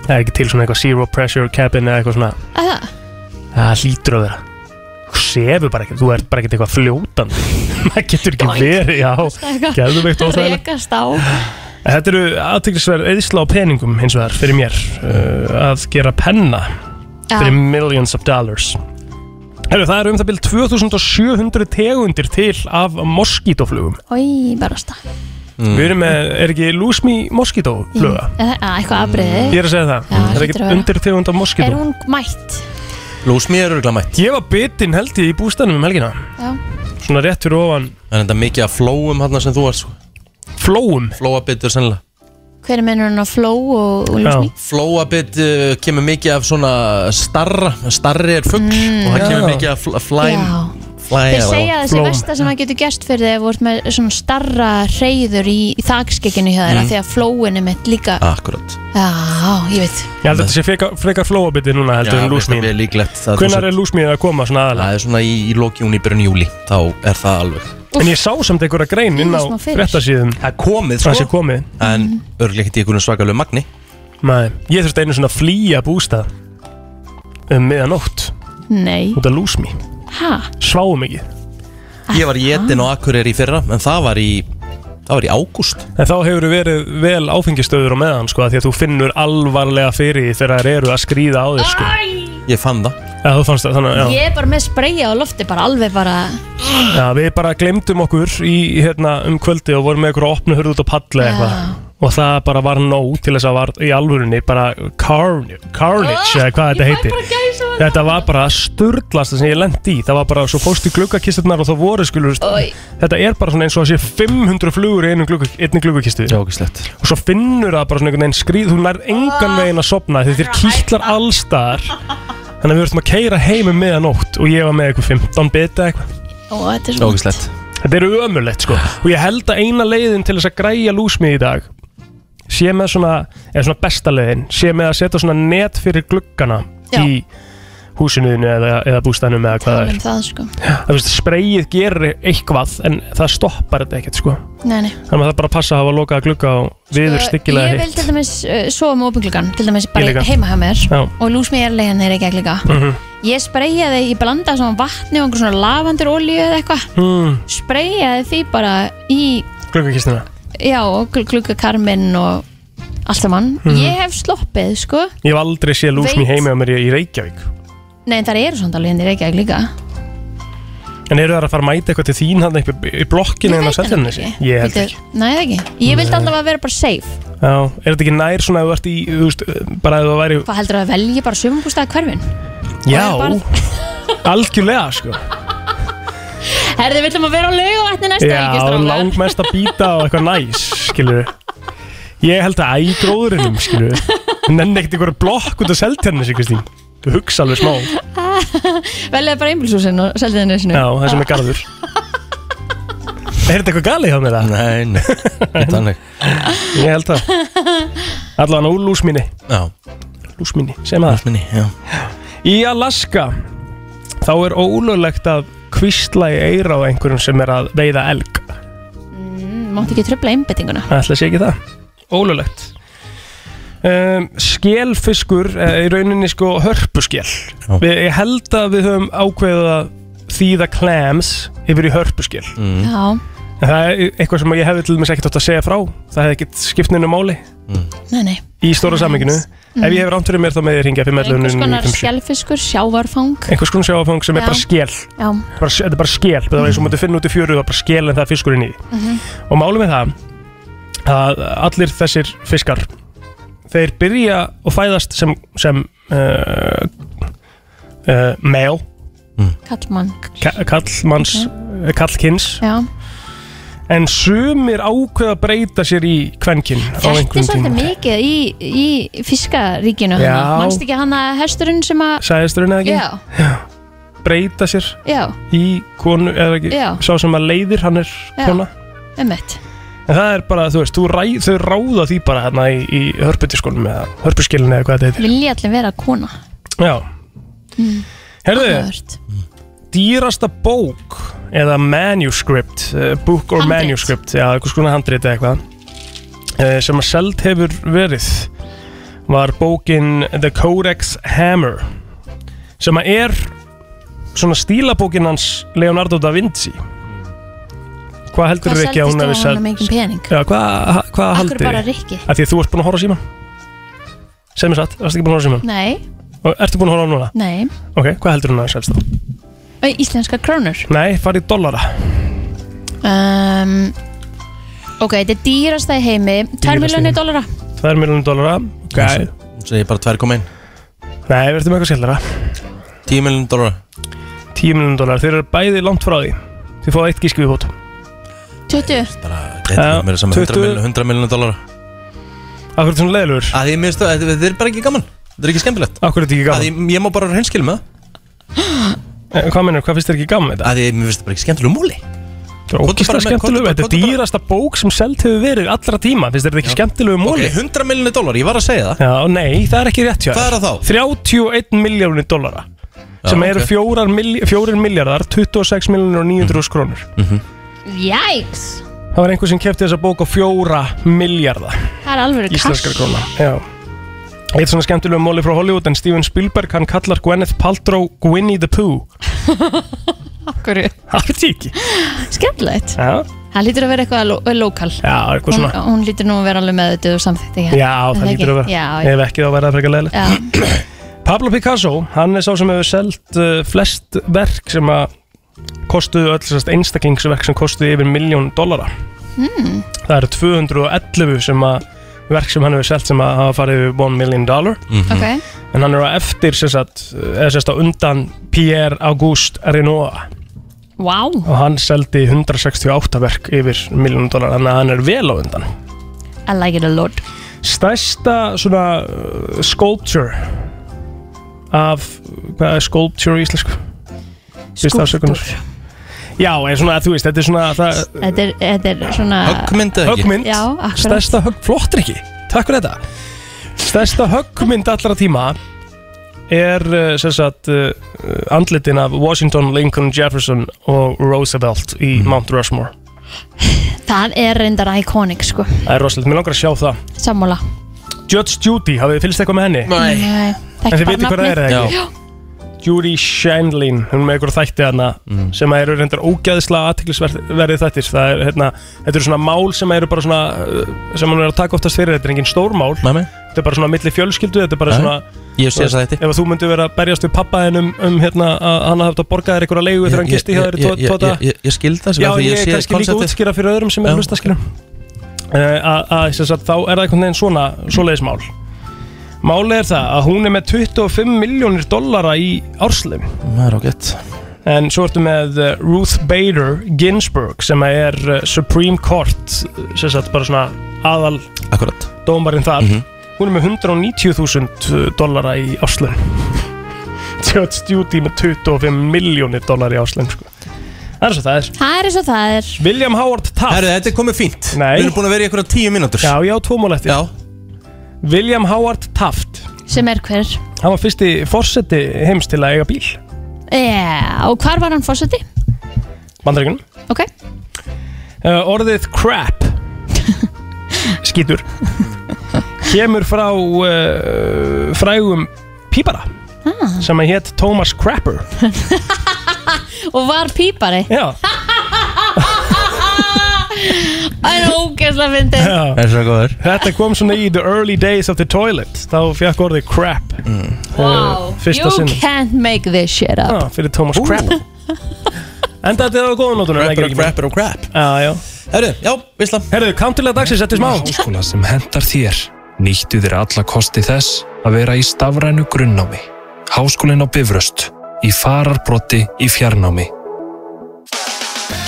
það er ekki til svona eitthvað zero pressure cabin eða eitthvað svona að Það það hlýtur að vera þú sefur bara ekki, þú ert bara ekki eitthvað fljótandi maður getur ekki verið, já geðveikt óþægilegt. Rekast á Þetta eru aðteglisverð eðisla á peningum hins vegar fyrir mér uh, að gera penna Já. fyrir millions of dollars Herru, það eru um það byrjum 2700 tegundir til af moskítoflugum Ói, barasta Mm. Við erum með, er ekki lúsmi moskítofluga? Eða eða eitthvað afbreiði Ég er að segja það, það er hlýtur ekki að vera. undir tegund af moskító Er hún mætt? Lúsmi er örgulega mætt Ég var bitinn held ég í bústæðanum um helgina Já Svona rétt fyrir ofan En þetta er mikið af flóum hann sem þú varst sko. Flóum? Flóabitur sennilega Hver er mennur hann á fló og, og lúsmi? Flóabit uh, kemur mikið af svona starra Starri er fugg Mm. og það Já. kemur mikið af fl flæm Já. Flæm Þeir segja að þessi versta sem það getur gert fyrir þeir voru með svona starra reyður í, í þakskekkinu hjá þeirra Mm. því að flóinu mitt líka Akkurat Já, ég veit Ég held að þetta sé frekar, frekar flóabiti núna heldur en lúsmi Það er líklegt það Hvenær er lúsmið að koma svona aðalega? Það er svona í, í loki júni, byrjun júli Þá er það alveg En ég sá samt einhverja grein inn á Smá fyrir. frettasíðum Það er komið sko. Það sé komið En örgulega ekki í einhvern svakalegu magni Nei, ég þurfti einu svona að flýja bústað um miðanótt Nei út af lúsmi Hæ? Sváum ekki Ég var jetin á Akureyri í fyrra En það var í, það var í ágúst En þá hefur verið vel áfengistöður á meðan sko af Því að þú finnur alvarlega fyrir því þegar þær eru að skríða á þér sko Ég fann það Já, þú fannst það, þannig, já Ég er bara með spreyja á lofti, bara alveg bara Já, við bara glemdum okkur í, hérna, um kvöldi og vorum með okkur að opna hurð út á palla eða eitthvað og það bara var nóg til þess að var í alvörunni bara carnage, carnage eða hvað þetta heitir þetta var bara sturglasta sem ég lendi í það var bara svo fóst í gluggakisturnar og þá voru skilur Oj. þetta er bara svona eins og að sé 500 flugur í einu glugga, einni gluggakistu Jókislegt og svo finnur það bara svona einhvern veginn skrýð þú nær engan veginn að sopna því þér kýtlar allstaðar þannig að við vartum að keira heimum meðanótt og ég var með eitthvað 15 bita eitthvað Ó, þetta er svona Jókislegt Þetta eru ömurlegt sko Og ég held að eina leiðin til þess að græja lúsmið í dag Sé með svona Eða svona besta leiðin Sé með að setja svona net fyrir gluggana Já. Í húsinuðinu eða, eða bústæðnum eða hvað það um er það sko Það veist, spreyið gerir eitthvað En það stoppar þetta ekkert sko Nei, nei Þannig að það er bara að passa að hafa lokað glugga Og viður Sko, styggilega Ég vil hitt til dæmis uh, sofa með opinglugan Til dæmis bara líka. heima hjá mér Já. Mhm. Og lúsmi er leiðan þeir ekki að glika Ég spreyjaði, ég blandaði svona vatni og einhver svona lavandur olíu eða eitthvað mm, Spreyjaði því bara í Gluggakistina Já, og gl gluggakarminn og allt saman. Mhm. Ég hef sloppið, sko. Ég hef aldrei séð lúsmið Veit. heimi á mér í í Reykjavík Nei, en það eru svona alveg henni reykjaði líka. En eru það að fara að mæta eitthvað til þín hann upp í- í blokkinu en á Seltjarnesi? Ég held Bíddu, Nei, það ekki. Ég vildi Nei. alltaf að vera bara safe. Já, er þetta ekki nær svona að þú ert í, þú veist, bara að þú væri Hvað heldur að velja bara sumumbústaða hverfin? Já, er algjörlega sko Herði, við ætlum að vera á laugavatni næsta helgi, Já, strákar. langmest að býta á eitthvað næs, skilur Ég held að æg gróðurinnum, skilur Nenni ekkert einhverju blokk út af seltjarnis, Kristín Þú hugsa alveg smá Já, Veljaði bara einbilshúsin og seldi þenni sinu. það sem er garður Er þetta eitthvað galið hjá mér það? Nei, nei, ekki þannig Ég held það Allan úr lúsminni Já Lúsminni, sem að Lúsminni, já Í Alaska Þá er ólöglegt að kvísla í eira á einhverjum sem er að veiða elg Mm, Máttu ekki tröfla einbettinguna. Ætla sé ekki það Ólulegt um, Skelfiskur eh, í rauninni sko hörpuskel við, Ég held að við höfum ákveðið að þýða clams yfir í hörpuskel mm. Já, En það er eitthvað sem ég hefði til dæmis ekkert átt að segja frá Það hefði ekkert skiptninu máli nei, nei. í stóra samminginu Mm. Ef ég hefur ánt fyrir mér þá með ég ringja fyrir meðlunum Einhvers konar skjálfiskur, sjávarfang. Einhvers konar sjáfang sem Já. er bara skel Já. bara, þetta er bara skél, það er eins og maður finna út í fjöru það er bara skél en það er fiskur inn í því. Mhm. og málum er það að allir þessir fiskar þeir byrja og fæðast sem, sem uh, uh, male Kallmann. ka- kallmanns, okay. kallkins Mhm. Já. en sumir ákveða að breyta sér í kvenkin á Þetta er einhverjum svolítið tíma mikið í, í fiskaríkinu Já. hana. Manst ekki hana hesturinn sem að... sæðisturinn eða ekki, Já, breyta sér já, í konu, eða ekki Já. sá sem að leiðir, hann er Já. kona ummitt. En það er bara, þú veist, þú ræ, þau ráða því bara hérna í, í hörputiskunum eða hörpuskilinu eða hvað þetta heitir. Vilja allir vera kona. Já. Mm. Herðu, dýrasta bók eða manuscript, uh, book or manuscript, já, einhvers konar handrit eða eitthvað, uh, sem að seld hefur verið, var bókin The Codex Hammer, sem að er svona stílabókin hans Leonardo da Vinci. Hvað heldur Hvað þau ekki að hún seldist hefur á seld? honum engin pening? Já, hvað hva Akkur haldið? bara Rikki? Af því að þú ert búin að horfa á síman Segð mér satt, varst ekki búin að horfa á síman? Nei, Og ertu búin að horfa á núna? Nei, Ok, hvað heldur hún að selst þá? Æ, íslenskar krónur Nei, farið í dollara um, Ok, þetta er dýrasta í heimi 2 Dýrasta í miljónir heimi. dollara 2 miljonum dollara Ok Hún segir bara 2,1 Nei, verður með eitthvað skellera 10 miljonum dollara 10 miljonum dollara, þeir eru bæði langt frá því Þið fáið eitt Eh, gísku í hót 20 Já, Þetta er mér sem 100 20 miljonum 100 miljonum dollara Akkur er svona leiðilegur Að ég minnst það, þetta er bara ekki gaman Þetta er ekki skemmtilegt Akkur er þetta ekki gaman Að ég, ég má bara hinskil með það Eh, Hvað minnur, hvað finnst þér ekki gaman með þetta? Að ég, mér finnst þetta bara ekki skemmtilegu múli Það er ógæslega skemmtilegu Þetta er dýrasta bók sem seld hefur verið allra tíma Finnst þér þetta ekki skemmtilegu móli? Ok, 100 miljonum dollara, ég var að segja það Já, nei, það er ekki rétt hjá Hvað er það þá? 31 miljónir dollara sem Já, eru ok. fjórar milj- fjórir miljardar 26 miljónir og 900 krónur Mm. Jæks, Það var einhver sem kefti þessa bók á fjóra miljarda það er alveg íslenskar króna Já Eitt svona skemmtilegu móli frá Hollywood en Steven Spielberg hann kallar Gwyneth Paltrow Gwynny the Pooh Akkur Það veit ég ekki Skemmtilegt Já, Það lítur að vera eitthvað lo lokal já eitthvað hún, svona hún lítur nú að vera alveg með þetta og samþýtti Já, það lítur að vera Já, já. Ef ekki þá verða það frekar leðilegt Pablo Picasso, hann er sá sem hefur selgt uh, flest verk sem að kostuðu öll sérst einstaklingsverk sem kostuðu yfir miljón dollara Mm. Það eru 211 sem að verk sem hann hefur selgt sem að hafa farið yfir 1 million dollar Ok, en hann er á eftir sérst, eða sérst á undan Pierre Auguste Renoir wow og hann seldi 168 verk yfir miljón dollara þannig að hann er vel á undan I like it a lot stærsta svona uh, sculpture af, hvað er sculpture í íslensku? Fyrsta afsökunar. Já, eða svona, þú veist, þetta er svona það, Þetta er, þetta er svona Höggmynd eða ekki? Höggmynd. Já, akkurat stærsta högg, flottir ekki takk fyrir þetta stærsta höggmynd allra tíma er uh, sem sagt uh, andlitin af Washington, Lincoln, Jefferson og Roosevelt í Mount Rushmore Það er reyndar iconic sko það er rosalegt, mér langar að sjá það Sammála eh, Judge Judy, hafið þið fylgst eitthvað með henni? Nei En þið vitið hvað það er, eða ekki? Já Judy Shandlin, hún er með einhver þætti hana Mm. sem eru reyndar ógæðislega aðtiklisverði þættir það er, hérna, þetta eru svona mál sem eru bara svona uh, sem hún er að taka oftast fyrir, þetta er engin stór mál Nei, nei. þetta er bara svona milli fjölskyldu, þetta er bara Nei. svona Ég hef séð þessa þætti. ef að þú myndir vera að berjast við pappa henn um, um hérna, að hann hafði að borga þér einhverja leigu þegar hann gisti hjá þér í tvo- tvo daga. Ég, ég, ég skildi það Já, ég er kannski líka útskýra fyrir öðrum sem er að hlusta skilja að sem sagt, þá er það einhvern veginn svona svoleiðismál Málið er það að hún er með 25 miljónir dollara í árslim Það er ágætt en svo ertu með eh, Ruth Bader Ginsburg sem er eh, Supreme Court eh, sem sagt bara svona aðal Akkurat dómarinn þar Mhm. hún er með 190.000 eh, dollara í áslun Judge Judy með 25 miljónir dollara í áslun sko. það er svo það er Það er eins og það er William Howard Taft Herru, þetta er komið fínt Nei. Við erum búin að vera í einhverja tíu mínútur Já, já, tvo mál eftir Já William Howard Taft Sem er hver Hann var fyrsti forseti heims til að eiga bíl Já, og hvar var hann fórseti? Bandaríkunum Ok uh, Orðið crap Skítur Kemur frá uh, frægum pípara sem að hétt Thomas Crapper Og var pípari Já Það er ógeðslega fyndið er svo góður Þetta kom svona í the early days of the toilet þá fekk orðið crap mm. Wow, fyrsta you sinn can't make this shit up Já, fyrir Thomas Crap En þetta er á góðum nótunum Rapper og ekki? crapper og crap Já, já Herru, já, vissla Herru, kantilega dagsins, þetta er smá Háskóla sem hendar þér. Nýttu þér alla kosti þess að vera í stafrænu grunnnámi. Háskólinn á Bifröst. Í fararbrotti í fjarnámi.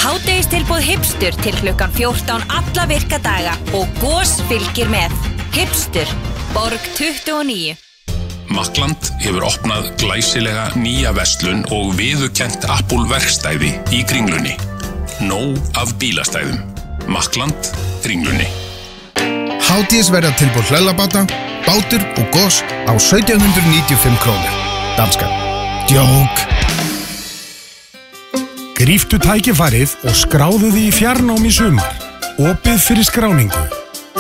Hádegistilbúð Hipstur til klukkan 14 alla virka daga og gos fylgir með. Hipstur, borg 29. Makland hefur opnað glæsilega nýja vestlun og viðukent Apple verkstæði í kringlunni. Nóg af bílastæðum. Makland, kringlunni. Hátíðis verða tilbúið hlöllabáta, bátur og gos á 1795 krónir. Danska. Djók. Gríftu tækifærið og skráðu því í fjarnám í sumar. Opið fyrir skráningu.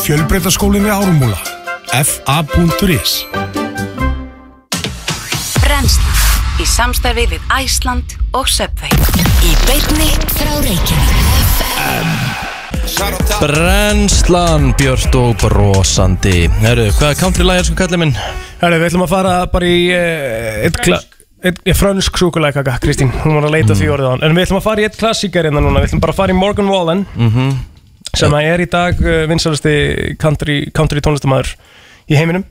Fjölbreytaskólinn við Árumúla. fa.is Brennslan í samstarfi við Æsland og Söpvei í beinni frá Reykjavík Brennslan, Björst og brosandi Herru, hvað er country lag, elsku kallið minn? Herru, við ætlum að fara bara í eh, eitt kla- eitt- eh, Frönsk súkulækaka, Kristín Hún var að leita því orðið á hann En við ætlum að fara í eitt klassíkar innan núna Við ætlum bara að fara í Morgan Wallen Mhm. Sem að er í dag eh, vinsælasti country, country tónlistamæður í heiminum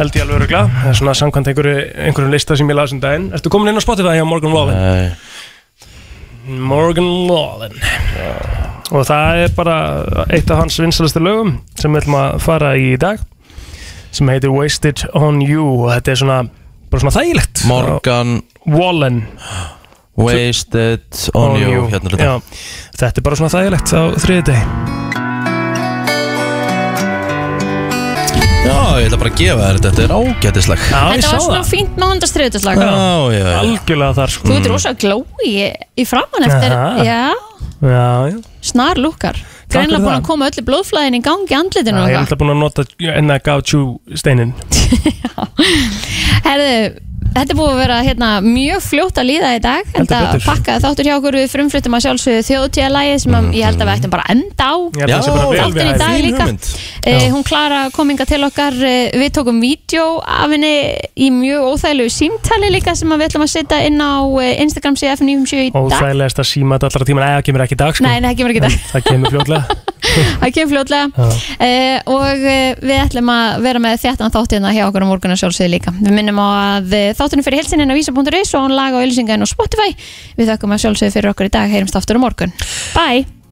Held ég alveg örugla Það er svona samkvæmt einhverju, einhverju lista sem ég las um daginn Ertu komin inn á Spotify hjá Morgan Wallen? Nei Morgan Wallen og það er bara eitt af hans vinsalastu lögum sem við ætlum að fara í í dag sem heitir Wasted on You og þetta er svona, bara svona þægilegt Morgan Wallen Wasted on you, hérna er þetta. Já, þetta er bara svona þægilegt á þriði deg Já, ég ætla bara að gefa þér þetta, þetta er ágætislag Þetta var svona fínt mánundastriðutislag Já, já, Mm. já Algjörlega þar sko. Þú ert rosa glói í framann eftir Aha. Já, Já, já snar lukkar fyrir Greinlega búin það. að koma öllu blóðflæðin í gangi í andlitinu og Það er eitthvað. alltaf búin að nota enna gátt jú steinin Herðu, þetta er búið að vera hérna, mjög fljótt að líða í dag en það betur. pakkaði þáttur hjá okkur við frumfluttum að sjálfsögðu þjóðtíðalægi sem að ég held að við ættum bara að enda á Mm. Ég held að það sé bara vel við þáttin í hæfi. dag Fín líka hugmynd. Eh, Já. hún Klara kom inga til okkar eh, við tókum vídeo af henni í mjög óþægilegu símtali líka sem að við ætlum að setja inn á eh, Instagram CF957 í dag Óþægilegast að síma þetta allra tíma Nei, það kemur ekki í dag sko Nei, nei, það kemur ekki í dag. En Það kemur fljótlega það kemur fljótlega Já. uh, og uh, við ætlum að vera með þjáttan þáttina hjá okkur á morgunar sjálfsögðu líka við minnum á að eh, þáttunum fyrir helsinin á hérna vísa.is og án laga og ylsingaðin á Spotify við þakkum að sjálfsögðu fyrir okkur í dag heyrumst aftur á morgun Bye!